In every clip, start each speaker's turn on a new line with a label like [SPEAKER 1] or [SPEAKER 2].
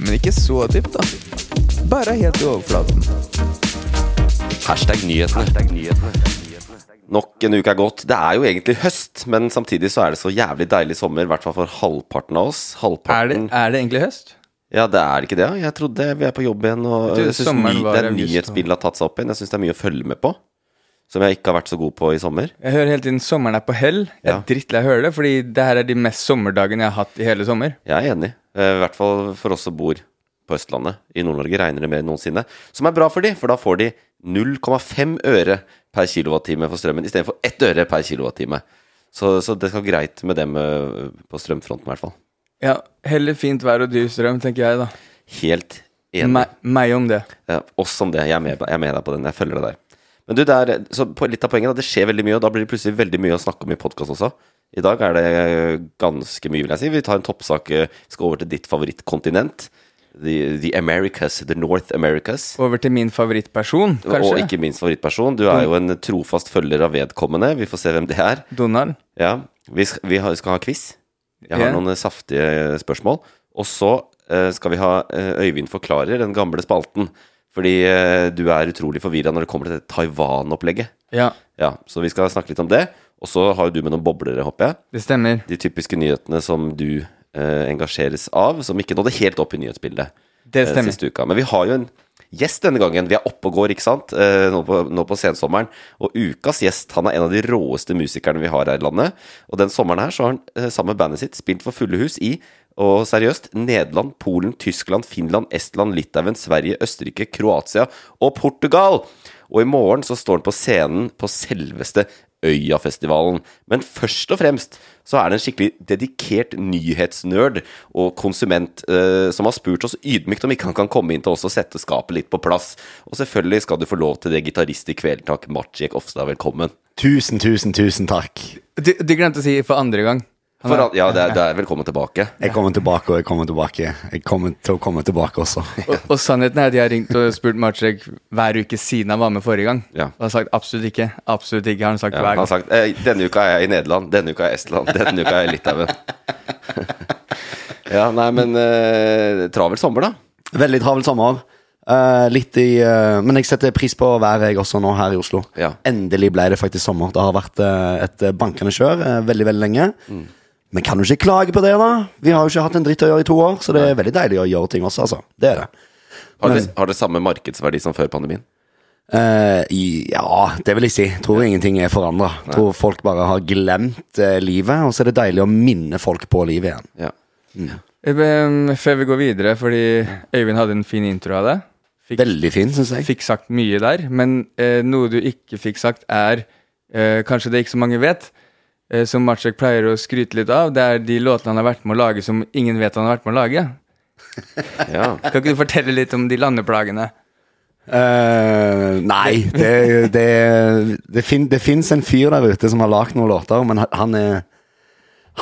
[SPEAKER 1] Men ikke så dypt, da. Bare helt i overflaten.
[SPEAKER 2] Hashtag nyhetene. Nok en uke er gått. Det er jo egentlig høst, men samtidig så er det så jævlig deilig sommer, i hvert fall for halvparten av oss.
[SPEAKER 1] Er det,
[SPEAKER 2] Halvparten
[SPEAKER 1] er det egentlig høst?
[SPEAKER 2] Ja, det er ikke det. ja. Jeg trodde vi er på jobb igjen, og
[SPEAKER 1] trodde
[SPEAKER 2] jeg syns
[SPEAKER 1] sommeren var
[SPEAKER 2] det er
[SPEAKER 1] i august,
[SPEAKER 2] nyhetsbildet har tatt seg opp igjen. Jeg syns det er mye å følge med på, som jeg ikke har vært så god på i sommer.
[SPEAKER 1] Jeg hører hele tiden sommeren er på hell. Jeg er
[SPEAKER 2] Ja.
[SPEAKER 1] drittlei av å høre det, fordi det her er de mest sommerdagene jeg har hatt i hele sommer.
[SPEAKER 2] Jeg er enig. Eh, I hvert fall for oss som bor på Østlandet. I Nord-Norge regner det mer enn noensinne. Som er bra for de, for da får de 0,5 øre per kilowattime for strømmen, istedenfor 1 øre per kilowattime. Så, så det skal greit med dem eh, på strømfronten, i hvert fall.
[SPEAKER 1] Ja, heller fint vær og dyr strøm, tenker jeg, da.
[SPEAKER 2] Helt enig.
[SPEAKER 1] Me meg om det.
[SPEAKER 2] Ja, oss Eh, om det. Jeg er, med, jeg er med deg på den. Jeg følger det der. Men du, det er, så på litt av poenget da, det skjer veldig mye, og da blir det plutselig veldig mye å snakke om i podkast også. I dag er det eh, ganske mye, vil jeg si. Vi tar en toppsak, eh, skal over til ditt favorittkontinent. The, the Americas, The North Americas.
[SPEAKER 1] Over til min favorittperson, kanskje.
[SPEAKER 2] Og ikke minst favorittperson. Du er jo en trofast følger av vedkommende. Vi får se hvem det er.
[SPEAKER 1] Donald.
[SPEAKER 2] Ja, Vi, sk- vi har- skal ha quiz. Jeg har
[SPEAKER 1] Ja.
[SPEAKER 2] noen eh, saftige spørsmål. Og så eh, skal vi ha eh, Øyvind forklarer, den gamle spalten. Fordi eh, du er utrolig forvirra når det kommer til det Taiwan-opplegget.
[SPEAKER 1] Ja,
[SPEAKER 2] Ja, Så vi skal snakke litt om det. Og så har jo du med noen boblere, håper jeg.
[SPEAKER 1] det stemmer.
[SPEAKER 2] De typiske nyhetene som du eh, engasjeres av, som ikke nådde helt opp i nyhetsbildet
[SPEAKER 1] Det
[SPEAKER 2] eh,
[SPEAKER 1] stemmer.
[SPEAKER 2] siste uka. Men vi har jo en gjest denne gangen. Vi er oppe og går, ikke sant? Eh, Nå på, nå på sensommeren. Og ukas gjest han er en av de råeste musikerne vi har her i landet. Og den sommeren her så har han eh, sammen med bandet sitt spilt for fulle hus i og seriøst Nederland, Polen, Tyskland, Finland, Estland, Litauen, Sverige, Østerrike, Kroatia og Portugal. Og i morgen så står han på scenen på selveste Øyafestivalen. Men først og fremst så er det en skikkelig dedikert nyhetsnerd og konsument eh, som har spurt oss ydmykt om ikke han kan komme inn til oss og sette skapet litt på plass. Og selvfølgelig skal du få lov til det, gitarist i Kvelertak, Maciek Ofstad. Velkommen.
[SPEAKER 3] Tusen, tusen, tusen takk.
[SPEAKER 1] Du, du glemte å si for andre gang. Han
[SPEAKER 2] For,
[SPEAKER 1] er-
[SPEAKER 2] al- ja, det er, det er velkommen tilbake.
[SPEAKER 3] Jeg kommer tilbake, og jeg kommer tilbake. Jeg kommer til å komme tilbake også.
[SPEAKER 1] Og, og sannheten er at jeg har ringt og spurt Maciek hver uke siden han var med forrige gang.
[SPEAKER 2] Ja.
[SPEAKER 1] Og han har sagt absolutt ikke. Absolutt ikke, har han sagt
[SPEAKER 2] Ja,
[SPEAKER 1] hver
[SPEAKER 2] han har
[SPEAKER 1] gang.
[SPEAKER 2] sagt eh, denne uka er jeg i Nederland, denne uka er jeg i Estland, denne uka er jeg i Litauen. ja, nei, men eh, travel sommer, da.
[SPEAKER 3] Veldig travel sommer. Eh, litt i, eh, men jeg setter pris på været jeg også nå her i Oslo.
[SPEAKER 2] Ja.
[SPEAKER 3] Endelig ble det faktisk sommer. Det har vært eh, et bankende kjør eh, veldig veldig lenge. Men kan du ikke klage på det, da? Vi har jo ikke hatt en dritt å gjøre i to år, så det er veldig deilig å gjøre ting også, altså. Det er det.
[SPEAKER 2] Har det,
[SPEAKER 3] Men-
[SPEAKER 2] har det samme markedsverdi som før pandemien?
[SPEAKER 3] Eh, i- ja, det vil jeg si. Tror ingenting er forandra. Tror folk bare har glemt eh, livet, og så er det deilig å minne folk på livet igjen.
[SPEAKER 2] Ja.
[SPEAKER 1] Eh, Før vi går videre, fordi Øyvind hadde en fin intro av deg. Fikk,
[SPEAKER 3] Veldig fin, syns jeg.
[SPEAKER 1] fikk sagt mye der. Men eh, noe du ikke fikk sagt, er eh, Kanskje det ikke så mange vet, eh, som Maciek pleier å skryte litt av, det er de låtene han har vært med å lage som ingen vet han har vært med å lage.
[SPEAKER 2] ja.
[SPEAKER 1] Kan ikke du fortelle litt om de landeplagene?
[SPEAKER 3] Eh, nei, det, det, det, fin, det fins en fyr der ute som har lagd noen låter, men han- han er,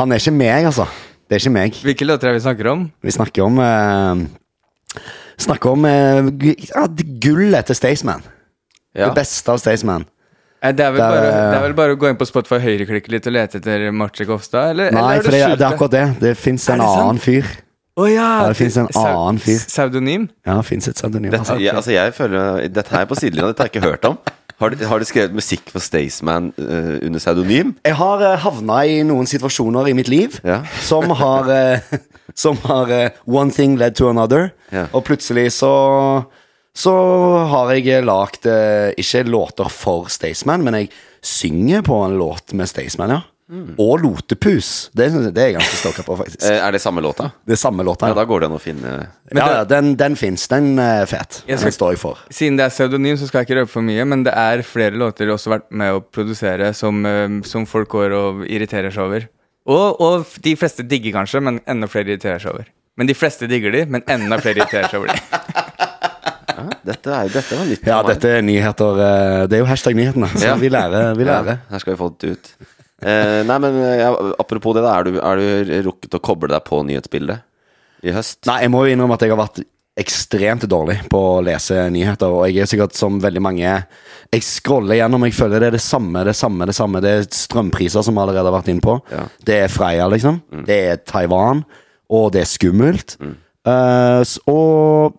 [SPEAKER 3] han er ikke meg, altså. Det er ikke meg.
[SPEAKER 1] Hvilke låter er vi snakker om?
[SPEAKER 3] Vi snakker om eh, Snakker om eh, gu- ja, gullet til Staysman.
[SPEAKER 2] Ja.
[SPEAKER 3] Det beste av Staysman.
[SPEAKER 1] Eh, Det er, vel
[SPEAKER 3] Det er-
[SPEAKER 1] bare, det er vel bare å gå inn på Spotify høyreklikke litt og lete etter Maciek Ofstad? Eller,
[SPEAKER 3] Nei,
[SPEAKER 1] eller
[SPEAKER 3] for det,
[SPEAKER 1] skjult
[SPEAKER 3] det er akkurat det. Det fins
[SPEAKER 1] Er
[SPEAKER 3] en
[SPEAKER 1] det sant?
[SPEAKER 3] annen fyr.
[SPEAKER 1] Å ja!
[SPEAKER 3] Ja, det finnes en
[SPEAKER 1] sau-
[SPEAKER 3] annen fyr.
[SPEAKER 1] Pseudonym?
[SPEAKER 3] Ja, det fins et pseudonym.
[SPEAKER 2] Dette,
[SPEAKER 3] Altså.
[SPEAKER 2] jeg, altså jeg føler Dette her er på sidelinja, dette har jeg ikke hørt om. Har du, har du skrevet musikk for Staysman eh, under pseudonym?
[SPEAKER 3] Jeg har uh, havna i noen situasjoner i mitt liv
[SPEAKER 2] Ja.
[SPEAKER 3] som har, eh, som har eh, One thing led to another.
[SPEAKER 2] Ja.
[SPEAKER 3] Og plutselig så Så har jeg eh, lagd ikke låter for Staysman, men jeg synger på en låt med Staysman, ja. Og Lotepus. Det, det er jeg ganske stolt på, faktisk.
[SPEAKER 2] Mm. Eh, er det samme låta?
[SPEAKER 3] Det er samme låta.
[SPEAKER 2] Ja,
[SPEAKER 3] Ja,
[SPEAKER 2] da går det an å finne
[SPEAKER 3] ja, den, den fins. Den er fet.
[SPEAKER 1] Jeg skal-
[SPEAKER 3] Den står jeg for.
[SPEAKER 1] Siden det er pseudonym, så skal jeg ikke røpe for mye, men det er flere låter jeg også har vært med å produsere som, eh, som folk går og irriterer seg over. Og, og f- de fleste digger kanskje, men enda flere irriterer seg over. Men de fleste digger de, men enda flere irriterer seg over de.
[SPEAKER 2] Dette, er, dette var nytt.
[SPEAKER 3] Ja,
[SPEAKER 2] for meg.
[SPEAKER 3] dette er nyheter. eh, Det er jo hashtag-nyhetene, så
[SPEAKER 2] Ja.
[SPEAKER 3] vi lærer. Vi lærer.
[SPEAKER 2] Ja, her skal vi få det ut. Eh, nei, men eh, ja, apropos det, da. Er du, er du rukket å koble deg på nyhetsbildet i høst?
[SPEAKER 3] Nei, jeg må jo innrømme at jeg har vært ekstremt dårlig på å lese nyheter, og jeg er sikkert som veldig mange Jeg scroller gjennom, jeg føler det er det samme, det samme, det samme. Det er strømpriser som vi allerede har vært inne på.
[SPEAKER 2] Ja.
[SPEAKER 3] Det er Freia, liksom.
[SPEAKER 1] Mm.
[SPEAKER 3] Det er Taiwan. Og det er skummelt. Eh, s- og,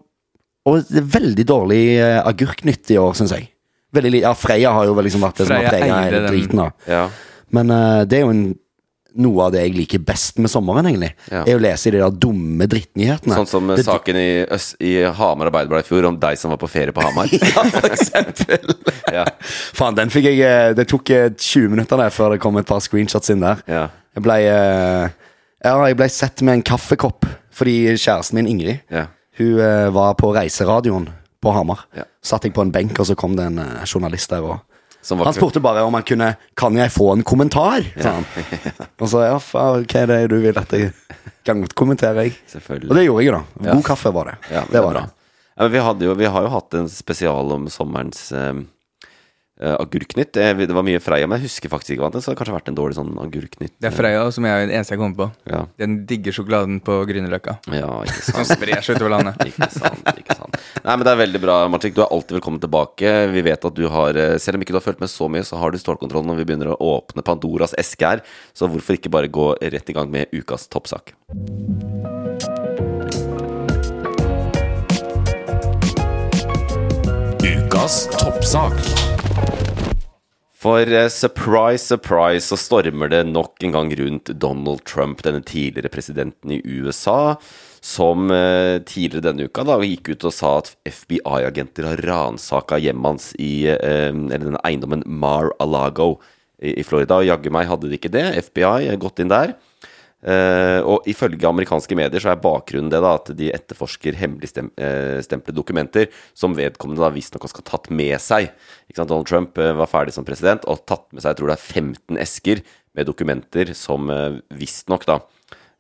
[SPEAKER 3] og det er veldig dårlig eh, agurknytt i år, syns jeg. Veldig, li- ja, Freia har jo vel liksom vært det som har
[SPEAKER 1] Freia
[SPEAKER 3] prega
[SPEAKER 1] eide
[SPEAKER 3] hele
[SPEAKER 1] den.
[SPEAKER 3] driten. da
[SPEAKER 2] Ja.
[SPEAKER 3] men eh, det er jo en, noe av det jeg liker best med sommeren, egentlig.
[SPEAKER 2] Ja.
[SPEAKER 3] Er å lese i de der dumme drittnyhetene.
[SPEAKER 2] Sånn som eh,
[SPEAKER 3] det,
[SPEAKER 2] saken i, Øst, i Hamar Arbeiderblad i fjor om deg som var på ferie på Hamar.
[SPEAKER 3] Ja, for eksempel.
[SPEAKER 2] ja.
[SPEAKER 3] Faen, den fikk jeg eh, Det tok eh, 20 minutter der før det kom et par screenshots inn der.
[SPEAKER 2] Ja.
[SPEAKER 3] Jeg blei eh, Ja, jeg blei sett med en kaffekopp fordi kjæresten min, Ingrid,
[SPEAKER 2] Ja.
[SPEAKER 3] hun eh, var på reiseradioen på Hamar.
[SPEAKER 2] Ja.
[SPEAKER 3] Satt jeg på en benk, og så kom det en eh, journalist der og
[SPEAKER 2] Som var
[SPEAKER 3] han spurte bare om han kunne Kan jeg få en kommentar? sa han. Og så ja, faen, hva er det du vil at jeg kan godt kommentere? jeg
[SPEAKER 2] Selvfølgelig.
[SPEAKER 3] Og det gjorde jeg, da. God
[SPEAKER 2] Ja.
[SPEAKER 3] kaffe var det.
[SPEAKER 2] Ja, men
[SPEAKER 3] det
[SPEAKER 2] er
[SPEAKER 3] var
[SPEAKER 2] bra.
[SPEAKER 3] det.
[SPEAKER 2] Ja, men vi, hadde jo, vi har jo hatt en spesial om sommerens eh, eh, agurknytt. Eh, vi- Det var mye Freia, men jeg husker faktisk ikke hva det var. Så det har kanskje vært en dårlig sånn agurknytt.
[SPEAKER 1] Det er Freia som jeg er den eneste jeg kommer på.
[SPEAKER 2] Ja.
[SPEAKER 1] Den digger sjokoladen på Grünerløkka.
[SPEAKER 2] ja, ikke
[SPEAKER 1] Som
[SPEAKER 2] sant.
[SPEAKER 1] sprer seg utover landet.
[SPEAKER 2] Ikke sant, ikke sant. Nei, men det er veldig bra, Martik. Du er alltid velkommen tilbake. Vi vet at du har, eh, selv om ikke du har fulgt med så mye, så har du stålkontroll når vi begynner å åpne Pandoras eske her. Så hvorfor ikke bare gå rett i gang med ukas toppsak?
[SPEAKER 4] Ukas toppsak.
[SPEAKER 2] For eh, surprise, surprise, så stormer det nok en gang rundt Donald Trump, denne tidligere presidenten i USA, som eh, tidligere denne uka da gikk ut og sa at FBI-agenter har ransaka hjemmet hans i eh, eller denne eiendommen Mar-a-Lago i, i Florida. Og jaggu meg hadde de ikke det. FBI har gått inn der. Eh, og ifølge amerikanske medier så er bakgrunnen det da at de etterforsker hemmeligstemplede dokumenter som vedkommende da visstnok skal ha tatt med seg. Ikke sant? Donald Trump eh, var ferdig som president og tatt med seg jeg tror det er 15 esker med dokumenter som eh, visstnok da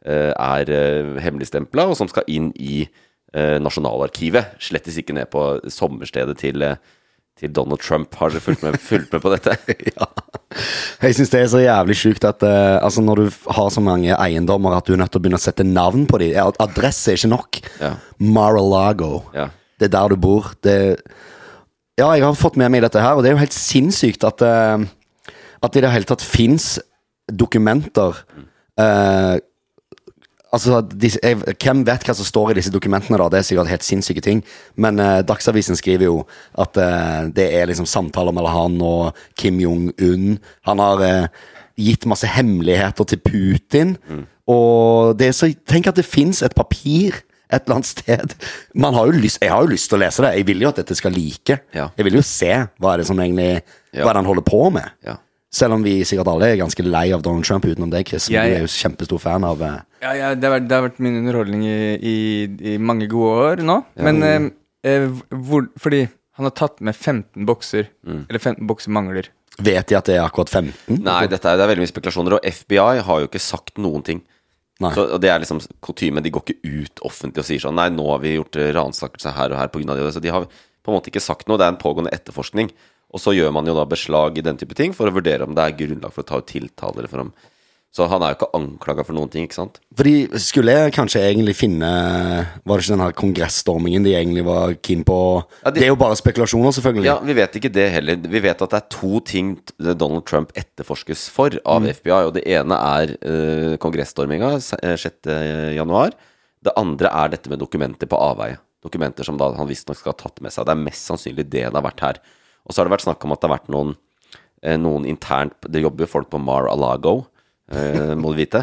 [SPEAKER 2] eh, er eh, hemmeligstempla, og som skal inn i eh, Nasjonalarkivet. Slettes ikke ned på sommerstedet til, eh, til Donald Trump. Har dere fulgt med, fulgt med på dette?
[SPEAKER 3] Ja. Jeg syns det er så jævlig sjukt at eh, altså når du f- har så mange eiendommer at du er nødt til å begynne å sette navn på dem. Adresse er ikke nok.
[SPEAKER 2] Ja.
[SPEAKER 3] Mar-a-Lago.
[SPEAKER 2] Ja.
[SPEAKER 3] Det er der du bor. Det Ja, jeg har fått med meg dette her, og det er jo helt sinnssykt at, eh, at det i det hele tatt fins dokumenter eh, Altså, disse, jeg, Hvem vet hva som står i disse dokumentene, da? Det er sikkert helt sinnssyke ting. Men eh, Dagsavisen skriver jo at eh, det er liksom samtaler mellom han og Kim Jong-un. Han har eh, gitt masse hemmeligheter til Putin.
[SPEAKER 2] Mm.
[SPEAKER 3] Og det er så, tenk at det fins et papir et eller annet sted. Man har jo lyst, jeg har jo lyst til å lese det. Jeg vil jo at dette skal like.
[SPEAKER 2] Ja.
[SPEAKER 3] Jeg vil jo se hva er det som egentlig
[SPEAKER 2] Ja.
[SPEAKER 3] Hva er det han holder på med.
[SPEAKER 2] Ja.
[SPEAKER 3] Selv om vi sikkert alle er ganske lei av Donald Trump utenom deg, Chris. men
[SPEAKER 1] Jeg-
[SPEAKER 3] Du er jo kjempestor fan av eh,
[SPEAKER 1] Ja, ja, det, har vært, det har vært min underholdning i, i, i mange gode år nå. Men eh, eh, hvor, fordi han har tatt med 15 bokser. Eller 15 bokser mangler.
[SPEAKER 3] Vet de at det er akkurat 15?
[SPEAKER 2] Nei, dette er, det er veldig mye spekulasjoner, og FBI har jo ikke sagt noen ting.
[SPEAKER 3] Nei.
[SPEAKER 2] Så, og det er liksom kutyme. De går ikke ut offentlig og sier sånn Nei, nå har vi gjort eh, ransakelse her og her pga. det. Så de har på en måte ikke sagt noe. Det er en pågående etterforskning. Og så gjør man jo da beslag i den type ting for å vurdere om det er grunnlag for å ta ut tiltaler for ham. Så han er jo ikke anklaga for noen ting, ikke sant?
[SPEAKER 3] Fordi skulle jeg kanskje egentlig finne Var det ikke den her kongressstormingen de egentlig var keen på?
[SPEAKER 2] Ja, de-
[SPEAKER 3] det er jo bare spekulasjoner, selvfølgelig.
[SPEAKER 2] Ja, Vi vet ikke det heller. Vi vet at det er to ting t- Donald Trump etterforskes for av FBI. Og det ene er uh, kongressstorminga 6.1. eh, Det andre er dette med dokumenter på avveie. Dokumenter som da han visstnok skal ha tatt med seg. Det er mest sannsynlig det det har vært her. Og så har det vært snakk om at det har vært noen, eh, noen internt Det jobber jo folk på Mar-a-Lago, eh, må du vite.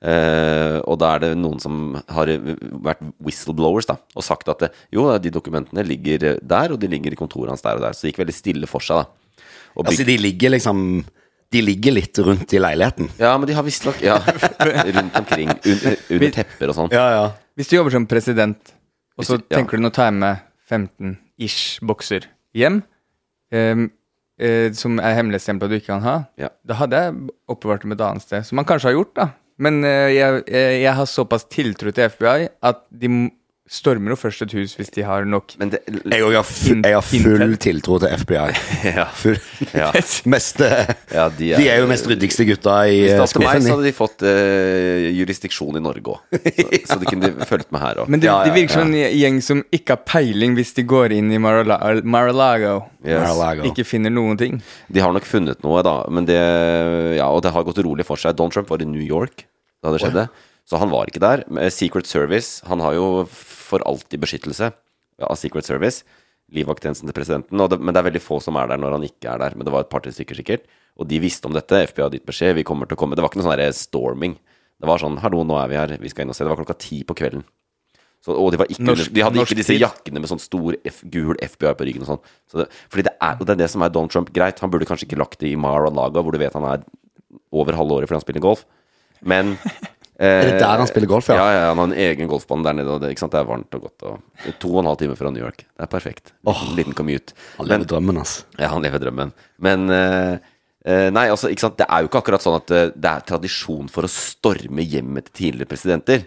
[SPEAKER 2] Eh, og da er det noen som har vært whistleblowers da, og sagt at eh, jo, de dokumentene ligger der, og de ligger i kontoret hans der og der. Så det gikk veldig stille for seg, da. Og
[SPEAKER 3] Altså,
[SPEAKER 2] bygg-
[SPEAKER 3] de ligger liksom De ligger litt rundt i leiligheten.
[SPEAKER 2] ja, men de har visstnok ja, Rundt omkring, under, under tepper og sånn.
[SPEAKER 3] Ja, ja.
[SPEAKER 1] Hvis du jobber som president, og så
[SPEAKER 2] Hvis- ja.
[SPEAKER 1] tenker du nå å ta med 15-ish bokser hjem, ehm, eh, som er hemmelighetsstempla du ikke kan ha,
[SPEAKER 2] Ja.
[SPEAKER 1] da hadde jeg oppbevart dem et annet sted. Som man kanskje har gjort, da. Men eh, jeg, jeg, jeg har såpass tiltro til FBI at de m- stormer jo først et hus hvis de har nok
[SPEAKER 2] Men det,
[SPEAKER 3] Jeg òg har, fu jeg har full tiltro til FBI.
[SPEAKER 2] Ja.
[SPEAKER 3] Full.
[SPEAKER 2] Ja.
[SPEAKER 3] Meste,
[SPEAKER 2] Ja, de
[SPEAKER 3] de,
[SPEAKER 2] er-
[SPEAKER 3] er, jo mest ryddigste gutta i
[SPEAKER 2] Hvis det
[SPEAKER 3] eh,
[SPEAKER 2] var til meg,
[SPEAKER 3] skuffen.
[SPEAKER 2] så
[SPEAKER 3] de.
[SPEAKER 2] hadde de fått eh, jurisdiksjon i Norge òg. Så, så de kunne fulgt med her òg.
[SPEAKER 1] Men det,
[SPEAKER 3] Ja, ja,
[SPEAKER 1] det virker som en gjeng som ikke har peiling hvis de går inn i Mar-a-La- Mar-a-Lago.
[SPEAKER 2] Yes.
[SPEAKER 3] Mar-a-Lago.
[SPEAKER 1] Ikke finner noen ting.
[SPEAKER 2] De har nok funnet noe, da. Men det, ja, og det har gått rolig for seg. Don Trump var i New York da det skjedde, så han var ikke der. Men Secret Service Han har jo for alltid beskyttelse av Secret Service. Livvakttjenesten til presidenten. Og det, men det er veldig få som er der når han ikke er der. Men det var et par-tre stykker, sikkert. Og de visste om dette. FBI hadde gitt beskjed. Vi kommer til å komme. Det var ikke noe sånn der storming. Det var sånn Hallo, nå er vi her. Vi skal inn og se. Det var klokka ti på kvelden. Så, og de, var ikke,
[SPEAKER 1] Norsk-
[SPEAKER 2] under- de hadde
[SPEAKER 1] norsk
[SPEAKER 2] ikke disse
[SPEAKER 1] tid.
[SPEAKER 2] jakkene med sånn stor F, gul FBI på ryggen og sånn. Så det, fordi det er, og det er det som er Donald Trump. Greit, han burde kanskje ikke lagt det i Mar-a-Lago, hvor du vet han er over halve året fordi han spiller golf. Men eh,
[SPEAKER 3] Er det der han spiller golf,
[SPEAKER 2] ja,
[SPEAKER 3] ja?
[SPEAKER 2] ja, han har en egen golfbane der nede, og det, ikke sant? det er varmt og godt. Og to og en halv time fra New York. Det er perfekt.
[SPEAKER 3] Åh.
[SPEAKER 2] Liten commute.
[SPEAKER 3] Han
[SPEAKER 2] Men-
[SPEAKER 3] lever drømmen, altså.
[SPEAKER 2] ja, han lever drømmen. Men eh, eh, Nei, altså, ikke sant. Det er jo ikke akkurat sånn at eh, det er tradisjon for å storme hjemmet til tidligere presidenter.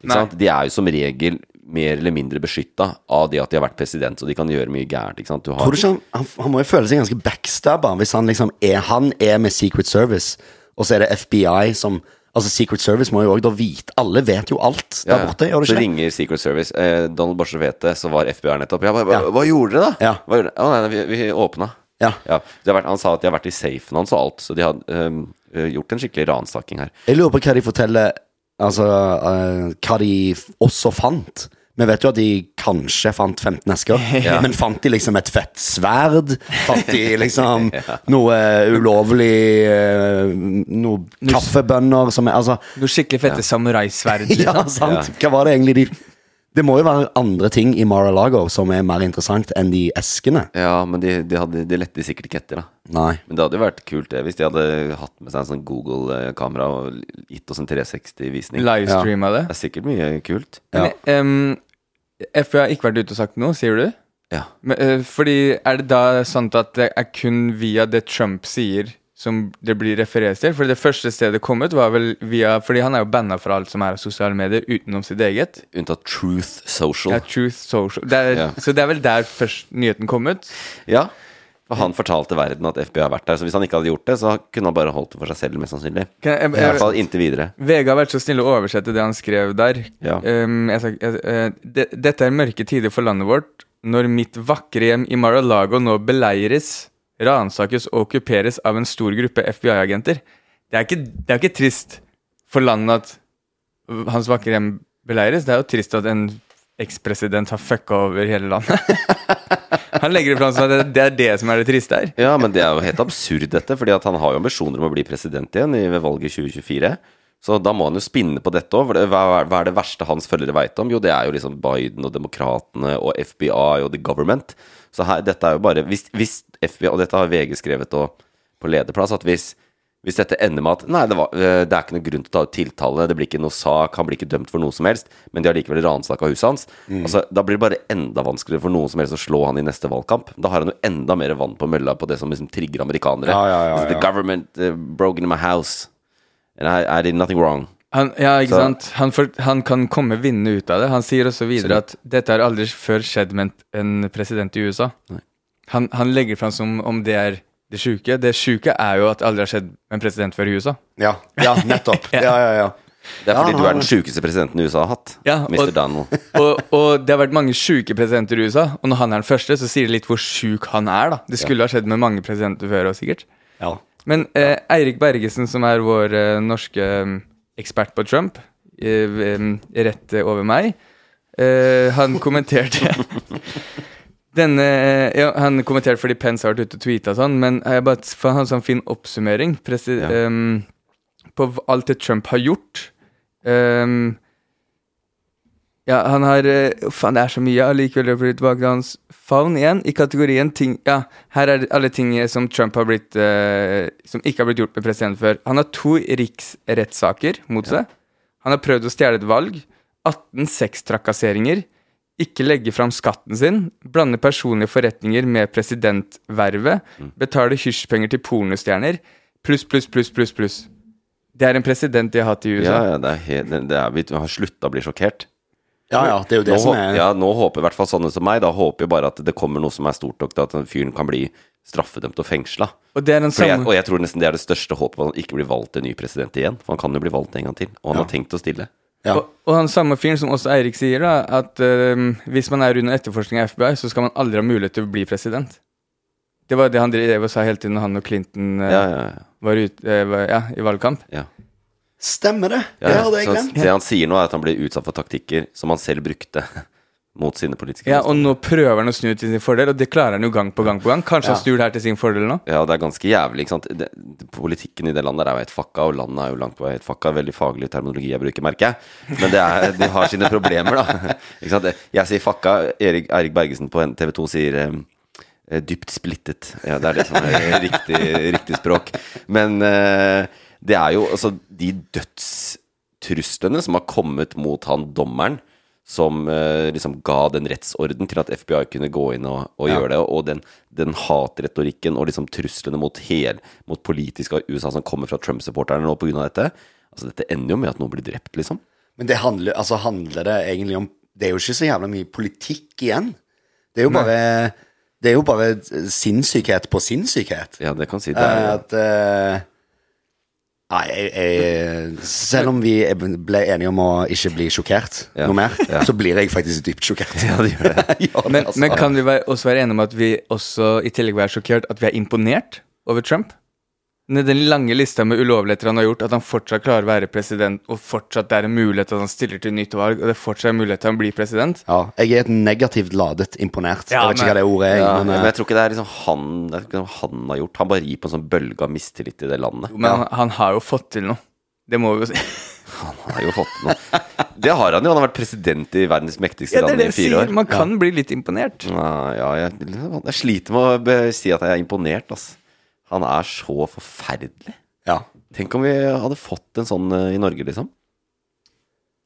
[SPEAKER 2] Ikke
[SPEAKER 1] Nei.
[SPEAKER 2] sant? De er jo som regel mer eller mindre beskytta av det at de har vært president, så de kan gjøre mye gærent. Ikke sant? Du
[SPEAKER 3] Tror
[SPEAKER 2] har
[SPEAKER 3] du ikke han, han, han må jo føle seg ganske backstabba hvis han liksom er Han er med Secret Service, og så er det FBI som Altså, Secret Service må jo òg da vite Alle vet jo alt der
[SPEAKER 2] Ja, ja.
[SPEAKER 3] borte,
[SPEAKER 2] Så
[SPEAKER 3] gjør det ikke? det?
[SPEAKER 2] ringer Secret Service. Eh, Donald Borser vet det, så var FBI nettopp. Ja, hva, hva,
[SPEAKER 3] Ja.
[SPEAKER 2] hva gjorde dere, da?
[SPEAKER 3] Ja.
[SPEAKER 2] Hva gjorde dere? Å, nei, nei, vi, vi åpna.
[SPEAKER 3] Ja.
[SPEAKER 2] De har vært, han sa at de har vært i safen hans og alt, så de har ehm, eh, gjort en skikkelig ransaking her.
[SPEAKER 3] Jeg lurer på hva de forteller Altså, eh, hva de f- også fant. Vi vet jo at de kanskje fant 15 esker, men fant de liksom et fett sverd? Fant de liksom noe ulovlig eh, Noe kaffebønner som er Altså
[SPEAKER 1] Noe skikkelig fette samuraisverd.
[SPEAKER 3] Ja,
[SPEAKER 1] liksom.
[SPEAKER 3] sant. Hva var det egentlig de Det må jo være andre ting i Mar-a-Lago som er mer interessant enn de eskene.
[SPEAKER 2] Ja, men de, de, hadde, de lette sikkert ikke etter, da.
[SPEAKER 3] Nei.
[SPEAKER 2] Men det hadde jo vært kult det hvis de hadde hatt med seg en sånn Google-kamera og gitt oss en 360-visning. Det
[SPEAKER 1] Livestreama det.
[SPEAKER 2] er sikkert mye kult.
[SPEAKER 3] Ja.
[SPEAKER 1] Men, ehm, FBI har ikke vært ute og sagt noe, sier du?
[SPEAKER 2] Ja.
[SPEAKER 1] Men, eh, fordi er det da sant at det er kun via det Trump sier, som det blir referert til? For det første stedet det kom ut, var vel via Fordi han er jo banna fra alt som er av sosiale medier, utenom sitt eget.
[SPEAKER 2] Unntatt Truth Social.
[SPEAKER 1] Ja, Truth Social. Det er,
[SPEAKER 2] Ja.
[SPEAKER 1] Så det er vel der først nyheten kom ut?
[SPEAKER 2] Ja. For han fortalte verden at FBI har vært der, så hvis han ikke hadde gjort det, så kunne han bare holdt det for seg selv, mest sannsynlig.
[SPEAKER 1] Kan jeg,
[SPEAKER 2] I hvert fall inntil videre.
[SPEAKER 1] VG har vært så snill å oversette det han skrev der.
[SPEAKER 2] Ja.
[SPEAKER 1] Ehm, jeg, sa- jeg, eh, det, dette er mørke tider for landet vårt. Når mitt vakre hjem i Mar-a-Lago nå beleires, ransakes og okkuperes av en stor gruppe FBI-agenter. Det, er ikke- det er ikke trist for landet at hans vakre hjem beleires. Det er jo trist at en ekspresident har fucka over hele landet. han legger det fram som at det, det er det som er det triste her.
[SPEAKER 2] Ja, men det er jo helt absurd dette, fordi at han har jo ambisjoner om å bli president igjen i- ved valget i 2024. Så da må han jo spinne på dette òg. Hva, er- hva er det verste hans følgere veit om? Jo, det er jo liksom Biden og demokratene og FBI og the government. Så her, dette er jo bare hvis, hvis FBI, og dette har VG skrevet og på lederplass, at hvis hvis dette ender med at nei, det, var, eh, det er ikke noen grunn til å ta ut tiltale, det blir ikke noe sak, han blir ikke dømt for noe som helst, men de har likevel ransaka huset hans,
[SPEAKER 3] Mm.
[SPEAKER 2] altså, da blir det bare enda vanskeligere for noen som helst å slå han i neste valgkamp. Da har han jo enda mer vann på mølla på det som liksom trigger amerikanere.
[SPEAKER 3] Ja, ja, ja,
[SPEAKER 2] It's The
[SPEAKER 3] ja.
[SPEAKER 2] government eh, broke into my house, and I, I did nothing wrong.
[SPEAKER 1] Han, ja, ikke
[SPEAKER 2] Så-
[SPEAKER 1] sant? Han, for, han kan komme vinnende ut av det. Han sier også videre at dette har aldri før skjedd med en en president i USA. Han, han legger fram som om det er det sjuke. Det sjuke er jo at det aldri har skjedd med en president før i USA.
[SPEAKER 3] Ja, ja nettopp. Ja, ja, ja.
[SPEAKER 2] Det er
[SPEAKER 3] Ja,
[SPEAKER 2] fordi
[SPEAKER 3] han
[SPEAKER 2] du
[SPEAKER 3] har-
[SPEAKER 2] er den sjukeste presidenten USA har hatt,
[SPEAKER 1] Ja,
[SPEAKER 2] Mr.
[SPEAKER 1] og-
[SPEAKER 2] Donald.
[SPEAKER 1] Og, og det har vært mange sjuke presidenter i USA, og når han er den første, så sier det litt hvor sjuk han er, da. Det skulle ha skjedd med mange presidenter før òg, sikkert.
[SPEAKER 3] ja.
[SPEAKER 1] Men eh, Eirik Bergesen, som er vår eh, norske eh, ekspert på Trump, eh, v- eh, rett eh, over meg, eh, han kommenterte Denne, ja, han kommenterte fordi Pence har vært ute og tweeta og sånn, men jeg bare fant en sånn fin oppsummering presi,
[SPEAKER 2] Ja.
[SPEAKER 1] ehm, på v- alt det Trump har gjort. Ehm, ja, han har eh, Faen, det er så mye. Allikevel har jeg blitt tilbake til hans favn igjen. I kategorien ting Ja, her er alle ting som Trump har blitt eh, Som ikke har blitt gjort med president før. Han har to riksrettssaker mot seg. Han har prøvd å stjele et valg. 18 sextrakasseringer. Ikke legge fram skatten sin. Blande personlige forretninger med presidentvervet.
[SPEAKER 2] Mm.
[SPEAKER 1] Betale hysjpenger til pornostjerner. Pluss, pluss, pluss, pluss, pluss. Det er en president de har hatt i USA.
[SPEAKER 2] Ja, ja, det er helt, det- det er, vi har slutta å bli sjokkert.
[SPEAKER 3] Ja, ja, det er jo det
[SPEAKER 2] Nå,
[SPEAKER 3] som
[SPEAKER 2] hå-
[SPEAKER 3] er
[SPEAKER 2] ja, nå håper i hvert fall sånne som meg, da håper jeg bare at det kommer noe som er stort nok til at den fyren kan bli straffedømt og fengsla.
[SPEAKER 1] Og det er den
[SPEAKER 2] For jeg,
[SPEAKER 1] samme
[SPEAKER 2] og jeg tror nesten det er det største håpet, at han ikke blir valgt til ny president igjen. For han kan jo bli valgt en gang til, og han har tenkt å stille.
[SPEAKER 3] Ja.
[SPEAKER 1] Og, og han samme fyren som også Eirik sier, da, at øhm, hvis man er under etterforskning av FBI, så skal man aldri ha mulighet til å bli president. Det var det han drev og sa hele tiden når han og Clinton øh,
[SPEAKER 2] Ja, ja, ja.
[SPEAKER 1] var ut, øh, var, ja, i valgkamp.
[SPEAKER 2] ja.
[SPEAKER 3] Stemmer det!
[SPEAKER 2] Ja,
[SPEAKER 3] det hadde jeg
[SPEAKER 2] så
[SPEAKER 3] glemt.
[SPEAKER 2] Det han sier nå, er at han blir utsatt for taktikker som han selv brukte mot sine politiske
[SPEAKER 1] Ja, Og
[SPEAKER 2] motstandere.
[SPEAKER 1] nå prøver han å snu til sin fordel, og det klarer han jo gang på gang på gang. Kanskje han snur det her til sin fordel nå?
[SPEAKER 2] Ja, det er ganske jævlig, ikke sant. Det, det, politikken i det landet der er jo helt fucka, og landet er jo langt på vei helt fucka. Veldig faglig terminologi jeg bruker, merker jeg. Men det er, de har sine problemer, da. Ikke sant. Jeg sier fucka, Erik, Erik Bergesen på TV 2 sier eh, eh, dypt splittet. Ja, det er det som er riktig, riktig språk. Men eh, det er jo altså de dødstruslene som har kommet mot han dommeren, som eh, liksom ga den rettsorden til at FBI kunne gå inn og, og gjøre det, og den, den hatretorikken og liksom truslene mot, hel, mot politisk av USA som kommer fra Trump-supporterne nå pga. dette. Altså, dette ender jo med at noen blir drept, liksom.
[SPEAKER 3] Men det handler, altså, handler det egentlig om Det er jo ikke så jævla mye politikk igjen. Det er jo bare, det er jo bare sinnssykhet på sinnssykhet.
[SPEAKER 2] Ja, det kan si. Det
[SPEAKER 3] Eh,
[SPEAKER 2] er,
[SPEAKER 3] At eh, Nei, jeg, jeg, selv om vi ble enige om å ikke bli sjokkert
[SPEAKER 2] Ja.
[SPEAKER 3] noe mer,
[SPEAKER 2] Ja.
[SPEAKER 3] så blir jeg faktisk dypt sjokkert.
[SPEAKER 2] ja, det gjør det.
[SPEAKER 3] Ja, det,
[SPEAKER 1] Men,
[SPEAKER 3] altså.
[SPEAKER 1] men kan vi være, også være enige om at vi også i tillegg er sjokkert at vi er imponert over Trump? Med Den lange lista med ulovligheter han har gjort, at han fortsatt klarer å være president, og fortsatt det er en mulighet at han stiller til nytt valg, og det fortsatt er en mulighet til han blir president.
[SPEAKER 3] ja, jeg er et negativt ladet imponert.
[SPEAKER 1] Ja,
[SPEAKER 3] jeg vet ikke
[SPEAKER 1] men-
[SPEAKER 3] hva det ordet er.
[SPEAKER 2] Ja,
[SPEAKER 3] men, eh,
[SPEAKER 2] men jeg tror ikke det er liksom han det er ikke noe han har gjort. Han bare gir på en sånn bølge av mistillit i det landet.
[SPEAKER 1] Men han, han har jo fått til noe. Det må vi jo si.
[SPEAKER 2] Han har jo fått noe. Det har han jo. Han har vært president i verdens mektigste
[SPEAKER 1] Ja, det er
[SPEAKER 2] land
[SPEAKER 1] det
[SPEAKER 2] i
[SPEAKER 1] jeg
[SPEAKER 2] fire
[SPEAKER 1] sier.
[SPEAKER 2] år. Mm.
[SPEAKER 1] Man kan bli litt imponert.
[SPEAKER 2] Nei, Ja, jeg, jeg sliter med å be- si at jeg er imponert, altså. Han er så forferdelig.
[SPEAKER 3] ja.
[SPEAKER 2] Tenk om vi hadde fått en sånn eh, i Norge, liksom.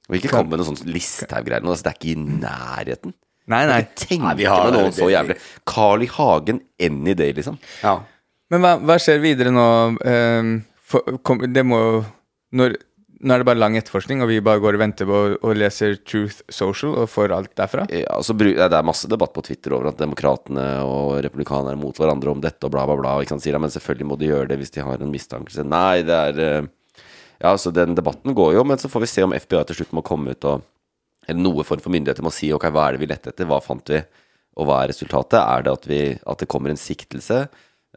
[SPEAKER 2] Og ikke kom med noen sånn Listhaug-greier. nå, Altså, det er ikke i nærheten.
[SPEAKER 1] Nei, nei.
[SPEAKER 2] Tenk
[SPEAKER 3] Nei, vi
[SPEAKER 2] med
[SPEAKER 3] har-
[SPEAKER 2] noen så jævlig.
[SPEAKER 3] det-
[SPEAKER 2] Carl I. Hagen any day, liksom.
[SPEAKER 3] ja.
[SPEAKER 1] Men hva, hva skjer videre nå? ehm, for, kom, det må jo når, nå er det bare lang etterforskning, og vi bare går og venter på og, og leser Truth Social og får alt derfra.
[SPEAKER 2] Ja, altså, bru- nei, det er masse debatt på Twitter over at demokratene og republikanerne er mot hverandre om dette og bla, bla, bla. Ikke sant? Sier, ja, men selvfølgelig må de gjøre det hvis de har en mistanke. Nei, det er eh, Ja, altså, den debatten går jo, men så får vi se om FBI til slutt må komme ut og Eller noe form for myndigheter må si ok, hva er det vi lette etter, hva fant vi, og hva er resultatet? Er det at, vi, at det kommer en siktelse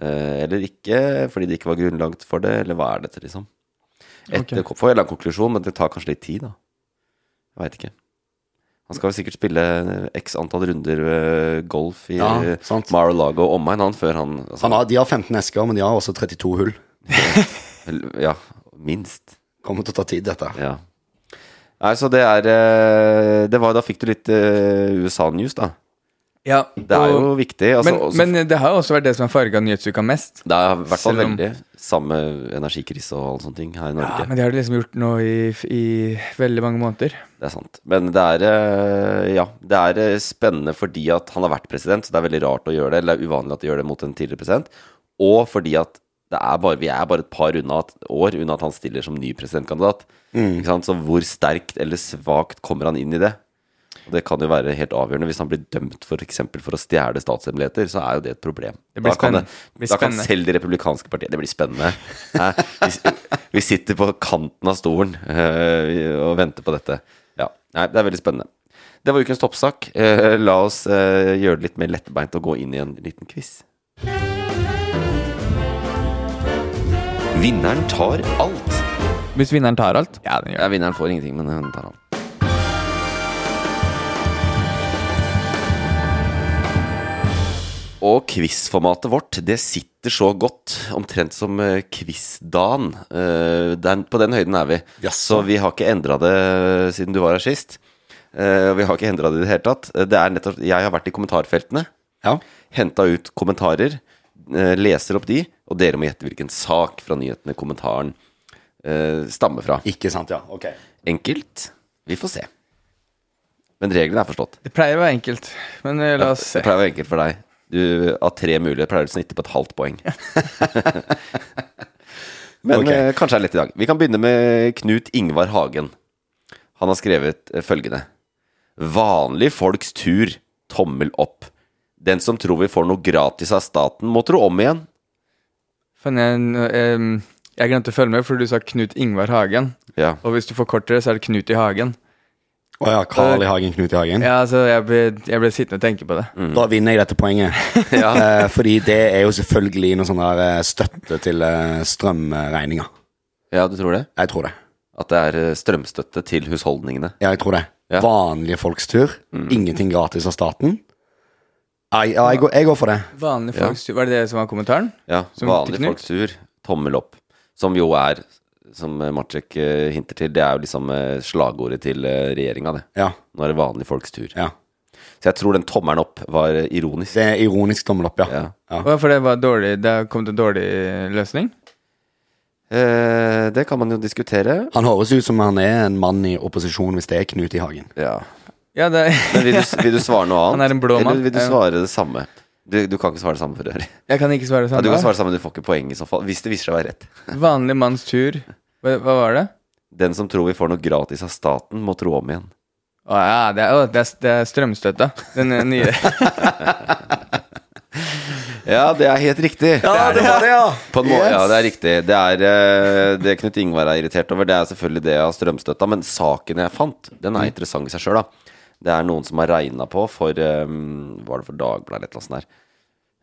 [SPEAKER 2] eh, eller ikke, fordi det ikke var grunnlag for det, eller hva er dette, liksom? Etter, Får jeg en lang konklusjon, men det tar kanskje litt tid, da. Jeg veit ikke. Han skal vel sikkert spille x antall runder eh, golf i
[SPEAKER 3] Ja,
[SPEAKER 2] eh,
[SPEAKER 3] sant.
[SPEAKER 2] Mar-a-Lago og omegn, han, før han altså,
[SPEAKER 3] Han har, de har 15 esker, men de har også 32 hull.
[SPEAKER 2] Ja, minst.
[SPEAKER 3] Kommer til å ta tid, dette.
[SPEAKER 2] Ja. Nei, så det er eh, Det var Da fikk du litt eh, USA-news, da.
[SPEAKER 1] Ja,
[SPEAKER 2] Det er
[SPEAKER 1] og-
[SPEAKER 2] jo viktig. Altså,
[SPEAKER 1] men,
[SPEAKER 2] også-
[SPEAKER 1] men det har jo også vært det som har farga nyhetsuka mest.
[SPEAKER 2] det er i hvert fall
[SPEAKER 1] selv om-
[SPEAKER 2] veldig samme energikrise og alle sånne ting her i Norge.
[SPEAKER 1] Ja, men det har det liksom gjort nå i, i veldig mange måneder.
[SPEAKER 2] Det er sant. Men det er eh, Ja, det er eh, spennende fordi at han har vært president, så det er veldig rart å gjøre det. Eller det er uvanlig at de gjør det mot en tidligere president. Og fordi at det er bare, vi er bare et par unna at, år unna at han stiller som ny presidentkandidat.
[SPEAKER 1] Mm.
[SPEAKER 2] Ikke sant? Så hvor sterkt eller svakt kommer han inn i det? Og det kan jo være helt avgjørende. Hvis han blir dømt for, eksempel, for å stjele statshemmeligheter, så er jo det et problem.
[SPEAKER 1] Det blir
[SPEAKER 2] da kan,
[SPEAKER 1] spennende.
[SPEAKER 2] det,
[SPEAKER 1] Det blir
[SPEAKER 2] da kan
[SPEAKER 1] spennende.
[SPEAKER 2] selv de republikanske partiene Det blir spennende. Hæ? Vi, vi sitter på kanten av stolen eh, og venter på dette. Ja, Nei, det er veldig spennende. Det var ukens toppsak. Eh, la oss eh, gjøre det litt mer lettbeint og gå inn i en liten quiz. Vinneren tar alt.
[SPEAKER 1] Hvis vinneren tar alt. Ja, den
[SPEAKER 2] Ja, vinneren får ingenting, men hun tar han. Og quizformatet vårt, det sitter så godt, omtrent som eh, quizdagen. Eh, den, på den høyden er vi. Så vi har ikke endra det siden du var her sist. Eh, vi har ikke endra det i det hele tatt. Eh, Det er nettopp, jeg har vært i kommentarfeltene,
[SPEAKER 3] Ja.
[SPEAKER 2] henta ut kommentarer, eh, leser opp de, og dere må gjette hvilken sak fra nyhetene kommentaren eh, stammer fra.
[SPEAKER 3] Ikke sant, ja. Ok.
[SPEAKER 2] Enkelt. Vi får se. Men reglene er forstått.
[SPEAKER 1] Det pleier å være enkelt, men eh, la oss se.
[SPEAKER 2] Det pleier å være enkelt for deg. Du, av tre mulige pleier du å snitte på et halvt poeng. Men
[SPEAKER 3] Ok.
[SPEAKER 2] eh, kanskje det er lett i dag. Vi kan begynne med Knut Ingvar Hagen. Han har skrevet eh, følgende. Vanlig folks tur. Tommel opp. Den som tror vi får noe gratis av staten, må tro om igjen.
[SPEAKER 1] Fann, jeg, em, jeg glemte å følge med, for du sa Knut Ingvar Hagen.
[SPEAKER 2] Ja.
[SPEAKER 1] Og hvis du forkorter det, så er det Knut i Hagen.
[SPEAKER 3] Å ja, Carl i
[SPEAKER 2] Eh,
[SPEAKER 3] Hagen, Knut i Hagen. Mm.
[SPEAKER 1] Ja, altså, jeg ble, jeg ble sittende og tenke på det.
[SPEAKER 3] Da vinner jeg dette poenget. Eh, fordi det er jo selvfølgelig noe sånn der eh, støtte til eh, strømregninga.
[SPEAKER 2] ja, du tror det?
[SPEAKER 3] Jeg tror det.
[SPEAKER 2] At det er eh, strømstøtte til husholdningene.
[SPEAKER 3] Ja, jeg tror det.
[SPEAKER 2] Ja. Mm.
[SPEAKER 3] Vanlige folks tur. Ingenting gratis av staten. Nei, ja, jeg, går, jeg går for det.
[SPEAKER 1] Vanlig folks tur. Var det det som var kommentaren?
[SPEAKER 2] Ja,
[SPEAKER 1] Som
[SPEAKER 2] vanlig
[SPEAKER 1] til Knut?
[SPEAKER 2] folks tur, tommel opp. Som jo er, som eh, Maciek eh, hinter til, det er jo liksom eh, slagordet til eh, regjeringa, det.
[SPEAKER 3] Ja,
[SPEAKER 2] Nå er det vanlig folks tur.
[SPEAKER 3] ja.
[SPEAKER 2] Så jeg tror den tommelen opp var eh, ironisk.
[SPEAKER 3] Det er ironisk tommel opp, ja.
[SPEAKER 2] Ja.
[SPEAKER 3] ja.
[SPEAKER 1] Å, For det var dårlig, det kom til en dårlig løsning?
[SPEAKER 2] Eh, det kan man jo diskutere.
[SPEAKER 3] Han høres ut som han er en mann i opposisjon hvis det er Knut i Hagen.
[SPEAKER 2] Ja.
[SPEAKER 1] Ja, det,
[SPEAKER 2] Men vil du, vil du svare noe annet?
[SPEAKER 1] Han er en blå mann.
[SPEAKER 2] Eller vil du
[SPEAKER 1] Ja.
[SPEAKER 2] svare det samme? Du, du kan ikke svare det samme for øvrig.
[SPEAKER 1] jeg kan ikke svare
[SPEAKER 2] Ja,
[SPEAKER 1] sånn.
[SPEAKER 2] du kan svare det samme, du får ikke poeng i så fall. Hvis det viser seg å være rett.
[SPEAKER 1] Vanlig manns tur. Hva, hva var det?
[SPEAKER 2] Den som tror vi får noe gratis av staten, må tro om igjen.
[SPEAKER 1] Å ja, det er, å, det er, det er strømstøtta. Den er nye.
[SPEAKER 2] Ja, det er helt riktig.
[SPEAKER 3] Ja, det var det, ja!
[SPEAKER 2] På en måte, Ja, det er riktig. Det, er, eh, det Knut Ingvar er irritert over, det er selvfølgelig det av strømstøtta, men saken jeg fant, den er interessant i seg sjøl, da. Det er noen som har regna på for eh, Hva var det for Dagbladet eller et eller annet sånt der.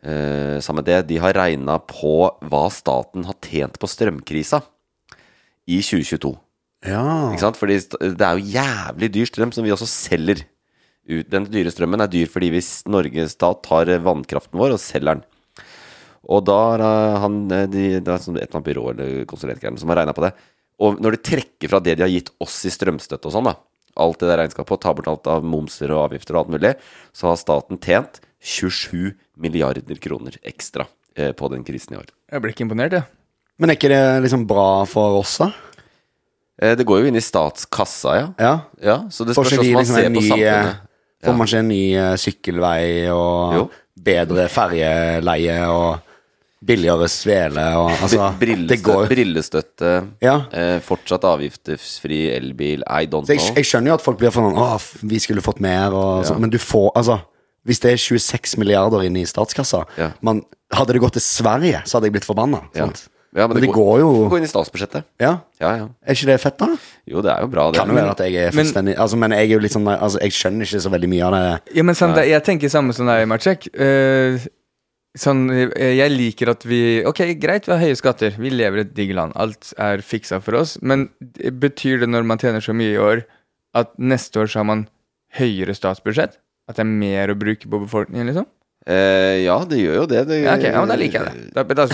[SPEAKER 2] Eh, samme det, de har regna på hva staten har tjent på strømkrisa i 2022. Ikke sant? Fordi st- det er jo jævlig dyr strøm som vi også selger. ut. Den dyre strømmen er dyr fordi hvis Norges stat tar eh, vannkraften vår og selger den. Og da har eh, han eh, de, Det er sånn et eller annet byrå eller konsulentgreier som har regna på det. Og når de trekker fra det de har gitt oss i strømstøtte og sånn, da, alt det der regnskapet, og tar bort alt av momser og avgifter og alt mulig, så har staten tjent 27 milliarder kroner ekstra eh, på den krisen i år.
[SPEAKER 1] Jeg ble ikke imponert, jeg.
[SPEAKER 3] Men er ikke det liksom bra for oss, da?
[SPEAKER 2] Eh, Det går jo inn i statskassa, ja.
[SPEAKER 3] Ja.
[SPEAKER 2] ja så det
[SPEAKER 3] Får
[SPEAKER 2] spørs hvordan
[SPEAKER 3] ikke vi
[SPEAKER 2] man
[SPEAKER 3] liksom
[SPEAKER 2] ser
[SPEAKER 3] en
[SPEAKER 2] på
[SPEAKER 3] ny eh,
[SPEAKER 2] samfunnet.
[SPEAKER 3] Får man ikke en ny eh, sykkelvei og
[SPEAKER 2] Jo.
[SPEAKER 3] bedre ferjeleie og billigere svele og altså Det
[SPEAKER 2] brillestøtte,
[SPEAKER 3] går.
[SPEAKER 2] brillestøtte
[SPEAKER 3] Ja.
[SPEAKER 2] eh, fortsatt avgiftsfri elbil, I don't
[SPEAKER 3] Så jeg,
[SPEAKER 2] know.
[SPEAKER 3] jeg skjønner jo at folk blir for sånn Åh, vi skulle fått mer og sånn, men du får Altså, hvis det er 26 milliarder inne i statskassa
[SPEAKER 2] Ja.
[SPEAKER 3] man, Hadde det gått til Sverige, så hadde jeg blitt forbanna.
[SPEAKER 2] Ja.
[SPEAKER 3] sant?
[SPEAKER 2] Ja, men
[SPEAKER 3] men det går, jo
[SPEAKER 2] Gå inn i statsbudsjettet.
[SPEAKER 3] Ja,
[SPEAKER 2] Ja, ja.
[SPEAKER 3] er ikke det fett, da?
[SPEAKER 2] Jo, det er jo bra, det.
[SPEAKER 3] Kan jo være at jeg er
[SPEAKER 1] men-
[SPEAKER 3] fullstendig Altså, men jeg er jo litt sånn Altså, jeg skjønner ikke så veldig mye av det.
[SPEAKER 1] Ja, men sånn, det- jeg tenker samme som deg, Maciek. Eh, sånn, eh, jeg liker at vi Ok, greit, vi har høye skatter. Vi lever i et digg land. Alt er fiksa for oss. Men det- betyr det, når man tjener så mye i år, at neste år så har man høyere statsbudsjett? At det er mer å bruke på befolkningen, liksom?
[SPEAKER 2] Eh, ja, det gjør jo det. det
[SPEAKER 1] Ja, ok, ja, men da liker jeg det. Da, da,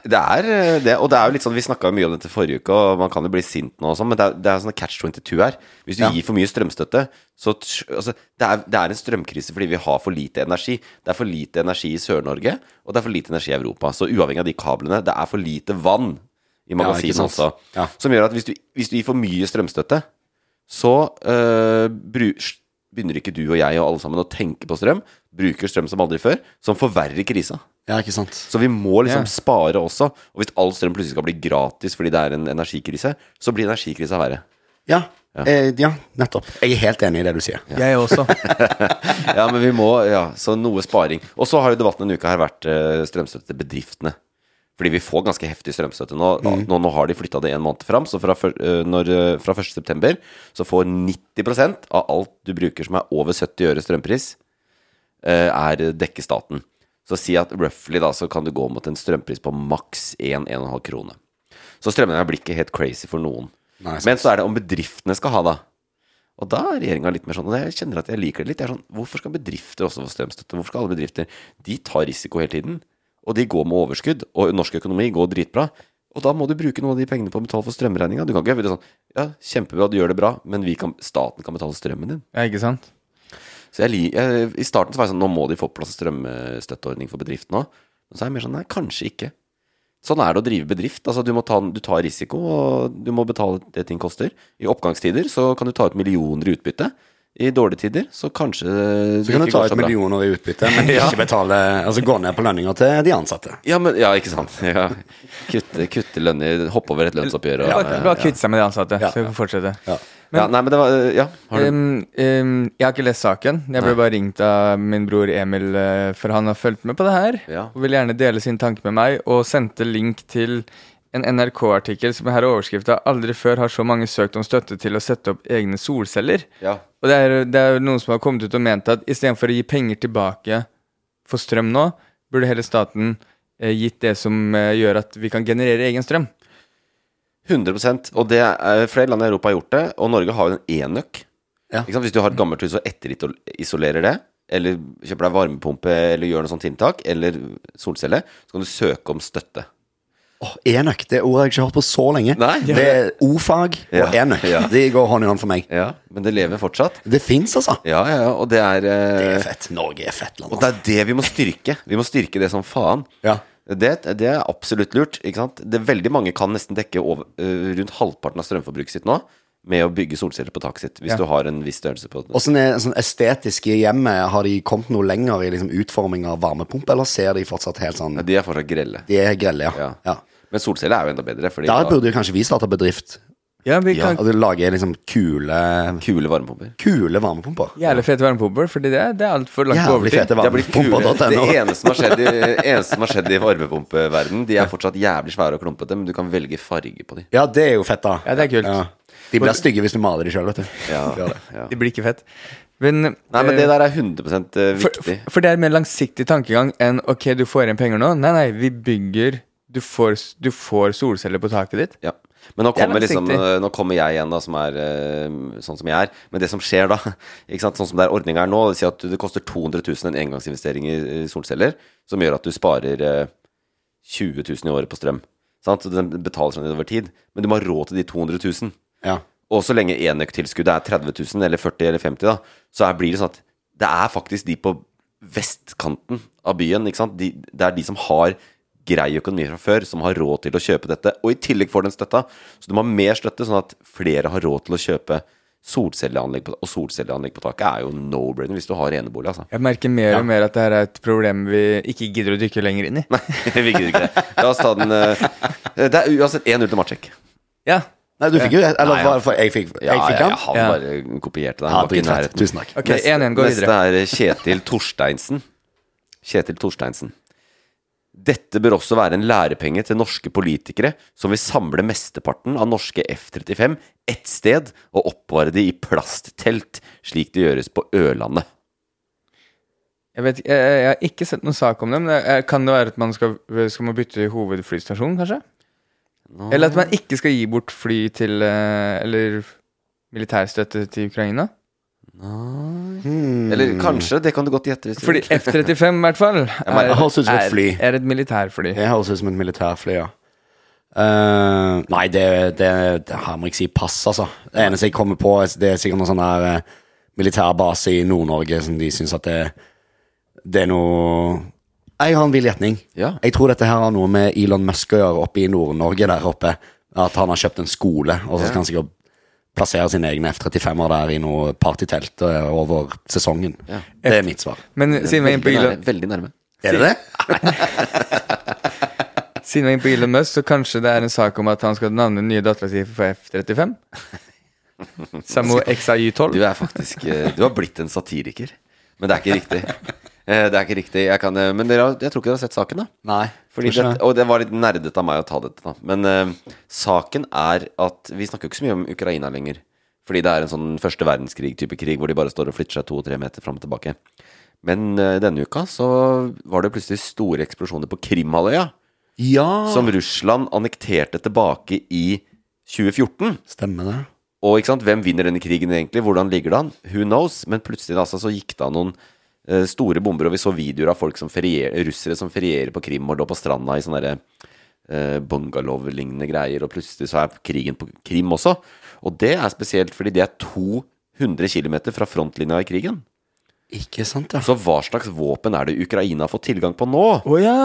[SPEAKER 2] Det er eh, det, og det er jo litt sånn, vi snakka mye om dette forrige uke, og man kan jo bli sint nå og sånn, men det er, det er sånn catch 22 her. Hvis du gir for mye strømstøtte, så t- altså, det, er, det er en strømkrise fordi vi har for lite energi. Det er for lite energi i Sør-Norge, og det er for lite energi i Europa. Så uavhengig av de kablene, det er for lite vann i
[SPEAKER 3] ikke
[SPEAKER 2] magasinet
[SPEAKER 3] sant.
[SPEAKER 2] også.
[SPEAKER 3] Ja.
[SPEAKER 2] Som gjør at hvis du, hvis du gir for mye strømstøtte, så eh, bru, begynner ikke du og jeg og alle sammen å tenke på strøm, bruker strøm som aldri før, som forverrer krisa.
[SPEAKER 3] Ja, ikke sant?
[SPEAKER 2] Så vi må liksom
[SPEAKER 1] Ja.
[SPEAKER 2] spare også. Og hvis all strøm plutselig skal bli gratis fordi det er en energikrise, så blir energikrisa verre.
[SPEAKER 3] Ja. Eh, ja, nettopp. Jeg er helt enig i det du sier.
[SPEAKER 1] jeg også.
[SPEAKER 2] Ja, men vi må Ja, så noe sparing. Og så har jo debatten denne uka her vært eh, strømstøtte til bedriftene. Fordi vi får ganske heftig strømstøtte nå. Nå, nå har de flytta det en måned fram, så fra, fyr- eh, når, eh, fra 1. september så får 90 av alt du bruker som er over 70 øre strømpris, eh, er dekke staten. Så si at roughly da, så kan du gå mot en strømpris på maks 1-1,5 krone. Så strømregninga blir ikke helt crazy for noen.
[SPEAKER 3] Nei, sant.
[SPEAKER 2] Men så er det om bedriftene skal ha, da. Og da er regjeringa litt mer sånn, og jeg kjenner at jeg liker det litt. Jeg er sånn, hvorfor skal bedrifter også få strømstøtte? Hvorfor skal alle bedrifter De tar risiko hele tiden, og de går med overskudd, og norsk økonomi går dritbra. Og da må du bruke noen av de pengene på å betale for strømregninga. Du kan ikke være sånn Ja, kjempebra, du gjør det bra, men vi kan, staten kan betale strømmen din.
[SPEAKER 1] Ja, ikke sant?
[SPEAKER 2] Så jeg, li- jeg, I starten så var jeg sånn Nå må de få på plass strømstøtteordning for bedriften òg. Men så er jeg mer sånn Nei, kanskje ikke. Sånn er det å drive bedrift. Altså, du, må ta, du tar risiko, og du må betale det ting koster. I oppgangstider så kan du ta ut millioner i utbytte. I dårlige tider så kanskje
[SPEAKER 3] Så kan du ta ut millioner i utbytte, men ikke betale Altså gå ned på lønninga til de ansatte.
[SPEAKER 2] Ja, men, ja, ikke sant. Ja. Kutte, kutte lønner, hoppe over et lønnsoppgjør og
[SPEAKER 1] Bare, bare kvitte seg med de ansatte,
[SPEAKER 3] Ja.
[SPEAKER 1] så vi kan fortsette.
[SPEAKER 3] Ja.
[SPEAKER 2] ja, Nei, men det var Ja, har du
[SPEAKER 1] Um, um, jeg har ikke lest saken. Jeg ble bare ringt av min bror Emil, eh, for han har fulgt med på det her.
[SPEAKER 2] Ja.
[SPEAKER 1] Og vil gjerne dele sin tanke med meg, og sendte link til en NRK-artikkel som her er overskrifta 'Aldri før har så mange søkt om støtte til å sette opp egne solceller'.
[SPEAKER 2] Ja.
[SPEAKER 1] Og det er, det er jo noen som har kommet ut og ment at istedenfor å gi penger tilbake for strøm nå, burde hele staten eh, gitt det som eh, gjør at vi kan generere egen strøm.
[SPEAKER 2] 100 Og det er, flere land i Europa har gjort det, og Norge har jo en enøk.
[SPEAKER 3] Ja.
[SPEAKER 2] Ikke sant? Hvis du har et gammelt hus og etterisolerer det, eller kjøper deg varmepumpe eller gjør noe sånt tiltak, eller solcelle, så kan du søke om støtte.
[SPEAKER 3] Åh, enøk, det ordet har jeg ikke hørt på så lenge.
[SPEAKER 2] Nei.
[SPEAKER 3] Det er O-fag og
[SPEAKER 2] Ja.
[SPEAKER 3] enøk.
[SPEAKER 2] Ja.
[SPEAKER 3] De går hånd i hånd for meg.
[SPEAKER 2] Ja, men det lever fortsatt.
[SPEAKER 3] Det fins, altså.
[SPEAKER 2] Ja, ja, ja, og det er, eh,
[SPEAKER 3] Det er fett. Norge er fett land.
[SPEAKER 2] Og det
[SPEAKER 3] Altså.
[SPEAKER 2] er det vi må styrke. Vi må styrke det som faen.
[SPEAKER 3] Ja.
[SPEAKER 2] Det, det er absolutt lurt. Ikke sant? Det, veldig mange kan nesten dekke over, eh, rundt halvparten av strømforbruket sitt nå med å bygge solceller på taket sitt, hvis
[SPEAKER 1] Ja.
[SPEAKER 2] du har en viss størrelse på
[SPEAKER 3] Åssen er sånn estetiske hjemmet? Har de kommet noe lenger i liksom, utforming av varmepumpe, eller ser de fortsatt helt sånn
[SPEAKER 2] Ja, De er fortsatt grelle.
[SPEAKER 3] De er grelle, ja.
[SPEAKER 2] Ja.
[SPEAKER 3] ja.
[SPEAKER 2] Men solceller er jo enda bedre, fordi
[SPEAKER 3] Der
[SPEAKER 2] da-
[SPEAKER 3] burde jo kanskje vi starte bedrift.
[SPEAKER 1] Ja, vi kan
[SPEAKER 3] At du lager liksom kule
[SPEAKER 2] Kule varmepumper.
[SPEAKER 3] Kule varmepumper.
[SPEAKER 1] Jævlig fete varmepumper, fordi det, det er altfor langt over
[SPEAKER 3] Jævlig
[SPEAKER 1] til.
[SPEAKER 3] fete
[SPEAKER 2] Det, blitt kule.
[SPEAKER 3] varmepumper.no.
[SPEAKER 2] det eneste som har skjedd i, eneste som har skjedd i varmepumpeverdenen, de er fortsatt jævlig svære og klumpete, men du kan velge farge på de.
[SPEAKER 3] Ja, det er jo fett, da.
[SPEAKER 1] Ja, det er kult.
[SPEAKER 3] De blir stygge hvis du maler de sjøl, vet du. Ja.
[SPEAKER 2] Ja.
[SPEAKER 1] Det blir ikke fett. Men,
[SPEAKER 2] Nei, men
[SPEAKER 1] eh,
[SPEAKER 2] det der er 100
[SPEAKER 1] for,
[SPEAKER 2] viktig.
[SPEAKER 1] for det er en mer langsiktig tankegang enn ok, du får igjen penger nå. Nei, nei, vi bygger Du får, s- du får solceller på taket ditt.
[SPEAKER 2] Ja. Men nå
[SPEAKER 1] Det er
[SPEAKER 2] kommer, liksom,
[SPEAKER 1] langsiktig.
[SPEAKER 2] eh, nå kommer jeg igjen, da, som er eh, sånn som jeg er. Men det som skjer da, ikke sant? sånn som det er ordninga her nå, det vil si at det koster 200 000 en engangsinvestering i i solceller, som gjør at du sparer eh, 20 000 i året på strøm. Sant? Så Den betaler seg ned over tid. Men du må ha råd til de 200 000.
[SPEAKER 3] Ja.
[SPEAKER 2] Og så lenge enøktilskuddet er 30 000 eller 40 000 eller 50 000 da, så er, blir det sånn at det er faktisk de på vestkanten av byen, ikke sant? De, det er de som har grei økonomi fra før, som har råd til å kjøpe dette, og i tillegg får den støtta. Så du må ha mer støtte, sånn at flere har råd til å kjøpe solcelleanlegg på, og solcelleanlegg på taket er jo no-brainer hvis du har enebolig, altså.
[SPEAKER 1] Jeg merker mer og mer at det her er et problem vi ikke gidder å dykke lenger inn i.
[SPEAKER 2] Nei, vi gidder ikke det. La oss ta den eh, Det er uansett 1-0 til Matsjek.
[SPEAKER 1] Ja,
[SPEAKER 3] Nei, du fikk jo Eller
[SPEAKER 2] Nei,
[SPEAKER 3] hva-
[SPEAKER 2] ja.
[SPEAKER 3] for jeg fikk, jeg
[SPEAKER 2] Ja,
[SPEAKER 3] fikk
[SPEAKER 2] ja,
[SPEAKER 3] han.
[SPEAKER 2] ja, han
[SPEAKER 1] Ja.
[SPEAKER 2] bare kopierte det.
[SPEAKER 3] Ja,
[SPEAKER 2] Han var ikke i
[SPEAKER 3] dritfett.
[SPEAKER 2] nærheten.
[SPEAKER 3] Tusen takk.
[SPEAKER 1] Ok, 1-1, gå
[SPEAKER 2] neste
[SPEAKER 1] videre.
[SPEAKER 2] er Kjetil Torsteinsen. Kjetil Torsteinsen. Dette bør også være en lærepenge til norske politikere som vil samle mesteparten av norske F-35 ett sted og oppbevare de i plasttelt, slik det gjøres på Ørlandet.
[SPEAKER 1] jeg, vet, jeg, jeg har ikke sett noen sak om det, men jeg, kan det være at man skal, eh, skal man bytte hovedflystasjon, kanskje? Eller at man ikke skal gi bort fly til eh, Eller militærstøtte til Ukraina?
[SPEAKER 2] Eller kanskje, det kan du godt gjette. hvis du
[SPEAKER 1] Fordi
[SPEAKER 2] vil.
[SPEAKER 1] F-35 i hvert fall
[SPEAKER 2] mener,
[SPEAKER 1] er-
[SPEAKER 3] det høres ut som et
[SPEAKER 1] er-
[SPEAKER 3] fly.
[SPEAKER 1] Er et militærfly.
[SPEAKER 3] Det høres ut som et militærfly, ja. Eh, nei, det, det, det her må jeg ikke si pass, altså. Det eneste jeg kommer på, er- det er sikkert noen sånn her eh, militærbase i Nord-Norge som de syns at det, det er noe Jeg har en vill gjetning.
[SPEAKER 2] Ja.
[SPEAKER 3] Jeg tror dette her har noe med Elon Musk å gjøre oppe i Nord-Norge der oppe. At han har kjøpt en skole, og så skal han sikkert plassere sine egne F-35-er der i noe partytelt eh, over sesongen. Det er mitt svar.
[SPEAKER 1] Men siden vi er inne på
[SPEAKER 2] Veldig
[SPEAKER 1] Elon-
[SPEAKER 2] nærme. Veldig nærme.
[SPEAKER 3] Er det det?
[SPEAKER 1] Siden vi er inne på Elon Musk, så kanskje det er en sak om at han skal navne den nye dattera si for F-35? Samo
[SPEAKER 2] Du
[SPEAKER 1] XAY12?
[SPEAKER 2] er faktisk eh, Du har blitt en satiriker. Men det er ikke riktig. Eh, Det er ikke riktig. Jeg kan, eh, men dere, har- jeg tror ikke dere har sett saken, da.
[SPEAKER 3] Nei.
[SPEAKER 2] Fordi
[SPEAKER 3] tror ikke
[SPEAKER 2] det, og det var litt nerdete av meg å ta dette, da. Men eh, saken er at vi snakker jo ikke så mye om Ukraina lenger. Fordi det er en sånn første verdenskrig-type krig hvor de bare står og flytter seg to-tre meter fram og tilbake. Men eh, denne uka så var det plutselig store eksplosjoner på Krimhalvøya.
[SPEAKER 3] Ja!
[SPEAKER 2] Som Russland annekterte tilbake i 2014.
[SPEAKER 3] Stemmer det.
[SPEAKER 2] Og ikke sant, hvem vinner denne krigen egentlig? Hvordan ligger det an? Who knows? Men plutselig altså, så gikk det av noen eh, store bomber, og vi så videoer av folk som ferier, russere som ferierer på Krim og lå på stranda i sånne der, eh, bungalow-lignende greier, og plutselig så er krigen på Krim også. Og det er spesielt fordi det er 200 km fra frontlinja i krigen.
[SPEAKER 3] Ikke sant, ja.
[SPEAKER 2] Så hva slags våpen er det Ukraina har fått tilgang på nå?
[SPEAKER 1] Å ja!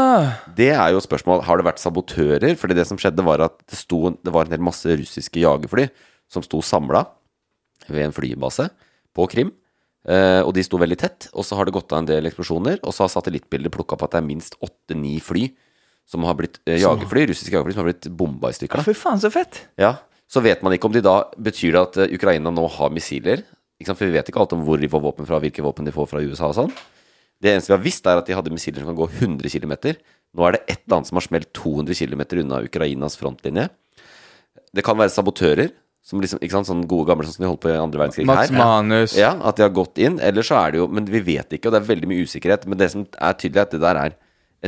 [SPEAKER 2] Det er jo et spørsmål. Har det vært sabotører? Fordi det som skjedde, var at det, sto, det var en hel masse russiske jagerfly som sto samla ved en flybase på Krim. Eh, og de sto veldig tett. Og så har det gått av en del eksplosjoner. Og så har satellittbildet plukka opp at det er minst åtte-ni fly som har blitt eh, jagerfly, russiske jagerfly som har blitt bomba i stykker. da.
[SPEAKER 1] Fy faen, så fett!
[SPEAKER 2] Ja, så vet man ikke om de da Betyr det at eh, Ukraina nå har missiler? Ikke sant? For vi vet ikke alt om hvor de får våpen fra, hvilke våpen de får fra USA og sånn. Det eneste vi har visst, er at de hadde missiler som kan gå 100 km. Nå er det ett land som har smelt 200 km unna Ukrainas frontlinje. Det kan være sabotører, som liksom, ikke sant, sånn gode gamle sånn som de holdt på i andre verdenskrig
[SPEAKER 1] Mats
[SPEAKER 2] her.
[SPEAKER 1] Manus.
[SPEAKER 2] Ja, at de har gått inn. Eller så er det jo Men vi vet ikke, og det er veldig mye usikkerhet. Men det som er tydelig, er at det der er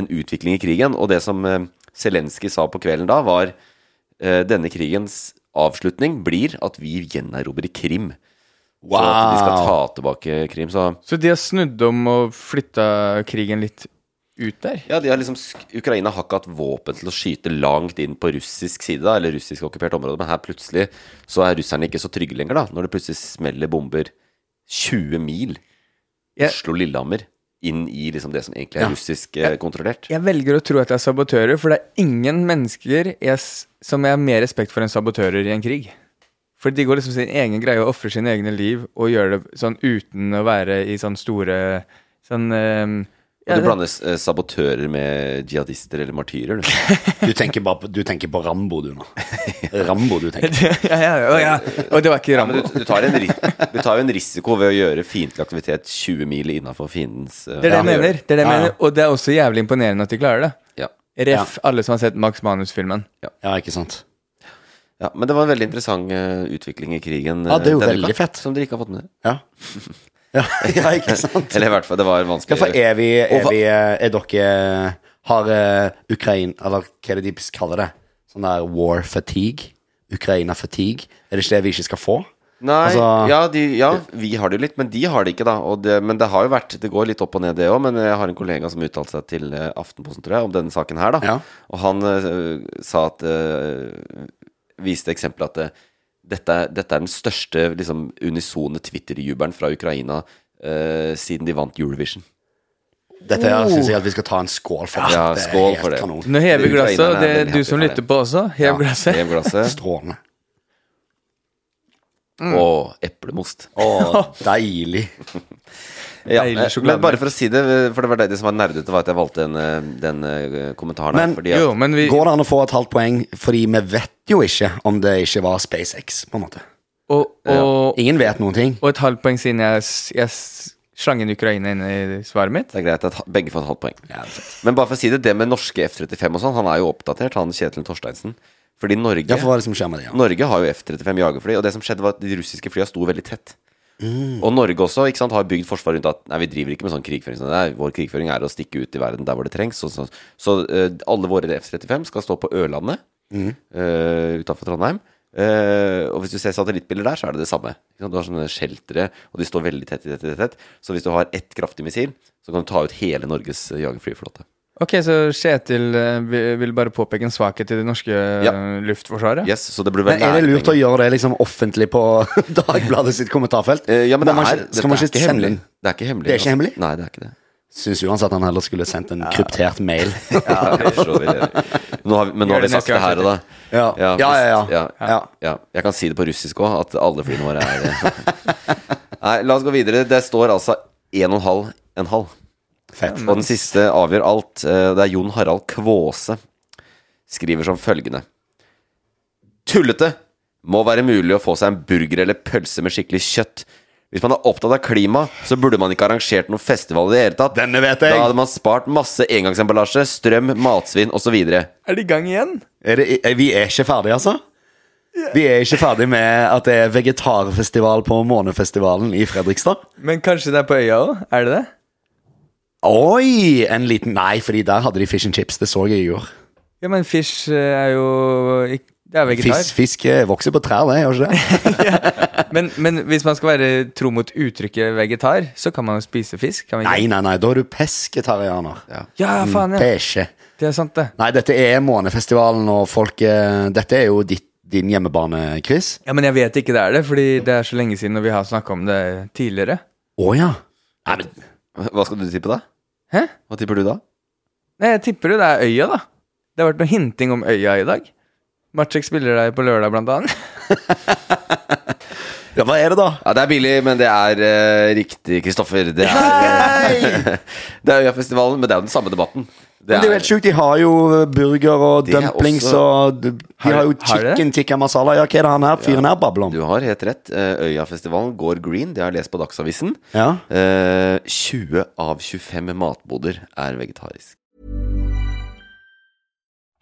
[SPEAKER 2] en utvikling i krigen. Og det som eh, Zelenskyj sa på kvelden da, var eh, denne krigens avslutning blir at vi gjenerobrer Krim. Så at de skal ta tilbake Krim. Så
[SPEAKER 1] Så de har snudd om og flytta krigen litt ut der?
[SPEAKER 2] ja, de har liksom, sk- Ukraina har ikke hatt våpen til å skyte langt inn på russisk side, da, eller russisk okkupert område, men her plutselig så er russerne ikke så trygge lenger, da. Når det plutselig smeller bomber 20 mil
[SPEAKER 1] Jeg-
[SPEAKER 2] Oslo-Lillehammer inn i liksom det som egentlig er russisk eh, kontrollert.
[SPEAKER 1] Jeg velger å tro at det er sabotører, for det er ingen mennesker jeg, s- som jeg har mer respekt for enn sabotører i en krig. For de går liksom sin egen greie og ofrer sine egne liv og gjør det sånn uten å være i sånn store Sånn ehm, ja,
[SPEAKER 2] Og du
[SPEAKER 1] det-
[SPEAKER 2] blander eh, sabotører med jihadister eller martyrer, du.
[SPEAKER 5] Du tenker, bare på, du tenker på Rambo, du nå. Rambo, du tenker.
[SPEAKER 1] ja, ja, ja, ja. Og det var ikke
[SPEAKER 2] Men
[SPEAKER 1] Rambo.
[SPEAKER 2] du, du, tar en, ri- du tar jo en risiko ved å gjøre fiendtlig aktivitet 20 mil innafor fiendens eh,
[SPEAKER 1] Det er det jeg
[SPEAKER 2] miljø.
[SPEAKER 1] mener. Det er det jeg
[SPEAKER 5] Ja, ja.
[SPEAKER 1] mener. Og det er også jævlig imponerende at de klarer det.
[SPEAKER 2] Ja.
[SPEAKER 1] Ref alle som har sett Max Manus-filmen.
[SPEAKER 5] Ja, ikke sant.
[SPEAKER 2] ja. Men det var en veldig interessant eh, utvikling i krigen.
[SPEAKER 3] Ja, det er jo
[SPEAKER 2] eh, denne
[SPEAKER 3] veldig
[SPEAKER 2] uka,
[SPEAKER 3] fett.
[SPEAKER 2] Som dere ikke har fått med dere.
[SPEAKER 3] Ja, ja, ja ikke sant?
[SPEAKER 2] Eller i hvert fall, det var
[SPEAKER 3] Ja,
[SPEAKER 2] vanskelig.
[SPEAKER 3] for er vi, er,
[SPEAKER 2] Og hva-
[SPEAKER 3] vi, er dere Har eh, Ukraina Eller hva er det de kaller det? Sånn der war fatigue? Ukraina-fatigue? Er det ikke det vi ikke skal få?
[SPEAKER 2] Nei,
[SPEAKER 3] Altså-
[SPEAKER 2] ja, de, ja, vi har det jo litt, men de har det ikke, da. Og det, men det har jo vært Det går litt opp og ned, det òg. Men jeg har en kollega som uttalte seg til eh, Aftenposten, tror jeg, om denne saken her, da.
[SPEAKER 3] Ja.
[SPEAKER 2] Og han eh, sa at eh, Viste eksempelet at eh, dette, er- dette er den største liksom, unisone Twitter-jubelen fra Ukraina eh, siden de vant Eurovision.
[SPEAKER 3] Dette her syns jeg at vi skal ta en skål for.
[SPEAKER 2] Ja,
[SPEAKER 3] Det er
[SPEAKER 2] skål
[SPEAKER 3] helt
[SPEAKER 2] for det.
[SPEAKER 3] kanon.
[SPEAKER 1] Nå hever vi
[SPEAKER 2] Ukrainerne
[SPEAKER 1] glasset, og det
[SPEAKER 2] er
[SPEAKER 1] er
[SPEAKER 2] veldig
[SPEAKER 1] du
[SPEAKER 2] happy
[SPEAKER 1] som
[SPEAKER 2] for
[SPEAKER 1] lytter
[SPEAKER 2] det.
[SPEAKER 1] på også. Hev glasset.
[SPEAKER 2] Hev glasset.
[SPEAKER 3] Strålende.
[SPEAKER 2] Og eplemost.
[SPEAKER 3] Å, deilig.
[SPEAKER 2] Ja,
[SPEAKER 1] Deilig
[SPEAKER 2] eh,
[SPEAKER 1] sjokolade.
[SPEAKER 2] men bare for å si det, eh, for det var det som var nerdete, var at jeg valgte den, eh, den eh, kommentaren her.
[SPEAKER 3] Men-
[SPEAKER 2] fordi at,
[SPEAKER 1] Jo, men vi
[SPEAKER 3] Går det an å få et halvt poeng? Fordi vi vet jo ikke om det ikke var SpaceX. på en måte
[SPEAKER 1] Og, og,
[SPEAKER 3] Ingen vet noen ting.
[SPEAKER 1] og et halvt poeng siden jeg, s- jeg s- slang inn Ukraina inn i svaret mitt.
[SPEAKER 2] Det er greit at ha- begge får et halvt poeng. Men bare for å si det, det med norske F-35 og sånn, han er jo oppdatert, han Kjetil Torsteinsen. Fordi Norge,
[SPEAKER 3] Ja, for hva er det som skjer med det? Ja.
[SPEAKER 2] Norge har jo F-35 jagerfly, og det som skjedde var at de russiske flya sto veldig tett.
[SPEAKER 3] Mm.
[SPEAKER 2] Og Norge også ikke sant, har bygd forsvar rundt at nei, vi driver ikke med sånn krigføring. Sånn, nei, vår krigføring er å stikke ut i verden der hvor det trengs. Så, så, så eh, alle våre F-35 skal stå på Ørlandet
[SPEAKER 3] Mm.
[SPEAKER 2] utafor Trondheim. Eh, og hvis du ser satellittbilder der, så er det det samme. Ikke sant? Du har sånne sheltere, og de står veldig tett i tett, i tett. Så hvis du har ett kraftig missil, så kan du ta ut hele Norges eh, jagerflyflåte.
[SPEAKER 1] Ok, så Kjetil eh, vi- vil bare påpeke en svakhet i det norske eh,
[SPEAKER 2] Ja.
[SPEAKER 1] luftforsvaret.
[SPEAKER 2] Yes, så det burde være
[SPEAKER 3] Men Er det
[SPEAKER 2] nærpenger.
[SPEAKER 3] lurt å gjøre det liksom offentlig på Dagbladet sitt kommentarfelt?
[SPEAKER 2] Eh, ja, men det
[SPEAKER 3] Må man
[SPEAKER 2] er,
[SPEAKER 3] ikke-
[SPEAKER 2] dette
[SPEAKER 3] skal man
[SPEAKER 2] er
[SPEAKER 3] ikke
[SPEAKER 2] ikke
[SPEAKER 3] sende
[SPEAKER 2] hemmelig.
[SPEAKER 3] inn
[SPEAKER 2] Det er ikke hemmelig.
[SPEAKER 3] Det er ikke
[SPEAKER 2] altså.
[SPEAKER 3] hemmelig?
[SPEAKER 2] Nei, det er ikke det.
[SPEAKER 3] Syns uansett han heller skulle sendt en kryptert mail.
[SPEAKER 2] Ja, det forstår vi. nå har vi, men nå
[SPEAKER 1] Gjør
[SPEAKER 2] har vi
[SPEAKER 1] det
[SPEAKER 2] sagt
[SPEAKER 1] neste
[SPEAKER 2] det her
[SPEAKER 1] gang,
[SPEAKER 2] og da.
[SPEAKER 3] Ja. Ja, ja, ja.
[SPEAKER 2] ja. ja. Jeg kan si det på russisk òg, at alle flyene våre er eh, Nei, la oss gå videre. Det står altså én og en halv, en halv.
[SPEAKER 3] Fett.
[SPEAKER 2] Og den siste avgjør alt. Eh, Det er Jon Harald Kvåse. Skriver som følgende. Tullete! Må være mulig å få seg en burger eller pølse med skikkelig kjøtt. Hvis man er opptatt av klima, så burde man ikke arrangert noen festival i det hele tatt.
[SPEAKER 3] Denne vet jeg.
[SPEAKER 2] Da hadde man spart masse engangsemballasje, strøm, matsvinn osv.
[SPEAKER 1] Er det i gang igjen?
[SPEAKER 3] Er det, er, vi er ikke ferdige, altså? Vi er ikke ferdige med at det er vegetarfestival på Månefestivalen i Fredrikstad.
[SPEAKER 1] Men kanskje det er på øya òg? Er det det?
[SPEAKER 3] Oi! En liten Nei, fordi der hadde de fish and chips. Det så jeg i går.
[SPEAKER 1] Ja, men fish eh, er jo ikk- Det er vegetar.
[SPEAKER 3] Fisk, fisk eh, vokser på trær, det, gjør ikke det?
[SPEAKER 1] Men, men hvis man skal være tro mot uttrykket vegetar, så kan man jo spise fisk. Kan man
[SPEAKER 3] Nei,
[SPEAKER 1] ikke?
[SPEAKER 3] nei, nei, da er du pesketarianer.
[SPEAKER 1] Ja, faen,
[SPEAKER 3] Mm,
[SPEAKER 1] ja.
[SPEAKER 3] Pesje.
[SPEAKER 1] Det er sant, det.
[SPEAKER 3] Nei, dette er Månefestivalen, og folk eh, Dette er jo ditt, din hjemmebane, Chris.
[SPEAKER 1] Ja, Men jeg vet ikke det er det, fordi det er så lenge siden og vi har snakka om det tidligere.
[SPEAKER 3] Å ja.
[SPEAKER 2] Hva skal du tippe, da?
[SPEAKER 1] Hæ?
[SPEAKER 2] Hva tipper du da?
[SPEAKER 1] Nei, jeg tipper jo det er øya, da. Det har vært noe hinting om øya i dag. Matsjek spiller der på lørdag, blant annet.
[SPEAKER 3] ja. Hva er det, da?
[SPEAKER 2] Ja, Det er billig, men det er eh, riktig, Kristoffer. Det er, det er Øyafestivalen, men det er jo den samme debatten. Det
[SPEAKER 3] Men det er jo
[SPEAKER 2] er-
[SPEAKER 3] helt sjukt. De har jo burger og
[SPEAKER 2] Det er
[SPEAKER 3] dumplings
[SPEAKER 2] også-
[SPEAKER 3] og De de har jo
[SPEAKER 1] Har de det?
[SPEAKER 3] chicken tikka masala. Ja, hva er det han her fyren her babler om?
[SPEAKER 2] Du har helt rett. Eh, Øyafestivalen går green, det har jeg lest på Dagsavisen.
[SPEAKER 3] Ja.
[SPEAKER 2] Eh, 20 av 25 matboder er vegetarisk.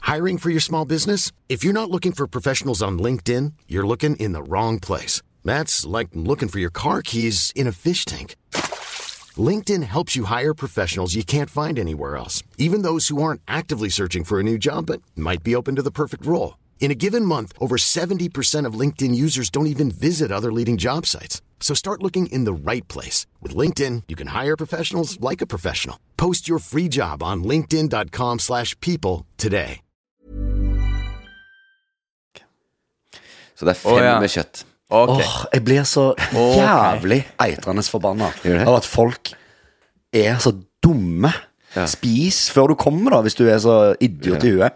[SPEAKER 4] Hiring for your small business? If you're not looking for professionals on LinkedIn, you're looking in the wrong place. That's like looking for your car keys in a fish tank. LinkedIn helps you hire professionals you can't find anywhere else, even those who aren't actively searching for a new job but might be open to the perfect role. In a given month, over 70% of LinkedIn users don't even visit other leading job sites. So start looking in the right place. With LinkedIn, you can hire professionals like a professional. Post your free job on linkedin.com/people slash people today.
[SPEAKER 2] Så det er fem
[SPEAKER 1] Å, ja.
[SPEAKER 2] med kjøtt.
[SPEAKER 1] Ok.
[SPEAKER 3] Åh, jeg blir så jævlig eitrende forbanna
[SPEAKER 2] Gjør det?
[SPEAKER 3] av at folk er så dumme. Spis før du kommer, da, hvis du er så idiot i huet.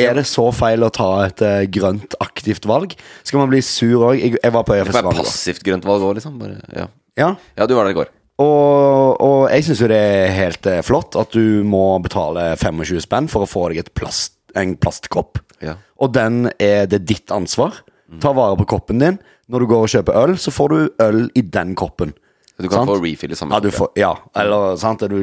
[SPEAKER 3] Er det så feil å ta et eh, grønt, aktivt valg? Skal man bli sur òg? Jeg, jeg var på
[SPEAKER 2] Det er bare
[SPEAKER 3] Øyafestivalen. i går.
[SPEAKER 2] passivt grønt valg òg, liksom. Bare, ja.
[SPEAKER 3] Ja.
[SPEAKER 2] ja, du var der i går.
[SPEAKER 3] Og, og jeg syns jo det er helt eh, flott at du må betale 25 spenn for å få deg et plast, en plastkopp.
[SPEAKER 2] Ja.
[SPEAKER 3] Og den er det ditt ansvar. Ta vare på koppen din. Når du går og kjøper øl, så får du øl i den koppen.
[SPEAKER 2] Du kan
[SPEAKER 3] Sant?
[SPEAKER 2] få refill i samme
[SPEAKER 3] Ja, du
[SPEAKER 2] kopp,
[SPEAKER 3] får, ja. eller sant er du,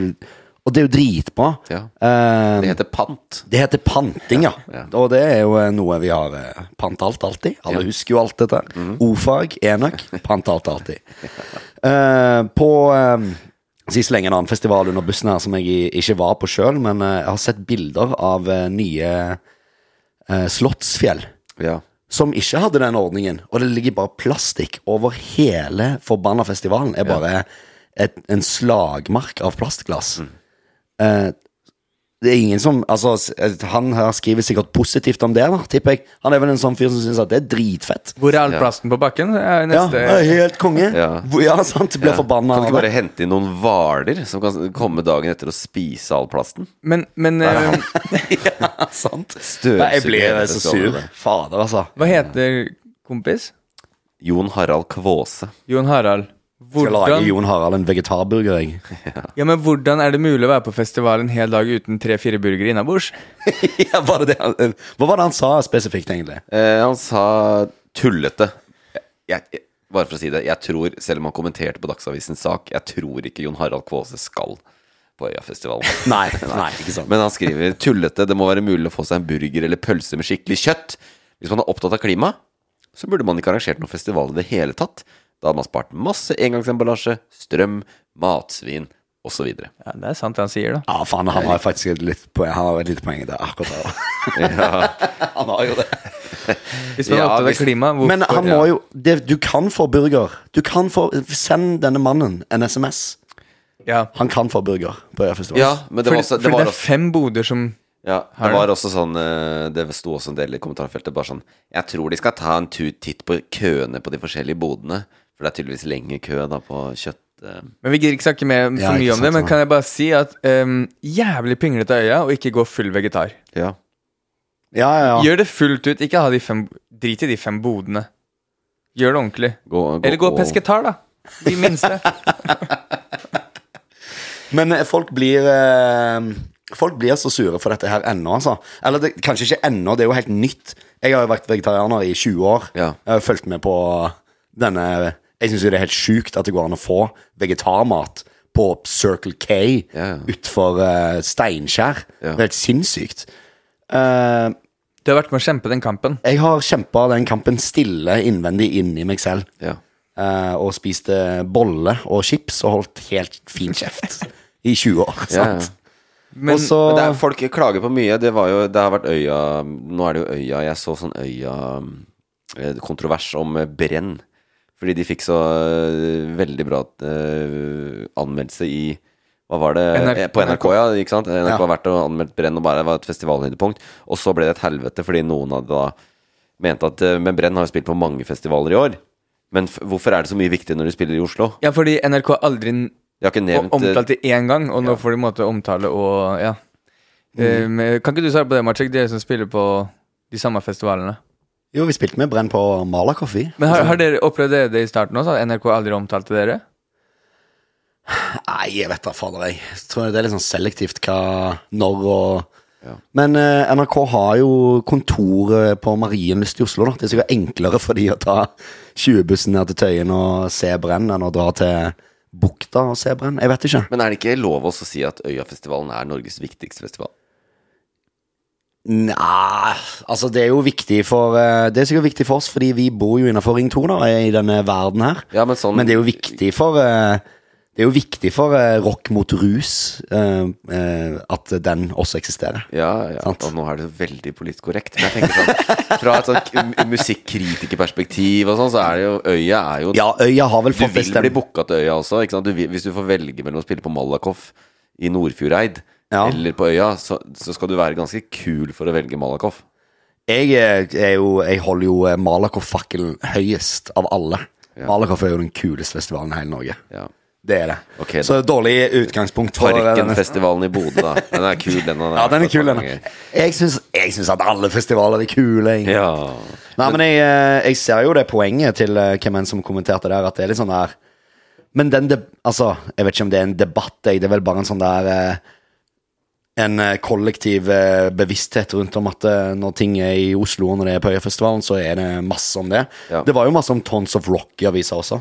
[SPEAKER 3] Og det er jo dritbra.
[SPEAKER 2] Ja.
[SPEAKER 3] Eh,
[SPEAKER 2] Det heter pant.
[SPEAKER 3] det heter panting, ja. Og det er jo eh, noe vi har eh, pant alt alltid. Alle husker jo alt dette. O-fag, enøk, pant alt alltid. Eh, på eh, sist lenge en annen festival under bussen her som jeg i- ikke var på sjøl, men eh, jeg har sett bilder av eh, nye eh, Slottsfjell.
[SPEAKER 2] Ja.
[SPEAKER 3] Som ikke hadde den ordningen. Og det ligger bare plastikk over hele forbanna festivalen. er bare et, en slagmark av plastglass. Eh, det er ingen som Altså, s- eh, han her skriver sikkert positivt om det, da, tipper jeg. Han er vel en sånn fyr som syns at det er dritfett.
[SPEAKER 1] Hvor er all plasten på bakken? Det er jo
[SPEAKER 3] Ja,
[SPEAKER 1] neste.
[SPEAKER 3] det er helt konge.
[SPEAKER 2] Ja.
[SPEAKER 3] Hvor- Ja, sant. Blir
[SPEAKER 2] Ja.
[SPEAKER 3] forbanna.
[SPEAKER 2] Kan du
[SPEAKER 3] av
[SPEAKER 2] ikke bare
[SPEAKER 3] det.
[SPEAKER 2] hente inn noen hvaler som kan komme dagen etter og spise all plasten?
[SPEAKER 1] Men, men
[SPEAKER 2] Der
[SPEAKER 1] eh,
[SPEAKER 2] er han.
[SPEAKER 3] Ja, sant.
[SPEAKER 2] Støvsuger
[SPEAKER 3] Nei, jeg blir
[SPEAKER 2] hele
[SPEAKER 3] så
[SPEAKER 2] festivalen.
[SPEAKER 3] sur. Fader, altså.
[SPEAKER 1] hva heter kompis?
[SPEAKER 2] Jon Harald Kvåse.
[SPEAKER 1] Jon Harald.
[SPEAKER 3] Skal lage
[SPEAKER 1] Hvordan,
[SPEAKER 3] Jon Harald en vegetarburger, jeg.
[SPEAKER 1] ja, men hvordan er det mulig å være på festival en hel dag uten tre-fire burgere innabords?
[SPEAKER 3] ja, var det det han, eh, hva var det han sa spesifikt, egentlig?
[SPEAKER 2] Eh, han sa tullete. Jeg, jeg, bare for å si det, jeg tror, selv om han kommenterte på Dagsavisens sak, jeg tror ikke Jon Harald Kvåse skal på Øyafestivalen.
[SPEAKER 3] Nei, nei, ikke sant.
[SPEAKER 2] Men han skriver tullete, det må være mulig å få seg en burger eller pølse med skikkelig kjøtt. Hvis man er opptatt av klima, så burde man ikke arrangert noen festival i det hele tatt. Da hadde man spart masse engangsemballasje, strøm, matsvin osv.
[SPEAKER 1] Ja, Det er sant det han sier, da.
[SPEAKER 3] Ja, faen, han har faktisk et litt poeng, han har et lite poeng der akkurat der. han har jo det.
[SPEAKER 1] Hvis man
[SPEAKER 2] Ja,
[SPEAKER 1] er opptatt
[SPEAKER 2] hvis-
[SPEAKER 1] av klima, hvorfor
[SPEAKER 3] Men han må
[SPEAKER 1] ja.
[SPEAKER 3] jo det, Du kan få burger. Du kan få Send denne mannen en SMS.
[SPEAKER 1] ja.
[SPEAKER 3] Han kan få burger på Øyafestivalen.
[SPEAKER 2] Ja, men det
[SPEAKER 1] For,
[SPEAKER 2] var også,
[SPEAKER 1] for
[SPEAKER 2] det var
[SPEAKER 1] det er
[SPEAKER 2] også,
[SPEAKER 1] fem boder som
[SPEAKER 2] ja,
[SPEAKER 1] Har
[SPEAKER 2] det
[SPEAKER 1] du?
[SPEAKER 2] var også sånn eh, Det sto også en del i kommentarfeltet bare sånn Jeg tror de skal ta en tur titt på køene på de forskjellige bodene. For det er tydeligvis lenge kø da på kjøtt. eh.
[SPEAKER 1] Men Vi gidder ikke snakke mer for
[SPEAKER 3] Ja, ikke
[SPEAKER 1] mye om
[SPEAKER 3] sant,
[SPEAKER 1] det, men
[SPEAKER 3] ja.
[SPEAKER 1] kan jeg bare si at ehm, jævlig pinglete av øya å ikke gå full vegetar.
[SPEAKER 2] Ja.
[SPEAKER 3] ja, ja. ja.
[SPEAKER 1] Gjør det fullt ut. Ikke ha de fem Drit i de fem bodene. Gjør det ordentlig.
[SPEAKER 2] Gå- gå-
[SPEAKER 1] Eller gå
[SPEAKER 2] gå-
[SPEAKER 1] pesketar, da. De minste.
[SPEAKER 3] Men eh, folk blir eh, Folk blir så sure for dette her ennå, altså. Eller det, kanskje ikke ennå, det er jo helt nytt. Jeg har jo vært vegetarianer i 20 år.
[SPEAKER 2] Ja.
[SPEAKER 3] Jeg har jo fulgt med på denne Jeg syns jo det er helt sjukt at det går an å få vegetarmat på Circle K
[SPEAKER 2] Ja, ja.
[SPEAKER 3] utfor eh, Steinkjer.
[SPEAKER 2] Ja.
[SPEAKER 3] Det er helt sinnssykt. Eh,
[SPEAKER 1] Du har vært med å kjempe den kampen.
[SPEAKER 3] jeg har kjempa den kampen stille innvendig inni meg selv.
[SPEAKER 2] Ja.
[SPEAKER 3] eh, og spiste bolle og chips og holdt helt fin kjeft i 20 år. Sant?
[SPEAKER 2] Ja, ja.
[SPEAKER 1] Men
[SPEAKER 3] og så
[SPEAKER 2] Men det er, folk klager på mye. Det, var jo, det har vært Øya Nå er det jo Øya Jeg så sånn Øya eh, Kontrovers om eh, brenn. Fordi de fikk så eh, veldig bra eh, anmeldelse i Hva var det?
[SPEAKER 1] NRK.
[SPEAKER 2] Eh, På NRK, ja. Ikke sant? NRK
[SPEAKER 3] Ja.
[SPEAKER 2] har vært og anmeldt brenn og bare var et festivalhøydepunkt. Og så ble det et helvete fordi noen hadde da mente at eh, Men Brenn har jo spilt på mange festivaler i år. Men f hvorfor er det så mye viktig når de spiller i Oslo?
[SPEAKER 1] Ja, fordi NRK aldri n-
[SPEAKER 2] De har ikke
[SPEAKER 1] og-
[SPEAKER 2] nevnt eh,
[SPEAKER 1] omtalt det én gang, og nå får de måte omtale og Ja.
[SPEAKER 2] Mm.
[SPEAKER 1] Ehm, kan ikke du svare på det, Marcek? Dere som spiller på de samme festivalene.
[SPEAKER 3] Jo, vi spilte med Brenn på Malakoff, vi.
[SPEAKER 1] Men har, har dere opplevd dere det i starten også? At NRK aldri omtalte dere?
[SPEAKER 3] Nei, jeg vet da fader, jeg. jeg tror det er litt sånn selektivt hva når og Men eh, NRK har jo kontor eh, på Marienlyst i Oslo, da. Det er sikkert enklere for de å ta 20-bussen ned til Tøyen og se Brenn enn å dra til Bukta og se Brenn. Jeg vet ikke.
[SPEAKER 2] Men er det ikke lov også å si at Øyafestivalen er Norges viktigste festival?
[SPEAKER 3] Nei, altså det er jo viktig for eh, Det er sikkert viktig for oss, fordi vi bor jo innenfor Ring 2 da, i denne verden her.
[SPEAKER 2] Ja, men sånn-
[SPEAKER 3] det er jo viktig for eh, Det er jo viktig for eh, rock mot rus eh, eh, at den også eksisterer.
[SPEAKER 2] Ja, ja.
[SPEAKER 3] Sant.
[SPEAKER 2] Og nå er det så veldig politisk korrekt. Men jeg tenker sånn Fra et sånt k- musikkritikerperspektiv og sånn, så er det jo Øya er jo
[SPEAKER 3] Ja, øya har
[SPEAKER 2] Du
[SPEAKER 3] vel fått
[SPEAKER 2] vil bli
[SPEAKER 3] bestemt
[SPEAKER 2] booka til Øya også, ikke sant? Du, vil- hvis du får velge mellom å spille på Malakoff i Nordfjordeid
[SPEAKER 3] Ja.
[SPEAKER 2] eller på Øya, så, så skal du være ganske kul for å velge Malakoff.
[SPEAKER 3] Jeg, eh, er jo, jeg holder jo eh, Malakoff-fakkelen høyest av alle. Malakoff er jo den kuleste festivalen i hele Norge.
[SPEAKER 2] Ja.
[SPEAKER 3] Det er det.
[SPEAKER 2] Ok, da.
[SPEAKER 3] Så dårlig utgangspunkt for eh, denne
[SPEAKER 2] Parkenfestivalen i Bodø, da. Den er kul, den.
[SPEAKER 3] Ja, den er kul, den. Jeg syns jeg syns at alle festivaler er kule. Jeg.
[SPEAKER 2] Ja.
[SPEAKER 3] Nei, men jeg, eh, jeg ser jo det poenget til eh, hvem enn som kommenterte der, at det er litt sånn der Men den deb... Altså, jeg vet ikke om det er en debatt, jeg. Det er vel bare en sånn der eh, En eh, kollektiv eh, bevissthet rundt om at eh, når ting er i Oslo, og når det er på Øyafestivalen, så er det masse om det.
[SPEAKER 2] Ja.
[SPEAKER 3] Det var jo masse om Tons of Rock i avisa også.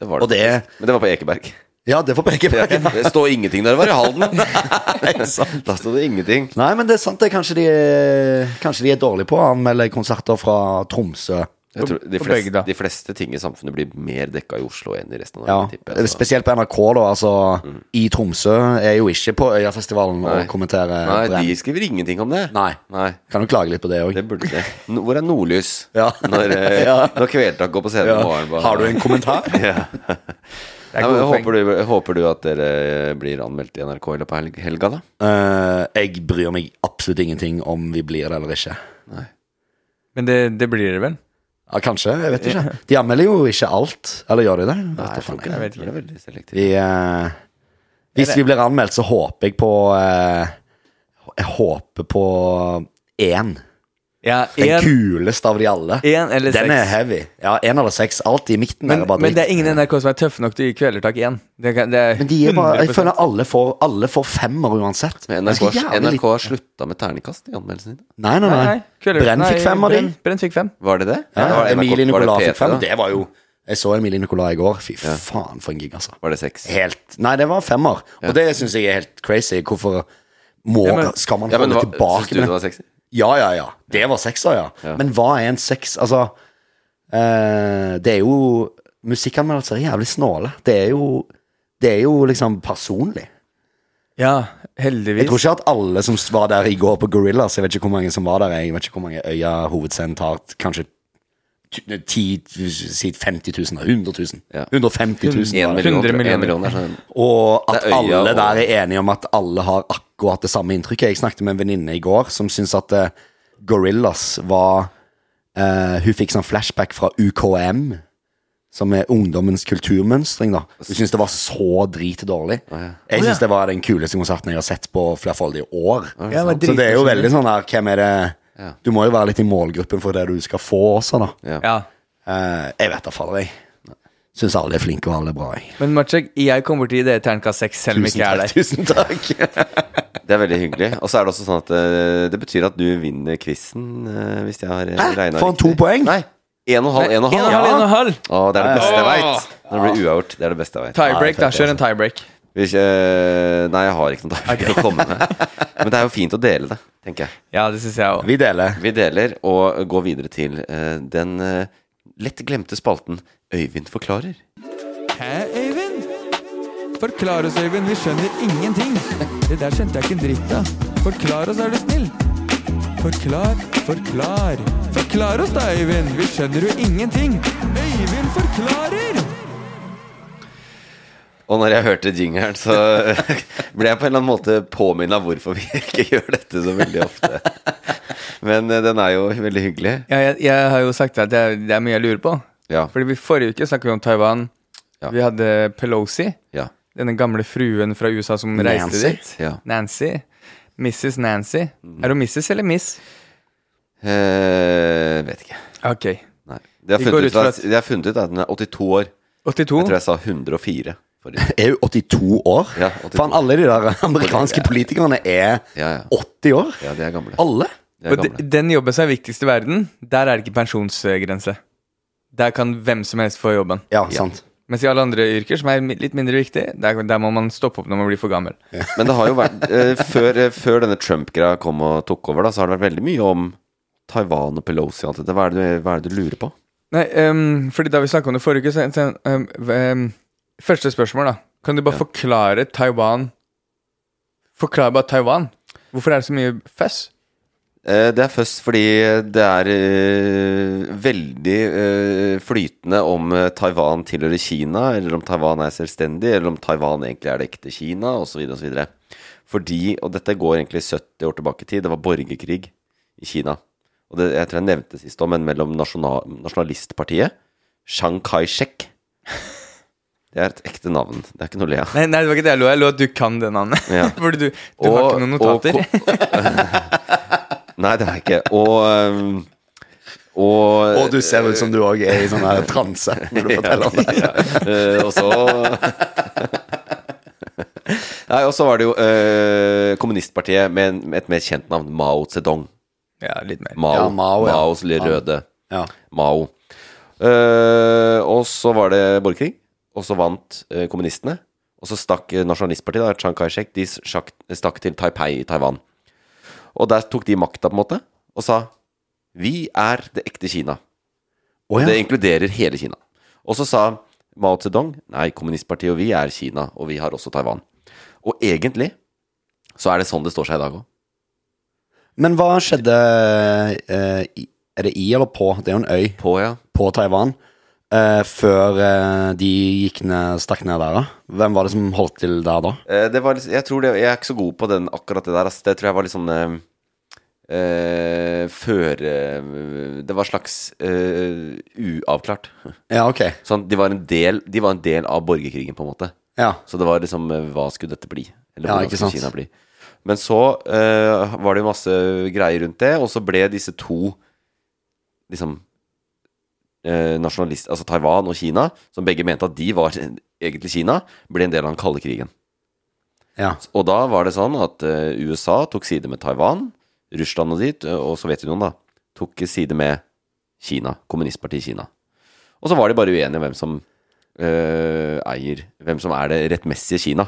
[SPEAKER 2] Det var det.
[SPEAKER 3] Og det-
[SPEAKER 2] Men det var på Ekeberg.
[SPEAKER 3] Ja, det får begge
[SPEAKER 2] Ja,
[SPEAKER 3] veier.
[SPEAKER 2] Det står ingenting der det var i Halden. Da sto det ingenting.
[SPEAKER 3] Nei, men det er sant, det. er Kanskje de, eh, kanskje de er dårlige på å anmelde konserter fra Tromsø.
[SPEAKER 2] Jeg tror de,
[SPEAKER 1] på begge,
[SPEAKER 2] fleste,
[SPEAKER 1] da.
[SPEAKER 2] de fleste ting i samfunnet blir mer dekka i Oslo enn i resten av
[SPEAKER 3] Ja,
[SPEAKER 2] Norge, tipper jeg. så-
[SPEAKER 3] spesielt på NRK, da. Altså, I Tromsø er jo ikke på Øyafestivalen og kommenterer
[SPEAKER 2] Mm. Nei,
[SPEAKER 3] brenn.
[SPEAKER 2] de skriver ingenting om det.
[SPEAKER 3] eh, Nei.
[SPEAKER 2] Nei.
[SPEAKER 3] Kan jo klage litt på det òg.
[SPEAKER 2] Det burde det. N- Hvor er nordlys
[SPEAKER 3] Ja.
[SPEAKER 2] når, eh,
[SPEAKER 3] Ja.
[SPEAKER 2] når Kvelertak går på scenen i morgen? bare-
[SPEAKER 3] Har du en kommentar?
[SPEAKER 2] ja. Nei, men
[SPEAKER 1] gode
[SPEAKER 2] håper, du, håper du at dere eh, blir anmeldt i NRK i løpet av helg- helga, da?
[SPEAKER 3] Eh, jeg bryr meg absolutt ingenting om vi blir det eller ikke.
[SPEAKER 1] Men det, det blir det vel?
[SPEAKER 3] Ja, kanskje, jeg vet ikke. De anmelder jo ikke alt. Eller gjør de det? Vet da faen jeg.
[SPEAKER 1] Jeg vet
[SPEAKER 2] Det
[SPEAKER 1] ikke.
[SPEAKER 2] er veldig selektivt.
[SPEAKER 3] Vi, eh, hvis vi blir anmeldt, så håper jeg på eh, Jeg håper på én.
[SPEAKER 1] Ja,
[SPEAKER 3] Den
[SPEAKER 1] en,
[SPEAKER 3] kuleste av de alle.
[SPEAKER 1] en eller
[SPEAKER 3] Den er
[SPEAKER 1] seks.
[SPEAKER 3] heavy. Ja, én eller seks. Alt i midten
[SPEAKER 1] Men,
[SPEAKER 3] er bare
[SPEAKER 1] men det er
[SPEAKER 3] dritt.
[SPEAKER 1] ingen i NRK som er tøffe nok til å gi Kvelertak én. Det, kan- det er
[SPEAKER 3] Men de er bare, jeg
[SPEAKER 1] 100%.
[SPEAKER 3] føler alle får, alle får femmer uansett.
[SPEAKER 2] Men
[SPEAKER 3] Det er så
[SPEAKER 2] NRK,
[SPEAKER 3] jævlig
[SPEAKER 2] NRK har
[SPEAKER 3] lite.
[SPEAKER 2] slutta med terningkast i anmeldelsene dine.
[SPEAKER 3] Nei, nei, nei.
[SPEAKER 1] Kvelertak-
[SPEAKER 3] Brenn
[SPEAKER 1] nei,
[SPEAKER 3] fikk fem av de.
[SPEAKER 1] Brenn- Brenn fikk fem.
[SPEAKER 2] Var det det?
[SPEAKER 3] Ja,
[SPEAKER 2] Eller var det NRK
[SPEAKER 3] Emilie
[SPEAKER 2] var det
[SPEAKER 3] Nicolas
[SPEAKER 2] P3
[SPEAKER 3] fikk fem.
[SPEAKER 2] da?
[SPEAKER 3] Det var jo Jeg så Emilie Nicolas i går. Fy faen, for en gig, altså.
[SPEAKER 2] Var det seks?
[SPEAKER 3] Helt Nei, det var femmer. Og det syns jeg er helt crazy. Hvorfor må
[SPEAKER 1] Ja, men-
[SPEAKER 3] Skal man
[SPEAKER 2] Ja, men
[SPEAKER 3] holde
[SPEAKER 2] hva- Syns
[SPEAKER 3] tilbake
[SPEAKER 2] du det
[SPEAKER 3] med
[SPEAKER 2] var sexy?
[SPEAKER 3] Ja, ja, ja. Det var sekser, ja. Men hva er en seks Altså, eh, det er jo Musikkanmeldelser er jævlig snåle. Det er jo Det er jo liksom personlig.
[SPEAKER 1] Ja,
[SPEAKER 3] Jeg tror
[SPEAKER 1] heldigvis.
[SPEAKER 3] ikke at alle som var der i går på Gorillas, jeg vet ikke hvor mange som var der, jeg vet ikke hvor mange øya hovedscenen tar, kanskje t- 10 000, si 50 000, da, 100 000,
[SPEAKER 2] Ja.
[SPEAKER 3] 150 000.
[SPEAKER 2] Én
[SPEAKER 3] var det.
[SPEAKER 2] million,
[SPEAKER 1] 100
[SPEAKER 2] tror jeg. En
[SPEAKER 1] millioner.
[SPEAKER 2] million er sånn
[SPEAKER 3] Og at
[SPEAKER 2] Det er øya
[SPEAKER 3] alle
[SPEAKER 2] og-
[SPEAKER 3] der er enige om at alle har akkurat det samme inntrykket. Jeg snakket med en venninne i går som syntes at eh, Gorillas var eh, Hun fikk sånn flashback fra UKM, som er ungdommens kulturmønstring. da Hun syntes det var så dritdårlig. Jeg syns det var den kuleste konserten jeg har sett på flerfoldige år.
[SPEAKER 1] Ja, det var
[SPEAKER 3] så det er jo
[SPEAKER 1] dritkult.
[SPEAKER 3] veldig sånn her Hvem er det Du må jo være litt i målgruppen for det du skal få også, da.
[SPEAKER 1] Ja.
[SPEAKER 3] Eh, jeg vet da fader, jeg. Syns alle er flinke og alle er bra, jeg.
[SPEAKER 1] Men Maciek, jeg kommer til å gi dere terningkast seks selv om jeg ikke er der.
[SPEAKER 3] Tusen takk.
[SPEAKER 2] Det er veldig hyggelig. Og så er det også sånn at eh, det betyr at du vinner quizen, eh, hvis jeg har
[SPEAKER 3] Hæ?
[SPEAKER 2] regna
[SPEAKER 3] Får han to poeng?
[SPEAKER 2] Nei. En og en halv, en og en halv.
[SPEAKER 1] en og en halv.
[SPEAKER 2] Å, det er det beste jeg veit. Når det blir uavgjort, det er det beste jeg veit.
[SPEAKER 1] Tiebreak, da.
[SPEAKER 3] altså.
[SPEAKER 1] Kjør en tiebreak.
[SPEAKER 2] Hvis, eh, nei, jeg har ikke noe tiebreak å komme med. Men det er jo fint å dele det, tenker jeg.
[SPEAKER 1] Ja, det syns jeg òg.
[SPEAKER 3] Vi deler.
[SPEAKER 2] Vi deler og går videre til eh, den eh, lett glemte spalten Øyvind forklarer.
[SPEAKER 1] Hæ, Øyvind? Forklar oss, Øyvind. Vi skjønner ingenting. Det der skjønte jeg ikke en dritt av. Forklar oss, er du snill. Forklar, forklar. Forklar oss da, Øyvind. Vi skjønner jo ingenting. Øyvind forklarer!
[SPEAKER 2] Og når jeg hørte jingeren, så ble jeg på en eller annen måte påminna hvorfor vi ikke gjør dette så veldig ofte. Men eh, den er jo veldig hyggelig.
[SPEAKER 1] Ja, jeg, jeg har jo sagt at det er, det er mye jeg lurer på.
[SPEAKER 2] Ja.
[SPEAKER 1] Fordi vi forrige uke snakket vi om Taiwan.
[SPEAKER 2] Ja.
[SPEAKER 1] Vi hadde Pelosi,
[SPEAKER 2] Ja.
[SPEAKER 1] denne gamle fruen fra USA som reiste
[SPEAKER 3] Nancy?
[SPEAKER 1] dit.
[SPEAKER 2] Ja.
[SPEAKER 1] Nancy. Mrs. Nancy. Er hun Mrs. eller Miss?
[SPEAKER 2] Eh, vet ikke.
[SPEAKER 1] Ok.
[SPEAKER 2] Nei. De har,
[SPEAKER 1] Vi
[SPEAKER 2] funnet
[SPEAKER 1] går
[SPEAKER 2] ut
[SPEAKER 1] ut fra
[SPEAKER 2] at, de har funnet ut at den er 82 år. Jeg
[SPEAKER 1] 82.
[SPEAKER 2] tror jeg sa 104 forrige.
[SPEAKER 3] Er jo 82 år.
[SPEAKER 2] Ja, 82.
[SPEAKER 3] Faen, alle de der amerikanske politikerne er
[SPEAKER 2] Ja, ja.
[SPEAKER 3] 80 år.
[SPEAKER 2] Ja, de er gamle.
[SPEAKER 3] Alle.
[SPEAKER 2] De er
[SPEAKER 1] Og de-
[SPEAKER 2] gamle.
[SPEAKER 1] den jobben som er viktigst i verden, der er det ikke pensjonsgrense. Der kan hvem som helst få jobben.
[SPEAKER 3] Ja, sant.
[SPEAKER 1] Mens i alle andre yrker, som er mi- litt mindre viktig, der, der må man stoppe opp når man blir for gammel.
[SPEAKER 2] Men det har jo vært eh, før, eh, før denne Trump-greia kom og tok over, da, så har det vært veldig mye om Taiwan og Pelosi og alt dette. Hva er det du, hva er det du lurer på?
[SPEAKER 1] Nei, ehm, fordi da vi snakket om det forrige uke, så, så ehm, ehm, Første spørsmål, da. Kan du bare forklare Taiwan Forklare bare Taiwan. Hvorfor er det så mye føss?
[SPEAKER 2] Eh, Det er først fordi det er eh, veldig eh, flytende om eh, Taiwan tilhører Kina, eller om Taiwan er selvstendig, eller om Taiwan egentlig er det ekte Kina, osv. osv. Fordi, og dette går egentlig 70 år tilbake i tid, det var borgerkrig i Kina. Og det, jeg tror jeg nevnte det sist òg, men mellom nasjonal, nasjonalistpartiet, Chiang Kai-shek Det er et ekte navn, det er ikke noe å le av.
[SPEAKER 1] Nei, nei, det var ikke det jeg lo. Jeg lo at du kan det navnet.
[SPEAKER 2] Ja.
[SPEAKER 1] Fordi du, du har ikke noen notater.
[SPEAKER 2] ko- Nei, det har jeg ikke. Og, ehm, og, eh,
[SPEAKER 3] Og du ser ut som du òg er i sånn her transe når du forteller om det.
[SPEAKER 2] Eh, og så Nei, og så var det jo eh, kommunistpartiet med, en, med et mer kjent navn, Mao Zedong.
[SPEAKER 1] ja, litt mer.
[SPEAKER 2] Mao,
[SPEAKER 3] Ja, Mao, ja.
[SPEAKER 2] Maos lille røde.
[SPEAKER 3] Ja.
[SPEAKER 2] Mao. Eh, og så var det borgerkrig, og så vant eh, kommunistene. Og så stakk eh, nasjonalistpartiet, da, Chiang Kai-shek, de sjakk, stakk til Taipei i Taiwan. Og der tok de makta, på en måte, og sa Vi er det ekte Kina.
[SPEAKER 3] Å
[SPEAKER 2] Det
[SPEAKER 3] ja.
[SPEAKER 2] inkluderer hele Kina. Og så sa Mao Zedong Nei, kommunistpartiet og vi er Kina, og vi har også Taiwan. Og egentlig så er det sånn det står seg i dag òg.
[SPEAKER 3] Men hva skjedde eh, i- Er det i eller på? Det er jo en øy
[SPEAKER 2] På, ja.
[SPEAKER 3] på Taiwan. eh, før eh, de gikk ned, stakk ned der, da? Hvem var det som holdt til der da?
[SPEAKER 2] Eh, Det var, litt- jeg, tror det, jeg er ikke så god på den, akkurat det der. ass. Det tror jeg var litt sånn eh, eh, Før eh, Det var slags eh, uavklart.
[SPEAKER 3] Ja, ok.
[SPEAKER 2] Sånn, de, var en del, de var en del av borgerkrigen, på en måte.
[SPEAKER 3] Ja.
[SPEAKER 2] Så det var liksom eh, Hva skulle dette bli? Eller
[SPEAKER 3] Ja,
[SPEAKER 2] hvordan
[SPEAKER 3] ikke
[SPEAKER 2] skulle
[SPEAKER 3] sant.
[SPEAKER 2] Kina bli? Men så eh, var det jo masse greier rundt det, og så ble disse to liksom eh, nasjonalist, altså Taiwan og Kina, som begge mente at de var egentlig Kina, ble en del av den kalde krigen.
[SPEAKER 3] Ja.
[SPEAKER 2] Og da var det sånn at eh, USA tok side med Taiwan, Russland og dit, eh, og Sovjetunionen da, tok side med Kina, kommunistpartiet Kina. Og så var de bare uenige om hvem som eh, eier, hvem som er det rettmessige Kina.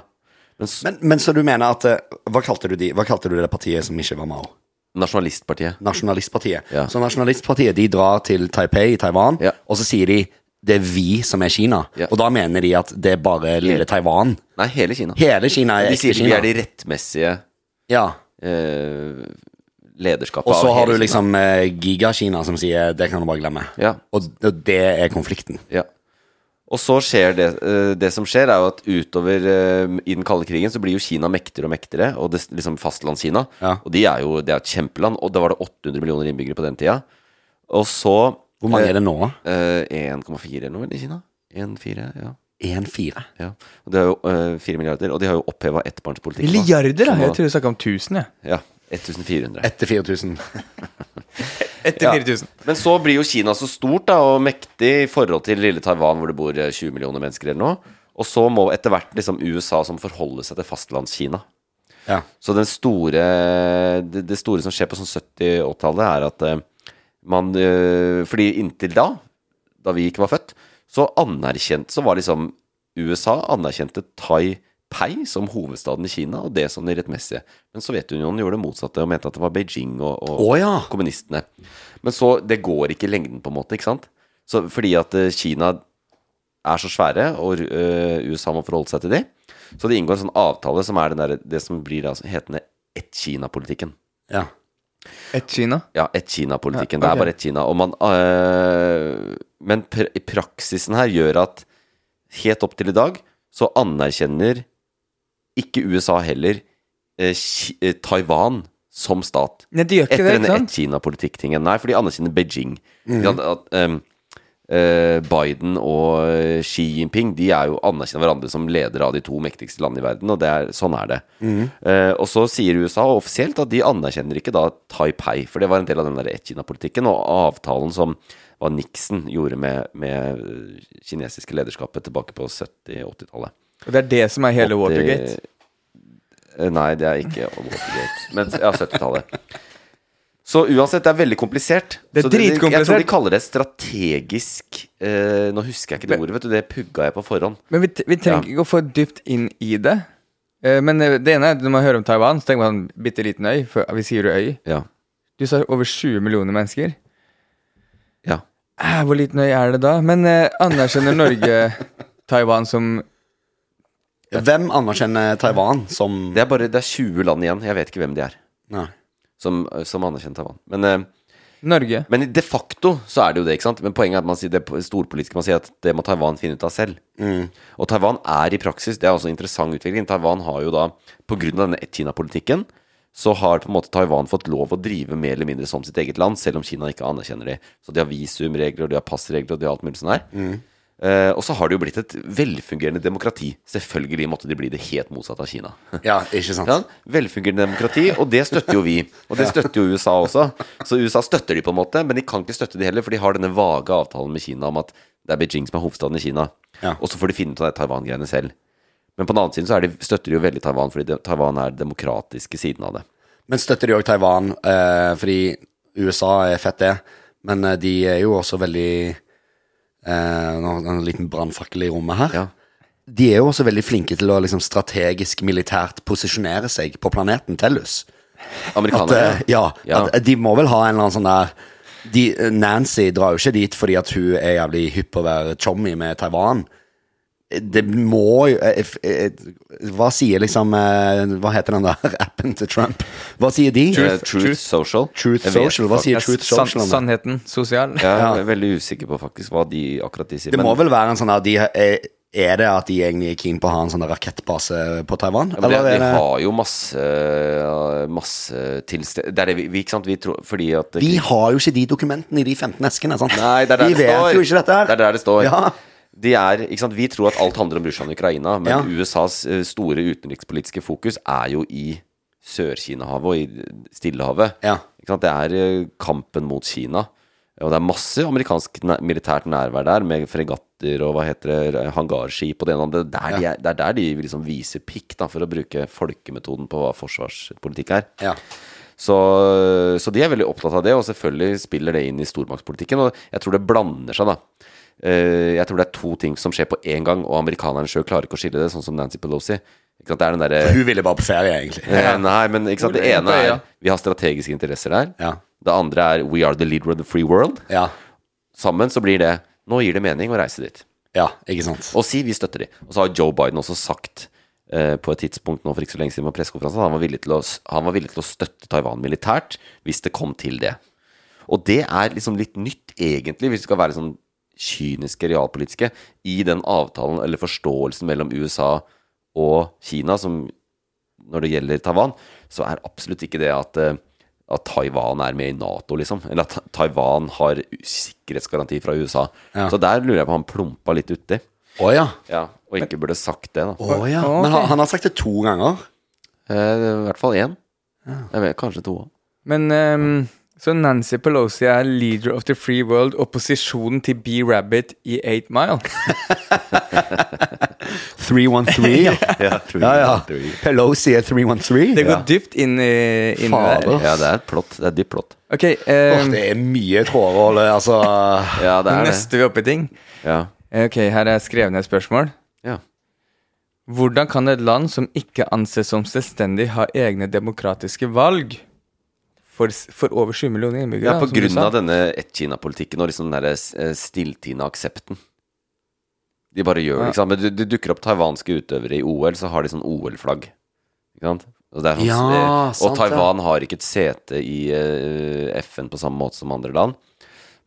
[SPEAKER 2] Men, s-
[SPEAKER 3] Men, men så du mener at eh, Hva kalte du, de, hva kalte du det partiet som ikke var Mao?
[SPEAKER 2] nasjonalistpartiet.
[SPEAKER 3] Nasjonalistpartiet.
[SPEAKER 2] Ja.
[SPEAKER 3] Så Nasjonalistpartiet de drar til Taipei i Taiwan,
[SPEAKER 2] Ja.
[SPEAKER 3] og så sier de det er vi som er Kina.
[SPEAKER 2] Ja.
[SPEAKER 3] Og da mener de at det er bare lille Taiwan.
[SPEAKER 2] Nei, hele Kina.
[SPEAKER 3] Hele Kina er
[SPEAKER 2] de
[SPEAKER 3] ekte
[SPEAKER 2] sier vi
[SPEAKER 3] Kina.
[SPEAKER 2] er de rettmessige
[SPEAKER 3] Ja.
[SPEAKER 2] eh, lederskapet
[SPEAKER 3] Og så
[SPEAKER 2] av
[SPEAKER 3] har du
[SPEAKER 2] hele Kina.
[SPEAKER 3] liksom eh, Giga-Kina som sier det kan du bare glemme.
[SPEAKER 2] Ja.
[SPEAKER 3] Og, og det er konflikten.
[SPEAKER 2] Ja. Og så skjer det eh, Det som skjer, er jo at utover eh, i den kalde krigen så blir jo Kina mektigere og mektigere, og det, liksom fastlandskina.
[SPEAKER 3] Ja.
[SPEAKER 2] Og de er jo, det er et kjempeland, og da var det 800 millioner innbyggere på den tida. Og så
[SPEAKER 3] Hvor mange er det nå?
[SPEAKER 2] Eh, 1,4 eller noe vel i Kina? 1,4, ja.
[SPEAKER 3] 1-4.
[SPEAKER 2] ja. Og det er jo eh, 4 milliarder, og de har jo oppheva ettbarnspolitikken. nå.
[SPEAKER 1] Milliarder, da?
[SPEAKER 2] Så nå-
[SPEAKER 1] Jeg tror du snakka om 1000, jeg.
[SPEAKER 2] Ja. 1400.
[SPEAKER 3] Etter 4000.
[SPEAKER 1] Etter 4000.
[SPEAKER 2] Men så blir jo Kina så stort da, og mektig i forhold til lille Taiwan, hvor det bor eh, 20 millioner mennesker eller noe. Og så må etter hvert liksom USA som forholde seg til fastlandskina.
[SPEAKER 3] Ja.
[SPEAKER 2] Så den store, det, det store som skjer på sånn 70-80-tallet, er at eh, man eh, Fordi inntil da, da vi ikke var født, så anerkjente Så var liksom USA anerkjente Taipei som hovedstaden i Kina, og det som det rettmessige. Men Sovjetunionen gjorde det motsatte og mente at det var Beijing og, og
[SPEAKER 3] Å ja.
[SPEAKER 2] Ah. kommunistene. Men så Det går ikke i lengden, på en måte, ikke sant? Så, fordi at eh, Kina er så svære, og eh, USA må forholde seg til de. Så det inngår en sånn avtale som er den der, det som blir da hetende ett-Kina-politikken.
[SPEAKER 3] ja.
[SPEAKER 1] Et Kina?
[SPEAKER 2] Ja, ett-Kina-politikken.
[SPEAKER 1] Ja,
[SPEAKER 2] Det
[SPEAKER 1] ok.
[SPEAKER 2] er bare ett Kina. Og man, øh, men pr praksisen her gjør at helt opp til i dag så anerkjenner ikke USA heller eh, Ki- eh, Taiwan som stat.
[SPEAKER 1] Nei, de gjør ikke
[SPEAKER 2] Etter
[SPEAKER 1] det,
[SPEAKER 2] denne
[SPEAKER 1] ikke sant? Mm.
[SPEAKER 2] ett-Kina-politikk-tingen. Nei, for de anerkjenner Beijing. Ikke sant? At, ehm, eh, Biden og eh, Xi Jinping De er jo anerkjenner hverandre som ledere av de to mektigste landene i verden, og det er, sånn er det.
[SPEAKER 1] Mm.
[SPEAKER 2] Eh, og så sier USA offisielt at de anerkjenner ikke da Taipei, for det var en del av den der ett-Kina-politikken og avtalen som hva Nixon gjorde med, med eh, kinesiske lederskapet tilbake på 70-80-tallet.
[SPEAKER 1] Og det er det som er hele Watergate.
[SPEAKER 2] Eh, Nei, det er ikke Watergate. Men ja, 70-tallet. Så uansett, det er veldig komplisert.
[SPEAKER 1] Det er
[SPEAKER 2] Så Jeg tror
[SPEAKER 1] dritkomplisert.
[SPEAKER 2] de kaller det strategisk eh, Nå husker jeg ikke det ordet, vet du. Det pugga jeg på forhånd.
[SPEAKER 1] Men vi, t- vi trenger ikke å få dypt inn i det. Eh, Men eh, det ene er at når man hører om Taiwan, så tenker man sånn, bitte liten øy. For vi sier jo øy.
[SPEAKER 2] Ja.
[SPEAKER 1] Du sa over 20 millioner mennesker.
[SPEAKER 2] ja.
[SPEAKER 1] Eh, Hvor liten øy er det da? Men eh, anerkjenner Norge Taiwan som
[SPEAKER 3] Hvem anerkjenner Taiwan som
[SPEAKER 2] Det er bare det er 20 land igjen. Jeg vet ikke hvem de er
[SPEAKER 3] Nei.
[SPEAKER 2] som, som anerkjenner Taiwan. Men, eh,
[SPEAKER 1] Norge?
[SPEAKER 2] men de facto så er det jo det, ikke sant? Men poenget er at man sier det storpolitiske man sier at det må Taiwan finne ut av selv. Og Taiwan er i praksis Det er også en interessant utvikling. Taiwan har jo da, pga. denne ett-Kina-politikken, så har på en måte Taiwan fått lov å drive mer eller mindre som sitt eget land, selv om Kina ikke anerkjenner det. Så de har visumregler, og de har passregler, og de har alt mulig sånn her. Eh, og så har det jo blitt et velfungerende demokrati. Selvfølgelig måtte de bli det helt motsatt av Kina.
[SPEAKER 3] Ja, ikke sant?
[SPEAKER 2] Ja, velfungerende demokrati, og det støtter jo vi. Og det støtter jo USA også. Så USA støtter de på en måte, men de kan ikke støtte de heller, for de har denne vage avtalen med Kina om at det er Beijing som er hovedstaden i Kina.
[SPEAKER 3] Ja.
[SPEAKER 2] Og så får de finne ut av det Taiwan-greiene selv. Men på den annen side så er de, støtter de jo veldig Taiwan, fordi de- Taiwan er den demokratiske siden av det.
[SPEAKER 3] Men støtter de òg Taiwan, eh, fordi USA er fett, det. Men eh, de er jo også veldig eh, Nå har jeg en liten brannfakkel i rommet her.
[SPEAKER 2] Ja.
[SPEAKER 3] De er jo også veldig flinke til å liksom, strategisk militært posisjonere seg på planeten Tellus. At,
[SPEAKER 2] Amerikanerne.
[SPEAKER 3] eh, ja,
[SPEAKER 2] Ja.
[SPEAKER 3] At, eh, de må vel ha en eller annen sånn der de, eh, Nancy drar jo ikke dit fordi at hun er jævlig hypp på å være chommy med Taiwan. Eh, Det må jo eh, f- eh, Hva sier liksom eh, Hva heter den der appen til Trump? Hva sier de?
[SPEAKER 2] Eh, Truth,
[SPEAKER 1] Truth.
[SPEAKER 2] Social.
[SPEAKER 3] Truth
[SPEAKER 2] Jeg vet
[SPEAKER 3] Social, hva sier
[SPEAKER 1] Ja,
[SPEAKER 3] Truth
[SPEAKER 1] sann-
[SPEAKER 3] Social om det?
[SPEAKER 1] sannheten sosial?
[SPEAKER 2] Jeg er veldig usikker på faktisk hva de akkurat de sier.
[SPEAKER 3] Det
[SPEAKER 2] men-
[SPEAKER 3] må vel være en sånn her de er, er det at de egentlig er keen på å ha en sånn der rakettbase på Taiwan?
[SPEAKER 2] Ja, men det,
[SPEAKER 3] Eller
[SPEAKER 2] de
[SPEAKER 3] er det
[SPEAKER 2] har jo masse, masse tilsted... Det er det vi, vi ikke sant? Vi tror, fordi at
[SPEAKER 3] Vi har jo ikke de dokumentene i de 15 eskene, sant?
[SPEAKER 2] Nei, det er der
[SPEAKER 3] vi
[SPEAKER 2] det
[SPEAKER 3] vet
[SPEAKER 2] står.
[SPEAKER 3] jo ikke dette her.
[SPEAKER 2] Det er der det står.
[SPEAKER 3] Ja.
[SPEAKER 2] De er, ikke sant? Vi tror at alt handler om Russland og Ukraina, men
[SPEAKER 3] Ja.
[SPEAKER 2] USAs eh, store utenrikspolitiske fokus er jo i Sør-Kina-havet og i Stillehavet.
[SPEAKER 3] Ja.
[SPEAKER 2] Ikke sant? Det er eh, kampen mot Kina. Og det er masse amerikansk næ- militært nærvær der, med fregatter og hva heter det, hangarskip og det ene og det andre. Det er der de er- Det er der de liksom viser pikk, da, for å bruke folkemetoden på hva forsvarspolitikk er.
[SPEAKER 3] Ja.
[SPEAKER 2] Så, så de er veldig opptatt av det, og selvfølgelig spiller det inn i stormaktspolitikken. Og jeg tror det blander seg, da. Eh, Jeg tror det er to ting som skjer på én gang, og amerikanerne sjøl klarer ikke å skille det, sånn som Nancy Pelosi. Ikke sant? Det er den derre
[SPEAKER 5] Hun ville bare på ferie, egentlig.
[SPEAKER 2] Eh, Nei, men ikke sant? det
[SPEAKER 1] Hvor er
[SPEAKER 2] ene
[SPEAKER 1] det,
[SPEAKER 2] er
[SPEAKER 1] ja?
[SPEAKER 2] vi har strategiske interesser der.
[SPEAKER 5] Ja.
[SPEAKER 2] Det andre er we are the leader of the free world.
[SPEAKER 5] Ja.
[SPEAKER 2] Sammen så blir det nå gir det mening å reise dit.
[SPEAKER 5] ja, ikke sant.
[SPEAKER 2] Og si vi støtter de. Og så har Joe Biden også sagt eh, på et tidspunkt nå for ikke så lenge siden på pressekonferansen han, var villig til å- han var villig til å støtte Taiwan militært hvis det kom til det. Og det er liksom litt nytt, egentlig, hvis vi skal være sånn kyniske realpolitiske, i den avtalen eller forståelsen mellom USA og Kina som når det gjelder Taiwan, så er absolutt ikke det at, eh, at Taiwan er med i Nato, liksom. Eller at Ta- Taiwan har u- sikkerhetsgaranti fra USA. Så der lurer jeg på om han plumpa litt uti.
[SPEAKER 5] Å ja.
[SPEAKER 2] Ja, og ikke burde sagt det, da.
[SPEAKER 5] Å, ja. Men han, han har sagt det to ganger.
[SPEAKER 2] Eh, I hvert fall én. Jeg vet, kanskje to òg.
[SPEAKER 1] Men ehm, så Nancy Pelosi er leader of the free world, opposisjonen til B-Rabbit i 8 Mile.
[SPEAKER 3] 313, ja. ja, ja. Pelosi er 313.
[SPEAKER 1] Det går
[SPEAKER 3] Ja.
[SPEAKER 1] dypt inn i inn i
[SPEAKER 3] Fader.
[SPEAKER 1] der.
[SPEAKER 2] Ja, det er et plott. Det er dypt plott.
[SPEAKER 1] Ok,
[SPEAKER 5] Åh,
[SPEAKER 1] ehm,
[SPEAKER 5] det er mye tråder å holde, altså.
[SPEAKER 2] Ja, det er det.
[SPEAKER 1] neste vi er oppe i ting.
[SPEAKER 2] Ja.
[SPEAKER 1] Eh, Ok, her er skrevet ned et spørsmål.
[SPEAKER 2] ja.
[SPEAKER 1] Hvordan kan et land som ikke anses som selvstendig, ha egne demokratiske valg? For, s- for over 7 millioner innbyggere.
[SPEAKER 2] Ja, på
[SPEAKER 1] som du
[SPEAKER 2] grunn
[SPEAKER 1] sa.
[SPEAKER 2] av denne ett-Kina-politikken og liksom den der eh, stilltiende aksepten. De bare gjør det,
[SPEAKER 1] Ja.
[SPEAKER 2] ikke sant. Men du, du dukker opp taiwanske utøvere i OL, så har de sånn OL-flagg. Ikke sant. Og, det er sånn,
[SPEAKER 5] Ja,
[SPEAKER 2] eh,
[SPEAKER 5] sant det.
[SPEAKER 2] og Taiwan har ikke et sete i eh, FN på samme måte som andre land.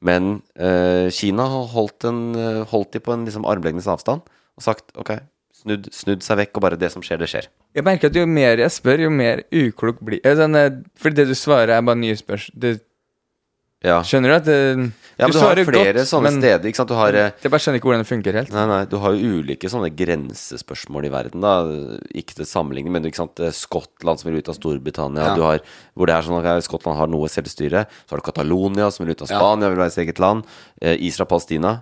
[SPEAKER 2] Men eh, Kina har holdt, en, eh, holdt de på en liksom armlengdes avstand og sagt ok, snudd, snudd seg vekk, og bare det som skjer, det skjer.
[SPEAKER 1] Jeg merker at jo mer jeg spør, jo mer uklok blir jeg. Sånn, eh, Fordi det du svarer, er bare nye spørsmål. Du,
[SPEAKER 2] Ja,
[SPEAKER 1] skjønner du at det,
[SPEAKER 2] ja men du har
[SPEAKER 1] svarer
[SPEAKER 2] flere sånne
[SPEAKER 1] men
[SPEAKER 2] steder, ikke sant. Du har eh,
[SPEAKER 1] Jeg bare skjønner ikke hvordan det funker helt.
[SPEAKER 2] Nei, nei, du har jo ulike sånne grensespørsmål i verden, da. Ikke til sammenligning, men ikke sant, det er Skottland som vil ut av Storbritannia, du har, hvor det er sånn at ok, Skottland har noe selvstyre. Så har du Catalonia som vil ut av Spania, vil være sitt eget land. Eh, Israel Palestina.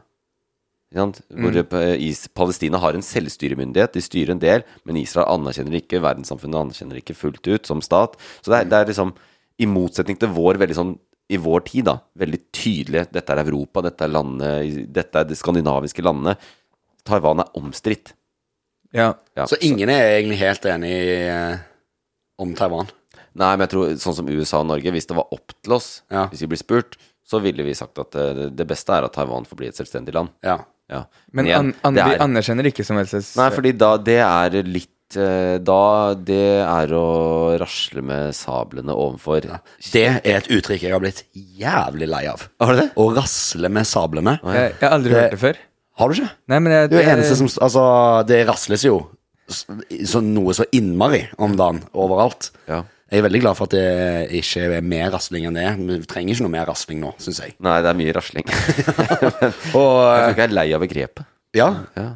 [SPEAKER 2] Ikke sant? Hvor eh, Is Palestina har en selvstyremyndighet, de styrer en del, men Israel anerkjenner det ikke, verdenssamfunnet anerkjenner det ikke fullt ut som stat. Så det er, det er liksom, i motsetning til vår veldig sånn i vår tid, da, veldig tydelig Dette er Europa, dette er landene, dette er de skandinaviske landene. Taiwan er omstridt.
[SPEAKER 1] Ja.
[SPEAKER 2] Ja.
[SPEAKER 5] Så ingen er egentlig helt enig eh, om Taiwan.
[SPEAKER 2] Nei, men jeg tror sånn som USA og Norge, hvis det var opp til oss,
[SPEAKER 5] Ja.
[SPEAKER 2] hvis vi blir spurt, så ville vi sagt at eh, det beste er at Taiwan får bli et selvstendig land.
[SPEAKER 5] Ja.
[SPEAKER 2] Ja.
[SPEAKER 1] Men
[SPEAKER 2] igjen,
[SPEAKER 1] an, an,
[SPEAKER 2] det
[SPEAKER 1] vi
[SPEAKER 2] er-
[SPEAKER 1] anerkjenner ikke som helst
[SPEAKER 2] Nei, fordi da det er litt eh, Da det er å rasle med sablene overfor
[SPEAKER 5] Det er et uttrykk jeg har blitt jævlig lei av.
[SPEAKER 2] Har du det?
[SPEAKER 5] Å rasle med sablene.
[SPEAKER 1] jeg, jeg har aldri hørt det før.
[SPEAKER 5] Har du ikke?
[SPEAKER 1] Nei, men jeg,
[SPEAKER 5] Du er eneste som Altså, det rasles jo s- så, noe så innmari om dagen overalt.
[SPEAKER 2] Ja.
[SPEAKER 5] Jeg er veldig glad for at det ikke er mer rasling enn det. er. Vi trenger ikke noe mer rasling nå, syns jeg.
[SPEAKER 2] Nei, det er mye rasling. jeg tror
[SPEAKER 1] eh,
[SPEAKER 5] Og
[SPEAKER 2] ikke jeg er lei av begrepet.
[SPEAKER 5] ja,
[SPEAKER 2] Ja.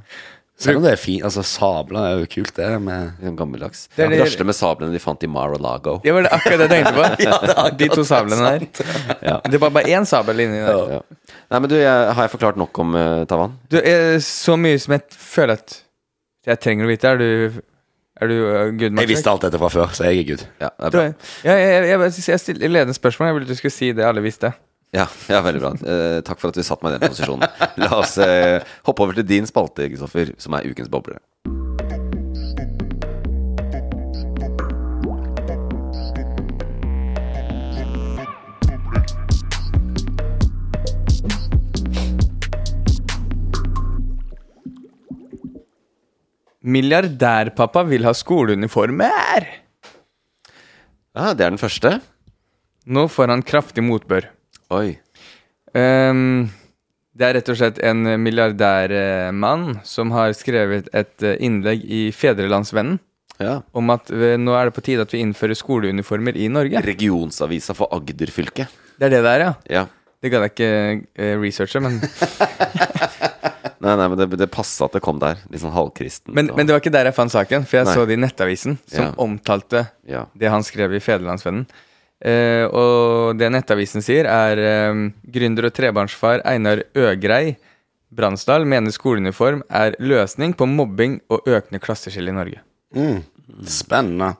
[SPEAKER 5] selv om det er fint Altså, sabler er jo kult, det. Med
[SPEAKER 2] Litt sånn gammeldags.
[SPEAKER 1] Det er det-
[SPEAKER 2] Rasle med sablene de fant i Mar-a-Lago.
[SPEAKER 1] Det var det akkurat det jeg tenkte på. De to sablene der. Det var bare én sabel inni der.
[SPEAKER 2] Ja. Nei, men du, jeg, har jeg forklart nok om eh, Taiwan?
[SPEAKER 1] Du, eh, så mye som jeg føler at jeg trenger å vite. Er du, er du uh, good,
[SPEAKER 5] Jeg
[SPEAKER 1] Martin?
[SPEAKER 5] visste alt dette fra før, så jeg er good.
[SPEAKER 2] Ja, det er bra.
[SPEAKER 1] Tror jeg. Ja, jeg, jeg, jeg, jeg, jeg stiller ledende spørsmål. Jeg ville at du skulle si det alle visste.
[SPEAKER 2] Ja, ja veldig bra. Eh, takk for at du satte meg i den posisjonen. La oss eh, hoppe over til din spalte, Kristoffer, som er ukens boble.
[SPEAKER 1] Milliardærpappa vil ha skoleuniformer!
[SPEAKER 2] Ja, det er den første.
[SPEAKER 1] Nå får han kraftig motbør.
[SPEAKER 2] Oi.
[SPEAKER 1] Ehm, det er rett og slett en milliardærmann som har skrevet et eh, innlegg i Fedrelandsvennen
[SPEAKER 2] Ja.
[SPEAKER 1] om at eh, nå er det på tide at vi innfører skoleuniformer i Norge.
[SPEAKER 2] Regionsavisa for Agder fylke.
[SPEAKER 1] Det er det der, ja.
[SPEAKER 2] Ja.
[SPEAKER 1] Det gadd jeg ikke eh, researche, men
[SPEAKER 2] Nei, nei, men det, det passa at det kom der. Litt sånn halvkristen.
[SPEAKER 1] Men,
[SPEAKER 2] og-
[SPEAKER 1] men det var ikke der jeg fant saken, for jeg
[SPEAKER 2] Nei.
[SPEAKER 1] så det i Nettavisen, som
[SPEAKER 2] Ja.
[SPEAKER 1] omtalte
[SPEAKER 2] Ja.
[SPEAKER 1] det han skrev i Federlandsvennen. Eh, og det Nettavisen sier, er eh, gründer og trebarnsfar Einar Øgrei Bransdal mener skoleuniform er løsning på mobbing og økende klasseskille i Norge.
[SPEAKER 3] Mm. Spennende.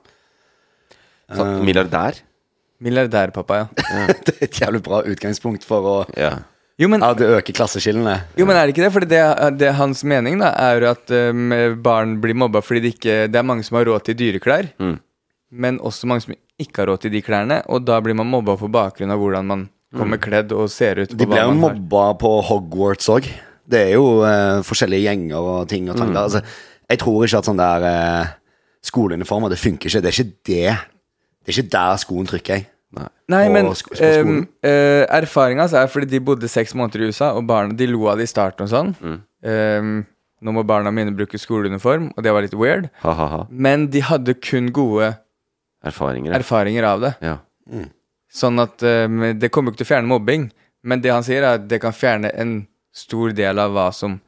[SPEAKER 2] Sånn, milliardær?
[SPEAKER 1] Milliardærpappa, ja.
[SPEAKER 3] Det er et jævlig bra utgangspunkt for å
[SPEAKER 2] Ja.
[SPEAKER 1] Jo, men,
[SPEAKER 3] ja, det øker klasseskillene.
[SPEAKER 1] jo, men er det ikke det? For det, det er hans mening da, er jo at eh, barn blir mobba fordi det ikke Det er mange som har råd til dyreklær,
[SPEAKER 3] Mm.
[SPEAKER 1] men også mange som ikke har råd til de klærne, og da blir man mobba på bakgrunn av hvordan man kommer kledd og ser ut.
[SPEAKER 3] Mm.
[SPEAKER 1] og
[SPEAKER 3] De
[SPEAKER 1] hva
[SPEAKER 3] blir jo
[SPEAKER 1] man har.
[SPEAKER 3] mobba på Hogwarts òg. Det er jo eh, forskjellige gjenger og ting og tanker. Altså, jeg tror ikke at sånn der eh, skoleuniformer, det funker ikke. Det er ikke det. Det er ikke der skoen trykker, jeg.
[SPEAKER 2] Nei.
[SPEAKER 1] Nei,
[SPEAKER 3] på
[SPEAKER 1] men
[SPEAKER 3] sk- på skolen?
[SPEAKER 1] um, erfaringa er fordi de bodde seks måneder i USA, og barna de lo av det i starten og sånn.
[SPEAKER 3] Mm.
[SPEAKER 1] Ehm, nå må barna mine bruke skoleuniform, og det var litt weird.
[SPEAKER 2] Ha-ha-ha.
[SPEAKER 1] Men de hadde kun gode
[SPEAKER 2] Erfaringer. ja.
[SPEAKER 1] erfaringer av det.
[SPEAKER 2] ja.
[SPEAKER 1] Sånn at ehm, det kommer jo ikke til å fjerne mobbing, men det han sier, er at det kan fjerne en stor del av hva som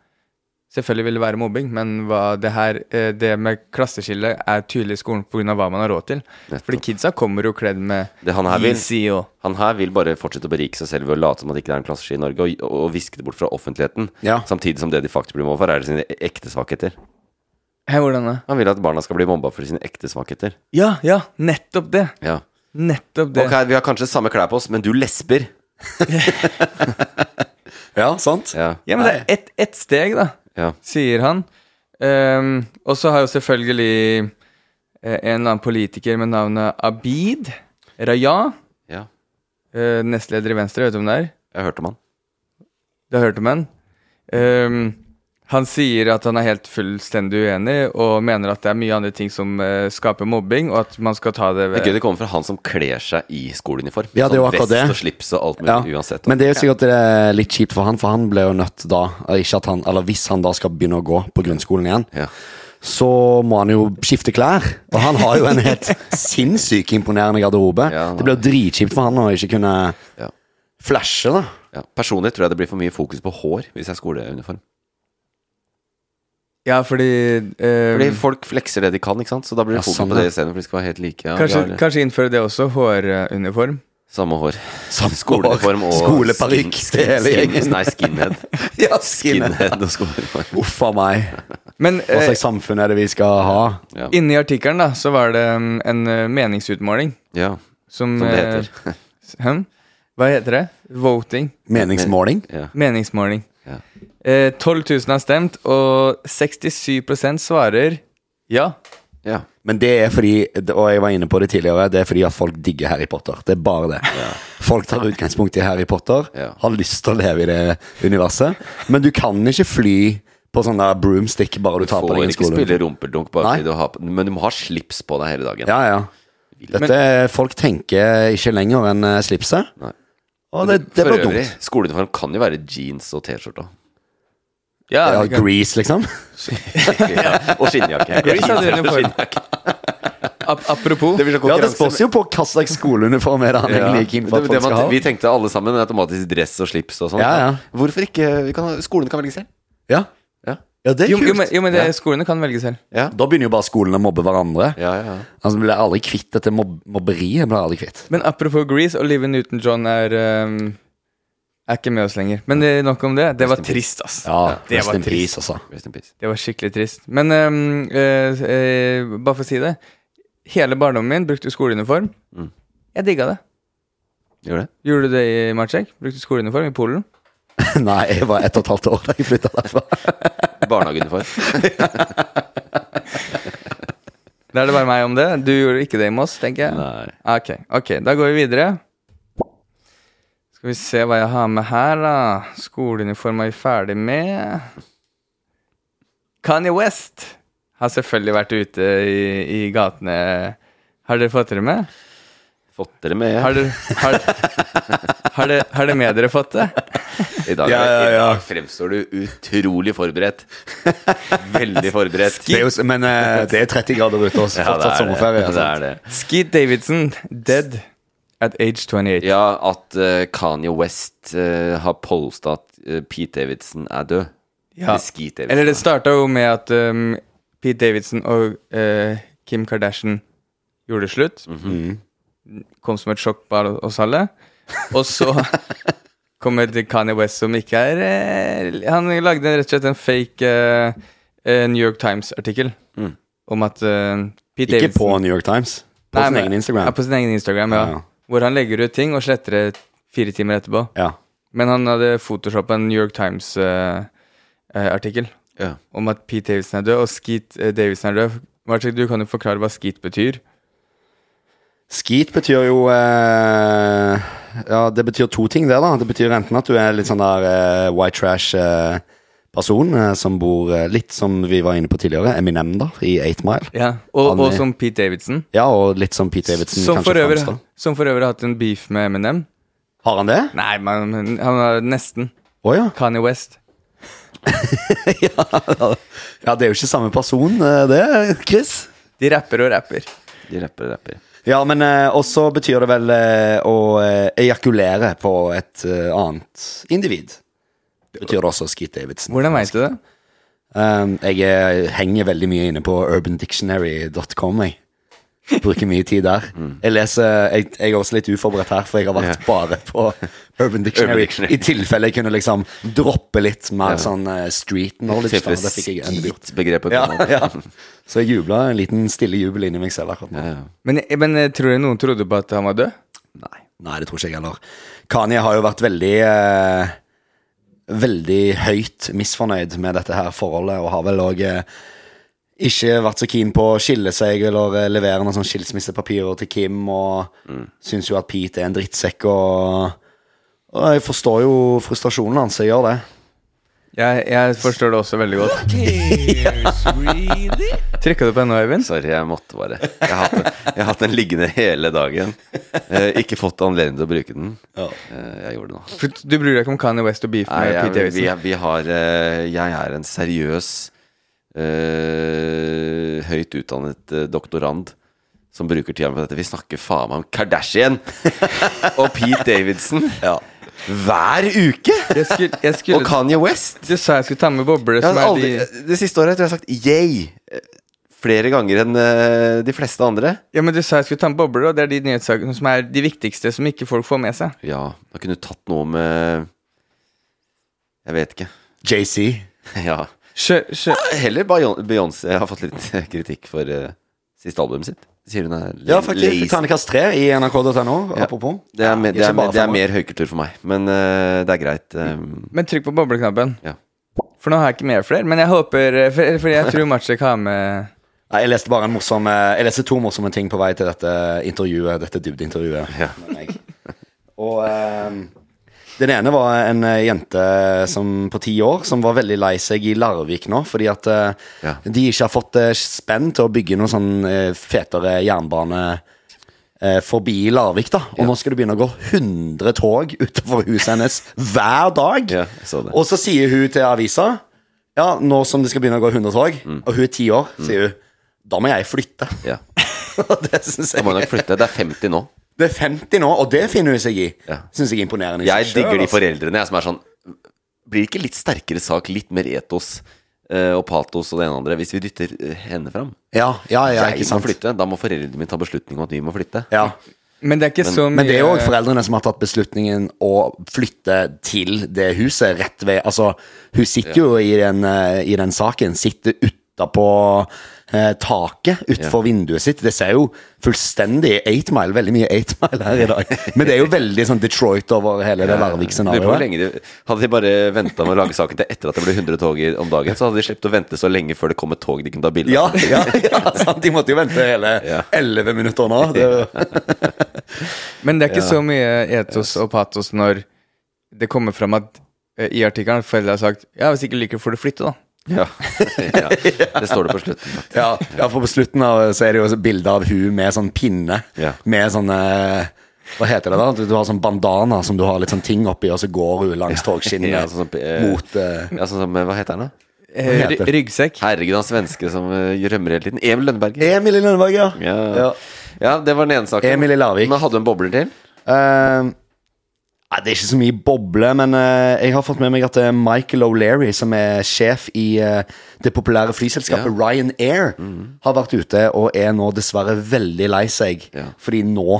[SPEAKER 1] Selvfølgelig vil det være mobbing, men hva det her eh, Det med klasseskille er tydelig i skolen pga. hva man har råd til. Fordi kidsa kommer jo kledd med
[SPEAKER 2] Det han her vil.
[SPEAKER 1] Yeezy og
[SPEAKER 2] Han her vil bare fortsette å berike seg selv ved å late som at det ikke er en klasseski i Norge, og, og viske det bort fra offentligheten.
[SPEAKER 3] Ja.
[SPEAKER 2] Samtidig som det de faktisk blir mobba for, er det sine ekte svakheter.
[SPEAKER 1] Hæ, hvordan da?
[SPEAKER 2] Han vil at barna skal bli mobba for sine ekte svakheter.
[SPEAKER 1] Ja, ja, nettopp det.
[SPEAKER 2] Ja.
[SPEAKER 1] Nettopp det.
[SPEAKER 2] Ok, vi har kanskje samme klær på oss, men du lesber.
[SPEAKER 3] Ja, sant?
[SPEAKER 2] Ja.
[SPEAKER 1] Ja, men det er ett ett steg, da,
[SPEAKER 2] Ja.
[SPEAKER 1] sier han. Ehm, og så har jo selvfølgelig eh, en eller annen politiker med navnet Abid Raja,
[SPEAKER 2] ja.
[SPEAKER 1] eh, nestleder i Venstre, vet du hvem det er?
[SPEAKER 2] Jeg har hørt om han.
[SPEAKER 1] Du har hørt om han? Ehm, han sier at han er helt fullstendig uenig, og mener at det er mye andre ting som eh, skaper mobbing, og at man skal ta
[SPEAKER 2] Det
[SPEAKER 1] det
[SPEAKER 2] er gøy
[SPEAKER 1] ved
[SPEAKER 2] det kommer fra han som kler seg i skoleuniform. Sånn
[SPEAKER 3] Ja, det er jo akkurat det.
[SPEAKER 2] Vest og slips og alt mulig
[SPEAKER 3] Ja.
[SPEAKER 2] uansett.
[SPEAKER 3] Men det er jo sikkert eh, litt kjipt for han, for han ble jo nødt da. eh, Ikke at han, eller hvis han da skal begynne å gå på grunnskolen igjen,
[SPEAKER 2] Ja.
[SPEAKER 3] så må han jo skifte klær. Og han har jo en helt sinnssykt imponerende garderobe.
[SPEAKER 2] Ja, han
[SPEAKER 3] det blir jo dritkjipt for han å ikke kunne
[SPEAKER 2] Ja.
[SPEAKER 3] flashe, da.
[SPEAKER 2] Ja. Personlig tror jeg det blir for mye fokus på hår hvis jeg har
[SPEAKER 3] Mm.
[SPEAKER 2] skoleuniform.
[SPEAKER 1] Ja, fordi, ehm,
[SPEAKER 2] Fordi folk flekser det de kan, ikke sant? så da blir det
[SPEAKER 3] Ja,
[SPEAKER 2] fokus
[SPEAKER 3] sånn,
[SPEAKER 2] på det
[SPEAKER 3] ja.
[SPEAKER 2] isteden. For de skal være helt like. Ja,
[SPEAKER 1] kanskje,
[SPEAKER 2] vi har eh,
[SPEAKER 1] kanskje innføre det også, håruniform.
[SPEAKER 2] Samme hår.
[SPEAKER 3] Samme
[SPEAKER 2] Skoleuniform og
[SPEAKER 3] Skoleparykk
[SPEAKER 2] skin-
[SPEAKER 3] til hele
[SPEAKER 2] skin-
[SPEAKER 3] gjengen.
[SPEAKER 2] Nei, skinhead.
[SPEAKER 3] Ja,
[SPEAKER 2] Skinhead og skoleuniform.
[SPEAKER 3] Uff a meg.
[SPEAKER 1] Men
[SPEAKER 3] Hva
[SPEAKER 1] eh,
[SPEAKER 3] slags samfunn er det vi skal ha?
[SPEAKER 2] Ja.
[SPEAKER 1] Inni artikkelen da, så var det mm, en eh, meningsutmåling
[SPEAKER 2] ja,
[SPEAKER 1] som,
[SPEAKER 2] som det
[SPEAKER 1] eh,
[SPEAKER 2] heter.
[SPEAKER 1] s- hm? Hva heter det? Voting.
[SPEAKER 3] Meningsmåling?
[SPEAKER 2] Ja.
[SPEAKER 1] Meningsmåling.
[SPEAKER 2] Ja.
[SPEAKER 1] Eh, 12 000 har stemt, og 67 svarer ja.
[SPEAKER 2] Ja.
[SPEAKER 3] Men det er fordi, og jeg var inne på det tidligere, det er fordi at folk digger Harry Potter. Det er bare det. Folk tar utgangspunkt i Harry Potter,
[SPEAKER 2] Ja.
[SPEAKER 3] har lyst til å leve i det universet. Men du kan ikke fly på sånn der broomstick bare du tar
[SPEAKER 2] Får
[SPEAKER 3] på deg en
[SPEAKER 2] ikke spille
[SPEAKER 3] skole.
[SPEAKER 2] rumpeldunk, bare
[SPEAKER 3] Nei.
[SPEAKER 2] fordi du har på Men du må ha slips på deg hele dagen.
[SPEAKER 3] Ja, ja. Dette, er- folk tenker ikke lenger enn eh, slipset.
[SPEAKER 2] Nei.
[SPEAKER 3] Og det, det
[SPEAKER 2] For
[SPEAKER 3] blir
[SPEAKER 2] øvrig,
[SPEAKER 3] dumt.
[SPEAKER 2] skoleuniform kan jo være jeans og T-skjorte.
[SPEAKER 1] Ja,
[SPEAKER 3] Ja,
[SPEAKER 1] vi kan-
[SPEAKER 3] Grease, liksom.
[SPEAKER 2] Ja. Og skinnjakke.
[SPEAKER 1] Grease hadde uniform. Ap apropos
[SPEAKER 2] blir sånn
[SPEAKER 3] Ja, det spørs jo på hva slags skoleuniform er det han egentlig er keen på
[SPEAKER 2] Det-
[SPEAKER 3] at
[SPEAKER 2] det
[SPEAKER 3] folk
[SPEAKER 2] man-
[SPEAKER 3] skal ha.
[SPEAKER 2] Vi tenkte alle sammen automatisk dress og slips og sånn.
[SPEAKER 3] Ja, ja.
[SPEAKER 2] Hvorfor ikke? Vi kan, skolen kan velge selv.
[SPEAKER 3] Ja.
[SPEAKER 2] Ja.
[SPEAKER 3] ja, det er
[SPEAKER 1] jo, jo, men,
[SPEAKER 3] kult.
[SPEAKER 1] jo, men det, skolene kan velge selv.
[SPEAKER 2] Ja,
[SPEAKER 3] Da begynner jo bare skolen å mobbe hverandre.
[SPEAKER 2] ja, ja.
[SPEAKER 3] Altså, blir aldri kvitt dette mob mobberiet. blir aldri kvitt.
[SPEAKER 1] Men apropos Grease, Olivia Newton-John er ehm, er ikke med oss lenger. Men eh, nok om det. Det var trist, ass.
[SPEAKER 3] Ja,
[SPEAKER 1] det
[SPEAKER 3] rest
[SPEAKER 1] var
[SPEAKER 3] in peace, altså.
[SPEAKER 2] Rest in peace.
[SPEAKER 1] Det var skikkelig trist. Men ehm, eh, eh, bare for å si det. Hele barndommen min brukte skoleuniform. Jeg digga det.
[SPEAKER 2] Gjør det?
[SPEAKER 1] Gjorde du det i Marcek? Brukte skoleuniform i Polen?
[SPEAKER 3] Nei, jeg var ett og et halvt år da jeg flytta derfra.
[SPEAKER 2] Barnehageuniform.
[SPEAKER 1] Da er det bare meg om det. Du gjorde ikke det i Moss, tenker jeg.
[SPEAKER 2] Nei.
[SPEAKER 1] Ok, ok, da går vi videre. Skal vi se hva jeg har med her, da. Skoleuniform er vi ferdig med. Kanye West har selvfølgelig vært ute i, i gatene. Har dere fått det med?
[SPEAKER 2] Fått dere med?
[SPEAKER 1] Har dere, har, har, dere, har dere med dere fått det?
[SPEAKER 2] I dag,
[SPEAKER 3] Ja, ja,
[SPEAKER 2] I
[SPEAKER 3] ja.
[SPEAKER 2] dag fremstår du utrolig forberedt. Veldig forberedt.
[SPEAKER 3] Det er jo- Men eh, det er 30 grader ute og
[SPEAKER 2] Ja, det
[SPEAKER 3] fortsatt
[SPEAKER 2] er
[SPEAKER 3] sommerferie.
[SPEAKER 2] det. Det
[SPEAKER 3] altså. sant?
[SPEAKER 2] er det.
[SPEAKER 1] Skeet Davidson, dead at age 28.
[SPEAKER 2] Ja, at eh, Kanye West eh, har polsta at eh, Pete Davidson er død.
[SPEAKER 1] Ja.
[SPEAKER 2] Skit, Davidson.
[SPEAKER 1] Eller det starta jo med at um, Pete Davidson og eh, Kim Kardashian gjorde slutt.
[SPEAKER 3] Mm.
[SPEAKER 1] Kom som et sjokk på alle- oss alle. Og så kommer det Kanye West, som ikke er eh, Han lagde rett og slett en fake eh, eh, New York Times-artikkel om at eh, Pete
[SPEAKER 3] Mm. Ikke
[SPEAKER 1] Davidson
[SPEAKER 3] på New York Times. På
[SPEAKER 1] Nei,
[SPEAKER 3] sin
[SPEAKER 1] men-
[SPEAKER 3] egen Instagram.
[SPEAKER 1] Ja, på sin egen Instagram, ja.
[SPEAKER 3] Ja, ja.
[SPEAKER 1] Hvor han legger ut ting og sletter det fire timer etterpå.
[SPEAKER 3] Ja.
[SPEAKER 1] Men han hadde photoshoppa en New York Times-artikkel
[SPEAKER 2] Ja.
[SPEAKER 1] om at Pete Davidson er død, og Skeet eh, Davidson er død. Martin, du kan jo forklare hva Skeet betyr.
[SPEAKER 3] Skeet betyr jo eh, Ja, det betyr to ting, det, da. Det betyr enten at du er litt sånn der eh, white trash-person som bor eh, litt som vi var inne på tidligere, Eminem, da, i 8 Mile.
[SPEAKER 1] Ja, Og,
[SPEAKER 3] Han
[SPEAKER 1] og
[SPEAKER 3] er-
[SPEAKER 1] som Pete Davidson.
[SPEAKER 3] Ja, og litt som Pete Davidson
[SPEAKER 1] Som
[SPEAKER 3] kanskje
[SPEAKER 1] for, øvrig,
[SPEAKER 3] fremstår.
[SPEAKER 1] som for øvrig har hatt en beef med Eminem.
[SPEAKER 3] Har han det?
[SPEAKER 1] Nei, men men han har nesten.
[SPEAKER 3] Å ja.
[SPEAKER 1] Kanye West.
[SPEAKER 3] ja. Det er jo ikke samme person, eh, det, Chris.
[SPEAKER 1] De rapper og rapper.
[SPEAKER 2] De rapper, rapper.
[SPEAKER 3] Ja, men eh, også betyr det vel eh, å eh, ejakulere på et eh, annet individ. Betyr det også Skeet Davidson.
[SPEAKER 1] Hvordan veit du det?
[SPEAKER 3] Um, jeg eh, henger veldig mye inne på urbandictionary.com. Jeg. Bruker mye tid der.
[SPEAKER 2] Mm.
[SPEAKER 3] Jeg leser, jeg, jeg er også litt uforberedt her, for jeg har vært bare på Urban Dictionary.
[SPEAKER 2] Urban Dictionary.
[SPEAKER 3] I tilfelle jeg kunne liksom droppe litt mer sånn eh, street knowledge. Da. Det fikk jeg endelig gjort.
[SPEAKER 2] Skitbegrepet
[SPEAKER 3] Ja,
[SPEAKER 2] kom opp.
[SPEAKER 3] ja. Så jeg jubla en liten stille jubel inni meg selv akkurat nå.
[SPEAKER 2] Ja, ja.
[SPEAKER 1] Men, men eh, tror du noen trodde på at han var død?
[SPEAKER 3] Nei. det tror ikke jeg heller. Kanye har jo vært veldig eh, Veldig høyt misfornøyd med dette her forholdet, og har vel òg eh, ikke vært så keen på å skille seg eller eh, levere noen sånn skilsmissepapirer til Kim, og syns jo at Pete er en drittsekk, og, og jeg forstår jo frustrasjonen hans, jeg gjør det.
[SPEAKER 1] Jeg, jeg forstår det også veldig godt. Trykka du på ennå, Øyvind?
[SPEAKER 2] Sorry, jeg måtte bare. Jeg har hatt, jeg har hatt den liggende hele dagen. Eh, ikke fått anledning til å bruke den. Eh, jeg gjorde det nå.
[SPEAKER 1] For Du bryr deg ikke om Kanye West og beef
[SPEAKER 2] Nei,
[SPEAKER 1] med Pete
[SPEAKER 2] jeg, vi,
[SPEAKER 1] Davidson?
[SPEAKER 2] vi har eh, Jeg er en seriøs, eh, høyt utdannet eh, doktorand som bruker tida på dette. Vi snakker faen meg om Kardashian og Pete Davidson hver uke!
[SPEAKER 1] Jeg skulle, jeg skulle,
[SPEAKER 2] Og Kanye West!
[SPEAKER 1] Du sa jeg skulle ta med bobler
[SPEAKER 2] Jeg
[SPEAKER 1] som
[SPEAKER 2] har
[SPEAKER 1] er
[SPEAKER 2] aldri,
[SPEAKER 1] de
[SPEAKER 2] det siste året tror jeg jeg har sagt yay eh, flere ganger enn eh, de fleste andre.
[SPEAKER 1] Ja, men du sa jeg skulle ta med bobler, og det er de nyhetssakene som er de viktigste, som ikke folk får med seg.
[SPEAKER 2] Ja, da kunne du tatt noe med Jeg vet ikke.
[SPEAKER 3] JC.
[SPEAKER 2] Ja.
[SPEAKER 1] Sjø, sjø.
[SPEAKER 2] Heller Beyon- Beyoncé har fått litt kritikk for uh, siste albumet sitt. Sier hun er
[SPEAKER 3] Ja, faktisk. Terningkast tre i nrk.no, apropos.
[SPEAKER 2] Det er, me, det,
[SPEAKER 3] Ikke
[SPEAKER 2] er, me-
[SPEAKER 3] bare
[SPEAKER 2] det er
[SPEAKER 3] fem år.
[SPEAKER 2] mer høykultur for meg, men eh, det er greit. eh,
[SPEAKER 1] Men trykk på bobleknappen.
[SPEAKER 2] Ja.
[SPEAKER 1] For nå har jeg ikke med flere, men jeg håper eh, For, for jeg tror Maciek har med
[SPEAKER 3] Nei, jeg leste bare en morsom eh, Jeg leste to morsomme ting på vei til dette intervjuet Dette dybdeintervjuet med meg. Og eh, den ene var en eh, jente som, på ti år som var veldig lei seg i Larvik nå, fordi at eh,
[SPEAKER 2] Ja.
[SPEAKER 3] de ikke har fått eh, spenn til å bygge noen sånn eh, fetere jernbane eh, forbi Larvik, da. Og nå skal det begynne å gå 100 tog utenfor huset hennes hver dag.
[SPEAKER 2] Ja, jeg så det.
[SPEAKER 3] Og så sier hun til avisa Ja, nå som det skal begynne å gå 100 tog,
[SPEAKER 2] Mm.
[SPEAKER 3] og hun er ti år, sier hun Da må jeg flytte.
[SPEAKER 2] ja.
[SPEAKER 3] Og det synes
[SPEAKER 2] Da må hun
[SPEAKER 3] jeg
[SPEAKER 2] nok flytte. Det er 50 nå.
[SPEAKER 3] Det er 50 nå, og det finner hun seg i.
[SPEAKER 2] Ja.
[SPEAKER 3] Syns jeg er imponerende. i
[SPEAKER 2] Jeg
[SPEAKER 3] seg selv,
[SPEAKER 2] digger de
[SPEAKER 3] altså.
[SPEAKER 2] foreldrene jeg, som er sånn Blir ikke litt sterkere sak, litt mer etos eh, og patos og det ene og andre, hvis vi dytter eh, henne fram?
[SPEAKER 3] Ja, ja, ja,
[SPEAKER 2] jeg
[SPEAKER 3] ikke
[SPEAKER 2] må
[SPEAKER 3] sant.
[SPEAKER 2] flytte. Da må foreldrene mine ta beslutning om at vi må flytte.
[SPEAKER 3] Ja.
[SPEAKER 1] Men det er ikke så mye
[SPEAKER 3] Men det er jo også foreldrene som har tatt beslutningen å flytte til det huset rett ved Altså, hun sitter jo i den, eh, i den saken. Sitter utapå eh, taket utenfor vinduet sitt. Det ser jo fullstendig 8 Mile, veldig mye 8 Mile her i dag. Men det er jo veldig sånn Detroit over hele
[SPEAKER 2] Eh, Lurer
[SPEAKER 3] det
[SPEAKER 2] på hvor
[SPEAKER 3] Larvik-scenarioet.
[SPEAKER 2] lenge de- Hadde de bare venta med å lage saken til etter at det ble 100 tog i- om dagen, så hadde de sluppet å vente så lenge før det kom et tog de kunne ta bilde
[SPEAKER 3] Ja,
[SPEAKER 2] av.
[SPEAKER 3] ja, ja, sant. De måtte jo vente hele
[SPEAKER 2] Ja.
[SPEAKER 3] 11 minutter nå. Det,
[SPEAKER 1] Men det er ikke så mye etos og patos når det kommer fram at eh, i artikkelen at foreldre har sagt Ja, hvis ikke du liker det, får du flytte, da.
[SPEAKER 2] Ja. ja. Det står det på slutten. faktisk.
[SPEAKER 3] Ja, ja, for på slutten av, så er det jo også bilde av hun med sånn pinne.
[SPEAKER 2] Ja.
[SPEAKER 3] Med sånn eh, Hva heter det da? Du, du har sånn bandana som du har litt sånn ting oppi, og så går hun langs togskinnet
[SPEAKER 2] Ja, sånn som, eh,
[SPEAKER 3] mot eh,
[SPEAKER 2] Ja, sånn som eh, Hva heter han, da?
[SPEAKER 1] Eh,
[SPEAKER 3] heter
[SPEAKER 1] ry- ryggsekk.
[SPEAKER 2] Herregud, han svenske som eh, rømmer hele tiden. Emil Lønneberg.
[SPEAKER 3] Emil i Lønneberg, E- ja.
[SPEAKER 2] Ja. Ja. det var den ene saken.
[SPEAKER 3] Emil i Larvik.
[SPEAKER 2] Men hadde du en bobler til?
[SPEAKER 3] Eh, Ja, Ehm, det er ikke så mye boble, men eh, jeg har fått med meg at det er Michael O'Leary, som er sjef i eh, det populære flyselskapet Ryan Air,
[SPEAKER 2] Mhm.
[SPEAKER 3] har vært ute og er nå dessverre veldig lei seg.
[SPEAKER 2] Ja.
[SPEAKER 3] Fordi nå,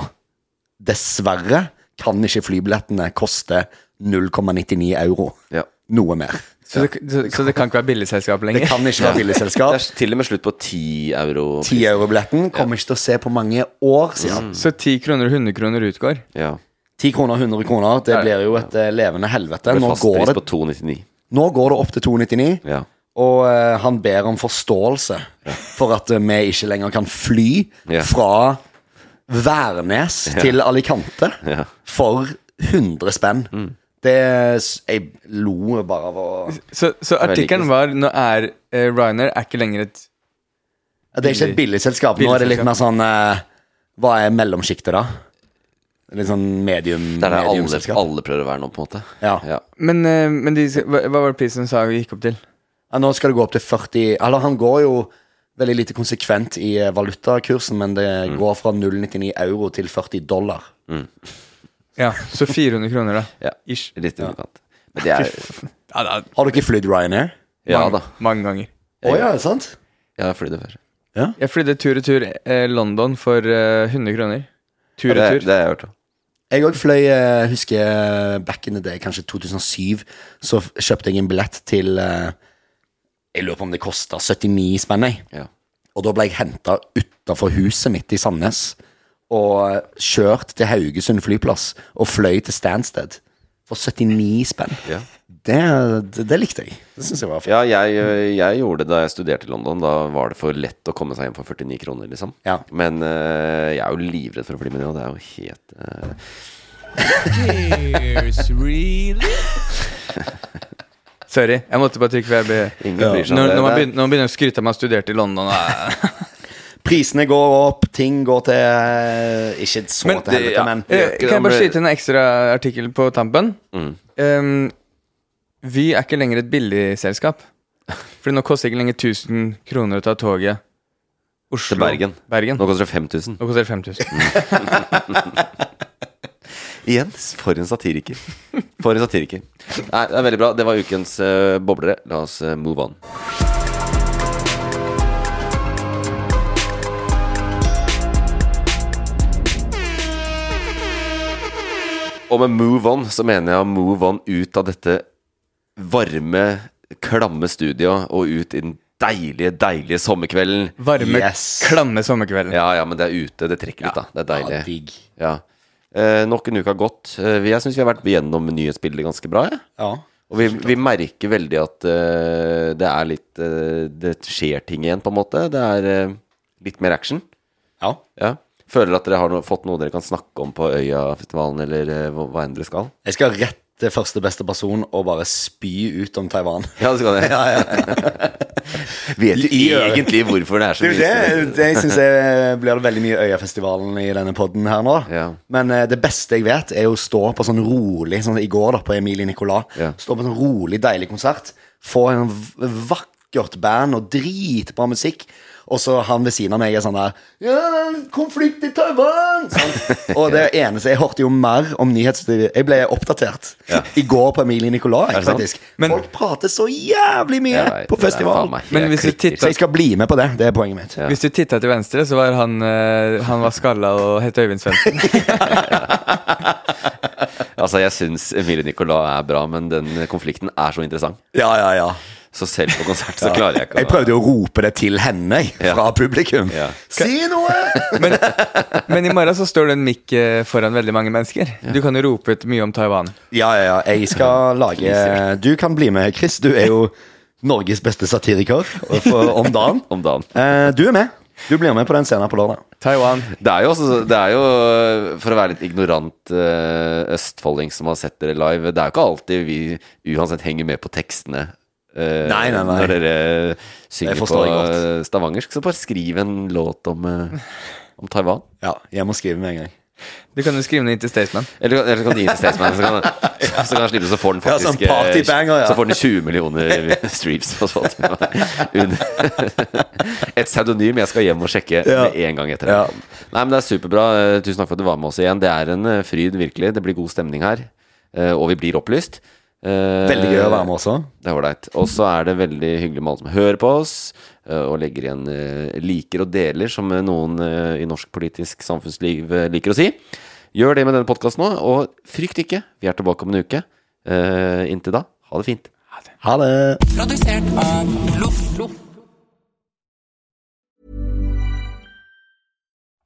[SPEAKER 3] dessverre, kan ikke flybillettene koste 0,99 euro.
[SPEAKER 2] Ja.
[SPEAKER 3] Noe mer.
[SPEAKER 1] Så, det, så, så det kan ikke være billigselskap
[SPEAKER 3] Det
[SPEAKER 1] lenger.
[SPEAKER 3] kan ikke være
[SPEAKER 2] Det
[SPEAKER 3] billigselskap.
[SPEAKER 2] er til og med slutt på 10 euro.
[SPEAKER 3] 10-eurobilletten kommer ikke til å se på mange år, sier
[SPEAKER 2] Mm.
[SPEAKER 3] han.
[SPEAKER 1] Så 10 kroner og 100 kroner utgår.
[SPEAKER 2] Ja.
[SPEAKER 3] 10 kroner, 100 kroner, det blir jo et eh, levende helvete.
[SPEAKER 2] Med
[SPEAKER 3] Nå går,
[SPEAKER 2] fastpris på
[SPEAKER 3] det,
[SPEAKER 2] 2,99.
[SPEAKER 3] nå går det opp til 299,
[SPEAKER 2] Ja.
[SPEAKER 3] og eh, han ber om forståelse for at eh, vi ikke lenger kan fly
[SPEAKER 2] Ja.
[SPEAKER 3] fra Værnes til Alicante for 100 spenn.
[SPEAKER 2] Mm.
[SPEAKER 3] Det s- Jeg lo bare av å
[SPEAKER 1] Så, så artikkelen var Nå er eh, Ryanair er ikke lenger et
[SPEAKER 3] Det er ikke et billigselskap. Nå er det litt mer sånn eh, Hva er mellomsjiktet, da? Litt sånn medium
[SPEAKER 2] Det er der alle,
[SPEAKER 3] mediumselskap.
[SPEAKER 2] alle prøver å være nå, på en måte.
[SPEAKER 3] Ja.
[SPEAKER 2] Ja.
[SPEAKER 1] Men, eh, men de, hva, hva var det prisen sa vi gikk opp til?
[SPEAKER 3] Ja, nå skal det gå opp til 40 Eller han går jo veldig lite konsekvent i eh, valutakursen, men det
[SPEAKER 2] Mm.
[SPEAKER 3] går fra 0,99 euro til 40 dollar.
[SPEAKER 1] Ja, så 400 kroner, da.
[SPEAKER 2] Ja.
[SPEAKER 1] Ish.
[SPEAKER 2] Litt i underkant. Men det er
[SPEAKER 1] Ja, da,
[SPEAKER 3] Har dere flydd Ryanair?
[SPEAKER 2] Ja da.
[SPEAKER 1] mange, mange ganger.
[SPEAKER 3] Å ja, er det sant?
[SPEAKER 2] Jeg har flydd det før.
[SPEAKER 1] Jeg flydde tur-retur eh, London for eh, 100 kroner.
[SPEAKER 2] Det, det
[SPEAKER 1] Tur-retur.
[SPEAKER 2] har jeg hørt om.
[SPEAKER 3] Jeg òg fløy, eh, husker jeg, back in the day, kanskje 2007, så f- kjøpte jeg en billett til eh, Jeg lurer på om det kosta 79 spenn, jeg.
[SPEAKER 2] Ja.
[SPEAKER 3] Og da ble jeg henta utafor huset mitt i Sandnes og eh, kjørt til Haugesund flyplass og fløy til Stansted for 79 spenn.
[SPEAKER 2] Ja.
[SPEAKER 3] Det, det, det likte jeg. Det syns jeg var fint.
[SPEAKER 2] Ja, jeg, jeg gjorde det da jeg studerte i London. Da var det for lett å komme seg hjem for 49 kroner, liksom.
[SPEAKER 3] Ja.
[SPEAKER 2] Men eh, jeg er jo livredd for å bli med det, og det er jo helt eh,
[SPEAKER 1] Sorry, jeg måtte bare trykke VB.
[SPEAKER 2] Ingen
[SPEAKER 1] Ja.
[SPEAKER 2] bryr seg om
[SPEAKER 1] Når,
[SPEAKER 2] det.
[SPEAKER 1] når, man
[SPEAKER 2] Det er-
[SPEAKER 1] begynner, når man begynner å skryte av at man har studert i London eh,
[SPEAKER 3] Prisene går opp, ting går til eh, Ikke så
[SPEAKER 1] Men
[SPEAKER 3] til
[SPEAKER 2] det-
[SPEAKER 3] helvete,
[SPEAKER 2] ja.
[SPEAKER 3] men
[SPEAKER 2] gjør
[SPEAKER 1] eh,
[SPEAKER 2] ikke det,
[SPEAKER 1] Kan jeg
[SPEAKER 2] man
[SPEAKER 1] bare
[SPEAKER 2] blir-
[SPEAKER 1] skyte inn en ekstra artikkel på tampen?
[SPEAKER 2] Mm.
[SPEAKER 1] Ehm, vi er ikke lenger et billigselskap. Fordi nå koster det ikke lenger 1000 kroner å ta toget Oslo
[SPEAKER 2] Til Bergen.
[SPEAKER 1] Bergen.
[SPEAKER 2] Nå Mm. koster det 5000.
[SPEAKER 1] Nå koster det 5000.
[SPEAKER 2] Igjen, for en satiriker. For en satiriker. Nei, det er veldig bra. Det var ukens eh, boblere. La oss eh, move on. Og med move on så mener jeg å move on ut av dette varme, klamme studioet og ut i den deilige, deilige sommerkvelden.
[SPEAKER 1] Varme,
[SPEAKER 3] Yes.
[SPEAKER 1] klamme sommerkvelden.
[SPEAKER 2] Ja, ja, men det er ute. Det trekker litt, da. Det er deilig.
[SPEAKER 3] ja, digg.
[SPEAKER 2] Ja. Eh, nok en uke har gått. Eh, vi- jeg syns vi har vært gjennom nyhetsbildet ganske bra. jeg.
[SPEAKER 3] Ja.
[SPEAKER 2] Og vi, vi merker veldig at eh, det er litt eh, Det skjer ting igjen, på en måte. Det er eh, litt mer action.
[SPEAKER 3] ja.
[SPEAKER 2] Ja. Føler at dere har no fått noe dere kan snakke om på Øyafestivalen, eller eh, hva, hva enn dere skal?
[SPEAKER 3] Jeg skal rett til første beste person og bare spy ut om Taiwan.
[SPEAKER 2] Ja, det skal dere. Vet
[SPEAKER 3] I-
[SPEAKER 2] jo
[SPEAKER 3] i-
[SPEAKER 2] egentlig hvorfor det er så
[SPEAKER 3] Det er jo
[SPEAKER 2] mye
[SPEAKER 3] det, det jeg synes jeg blir det veldig mye Øyafestivalen i denne podden her nå.
[SPEAKER 2] Ja.
[SPEAKER 3] Men eh, det beste jeg vet, er å stå på sånn rolig, sånn i går da, på Emilie Nicolas.
[SPEAKER 2] Ja.
[SPEAKER 3] Stå på en sånn rolig, deilig konsert. Få en v- vakkert band og dritbra musikk. Og så han ved siden av meg er sånn der Ja, konflikt i Taiwan! Sånn. Og det eneste Jeg hørte jo mer om nyhetsstudiet. Jeg ble oppdatert i går på Emilie Nicolas, jeg,
[SPEAKER 2] sant?
[SPEAKER 3] faktisk.
[SPEAKER 1] Men-
[SPEAKER 3] Folk prater så jævlig mye
[SPEAKER 2] Jeg vet, det er
[SPEAKER 3] på
[SPEAKER 2] faen
[SPEAKER 3] festival.
[SPEAKER 2] meg helt liksom.
[SPEAKER 1] Men hvis du
[SPEAKER 2] klikker.
[SPEAKER 1] titter-
[SPEAKER 3] Så jeg skal bli med på det. Det er poenget mitt.
[SPEAKER 2] Ja.
[SPEAKER 1] Hvis du titta til venstre, så var han, eh, han var skalla og het Øyvind Svendsen.
[SPEAKER 2] Altså, jeg syns Emilie Nicolas er bra, men den konflikten er så interessant.
[SPEAKER 3] Ja, ja, ja.
[SPEAKER 2] Så selv på konsert så klarer jeg ikke
[SPEAKER 3] Jeg prøvde jo å rope det til henne jeg,
[SPEAKER 2] Ja.
[SPEAKER 3] fra publikum.
[SPEAKER 2] Ja.
[SPEAKER 3] Si noe!
[SPEAKER 1] Men, men i morgen så står det en mikk eh, foran veldig mange mennesker. Du kan jo rope ut mye om Taiwan.
[SPEAKER 3] Ja, ja, ja. Jeg skal lage Du kan bli med, Chris. Du er jo Norges beste satiriker for, om dagen.
[SPEAKER 2] Om dagen.
[SPEAKER 3] Eh, du er med. Du blir med på den scenen på lørdag.
[SPEAKER 1] Taiwan.
[SPEAKER 2] Det er, jo også, det er jo, for å være litt ignorant eh, østfolding som har sett dere live, det er jo ikke alltid vi uansett henger med på tekstene. eh,
[SPEAKER 3] Nei, nei, nei.
[SPEAKER 2] Når dere synger
[SPEAKER 3] Det
[SPEAKER 2] på
[SPEAKER 3] forstår jeg godt.
[SPEAKER 2] eh, stavangersk, så bare skriv en låt om, eh, om Taiwan.
[SPEAKER 3] Ja, jeg må skrive med en gang.
[SPEAKER 1] Du kan jo skrive den inn til Statement.
[SPEAKER 2] Eller, eller så kan du gi den til Staysman, så kan, så kan han slippe, så får den
[SPEAKER 3] Ja, sånn
[SPEAKER 2] faktisk eh,
[SPEAKER 3] partybanger, ja.
[SPEAKER 2] Så får den 20 millioner streams på Spotify. Under- Et pseudonym jeg skal hjem og sjekke
[SPEAKER 3] Ja.
[SPEAKER 2] med en gang etter.
[SPEAKER 3] Ja.
[SPEAKER 2] Nei, men det er superbra. Eh, Tusen takk for at du var med oss igjen. Det er en eh, fryd, virkelig. Det blir god stemning her. eh, og vi blir opplyst. Eh,
[SPEAKER 3] Veldig gøy å være med også.
[SPEAKER 2] Det er ålreit. Og så er det veldig hyggelig med alle som hører på oss, eh, og legger igjen eh, liker og deler, som eh, noen eh, i norsk politisk samfunnsliv eh, liker å si. Gjør det med denne podkasten nå, og frykt ikke, vi er tilbake om en uke. Eh, Inntil da, ha det fint.
[SPEAKER 3] Ha det.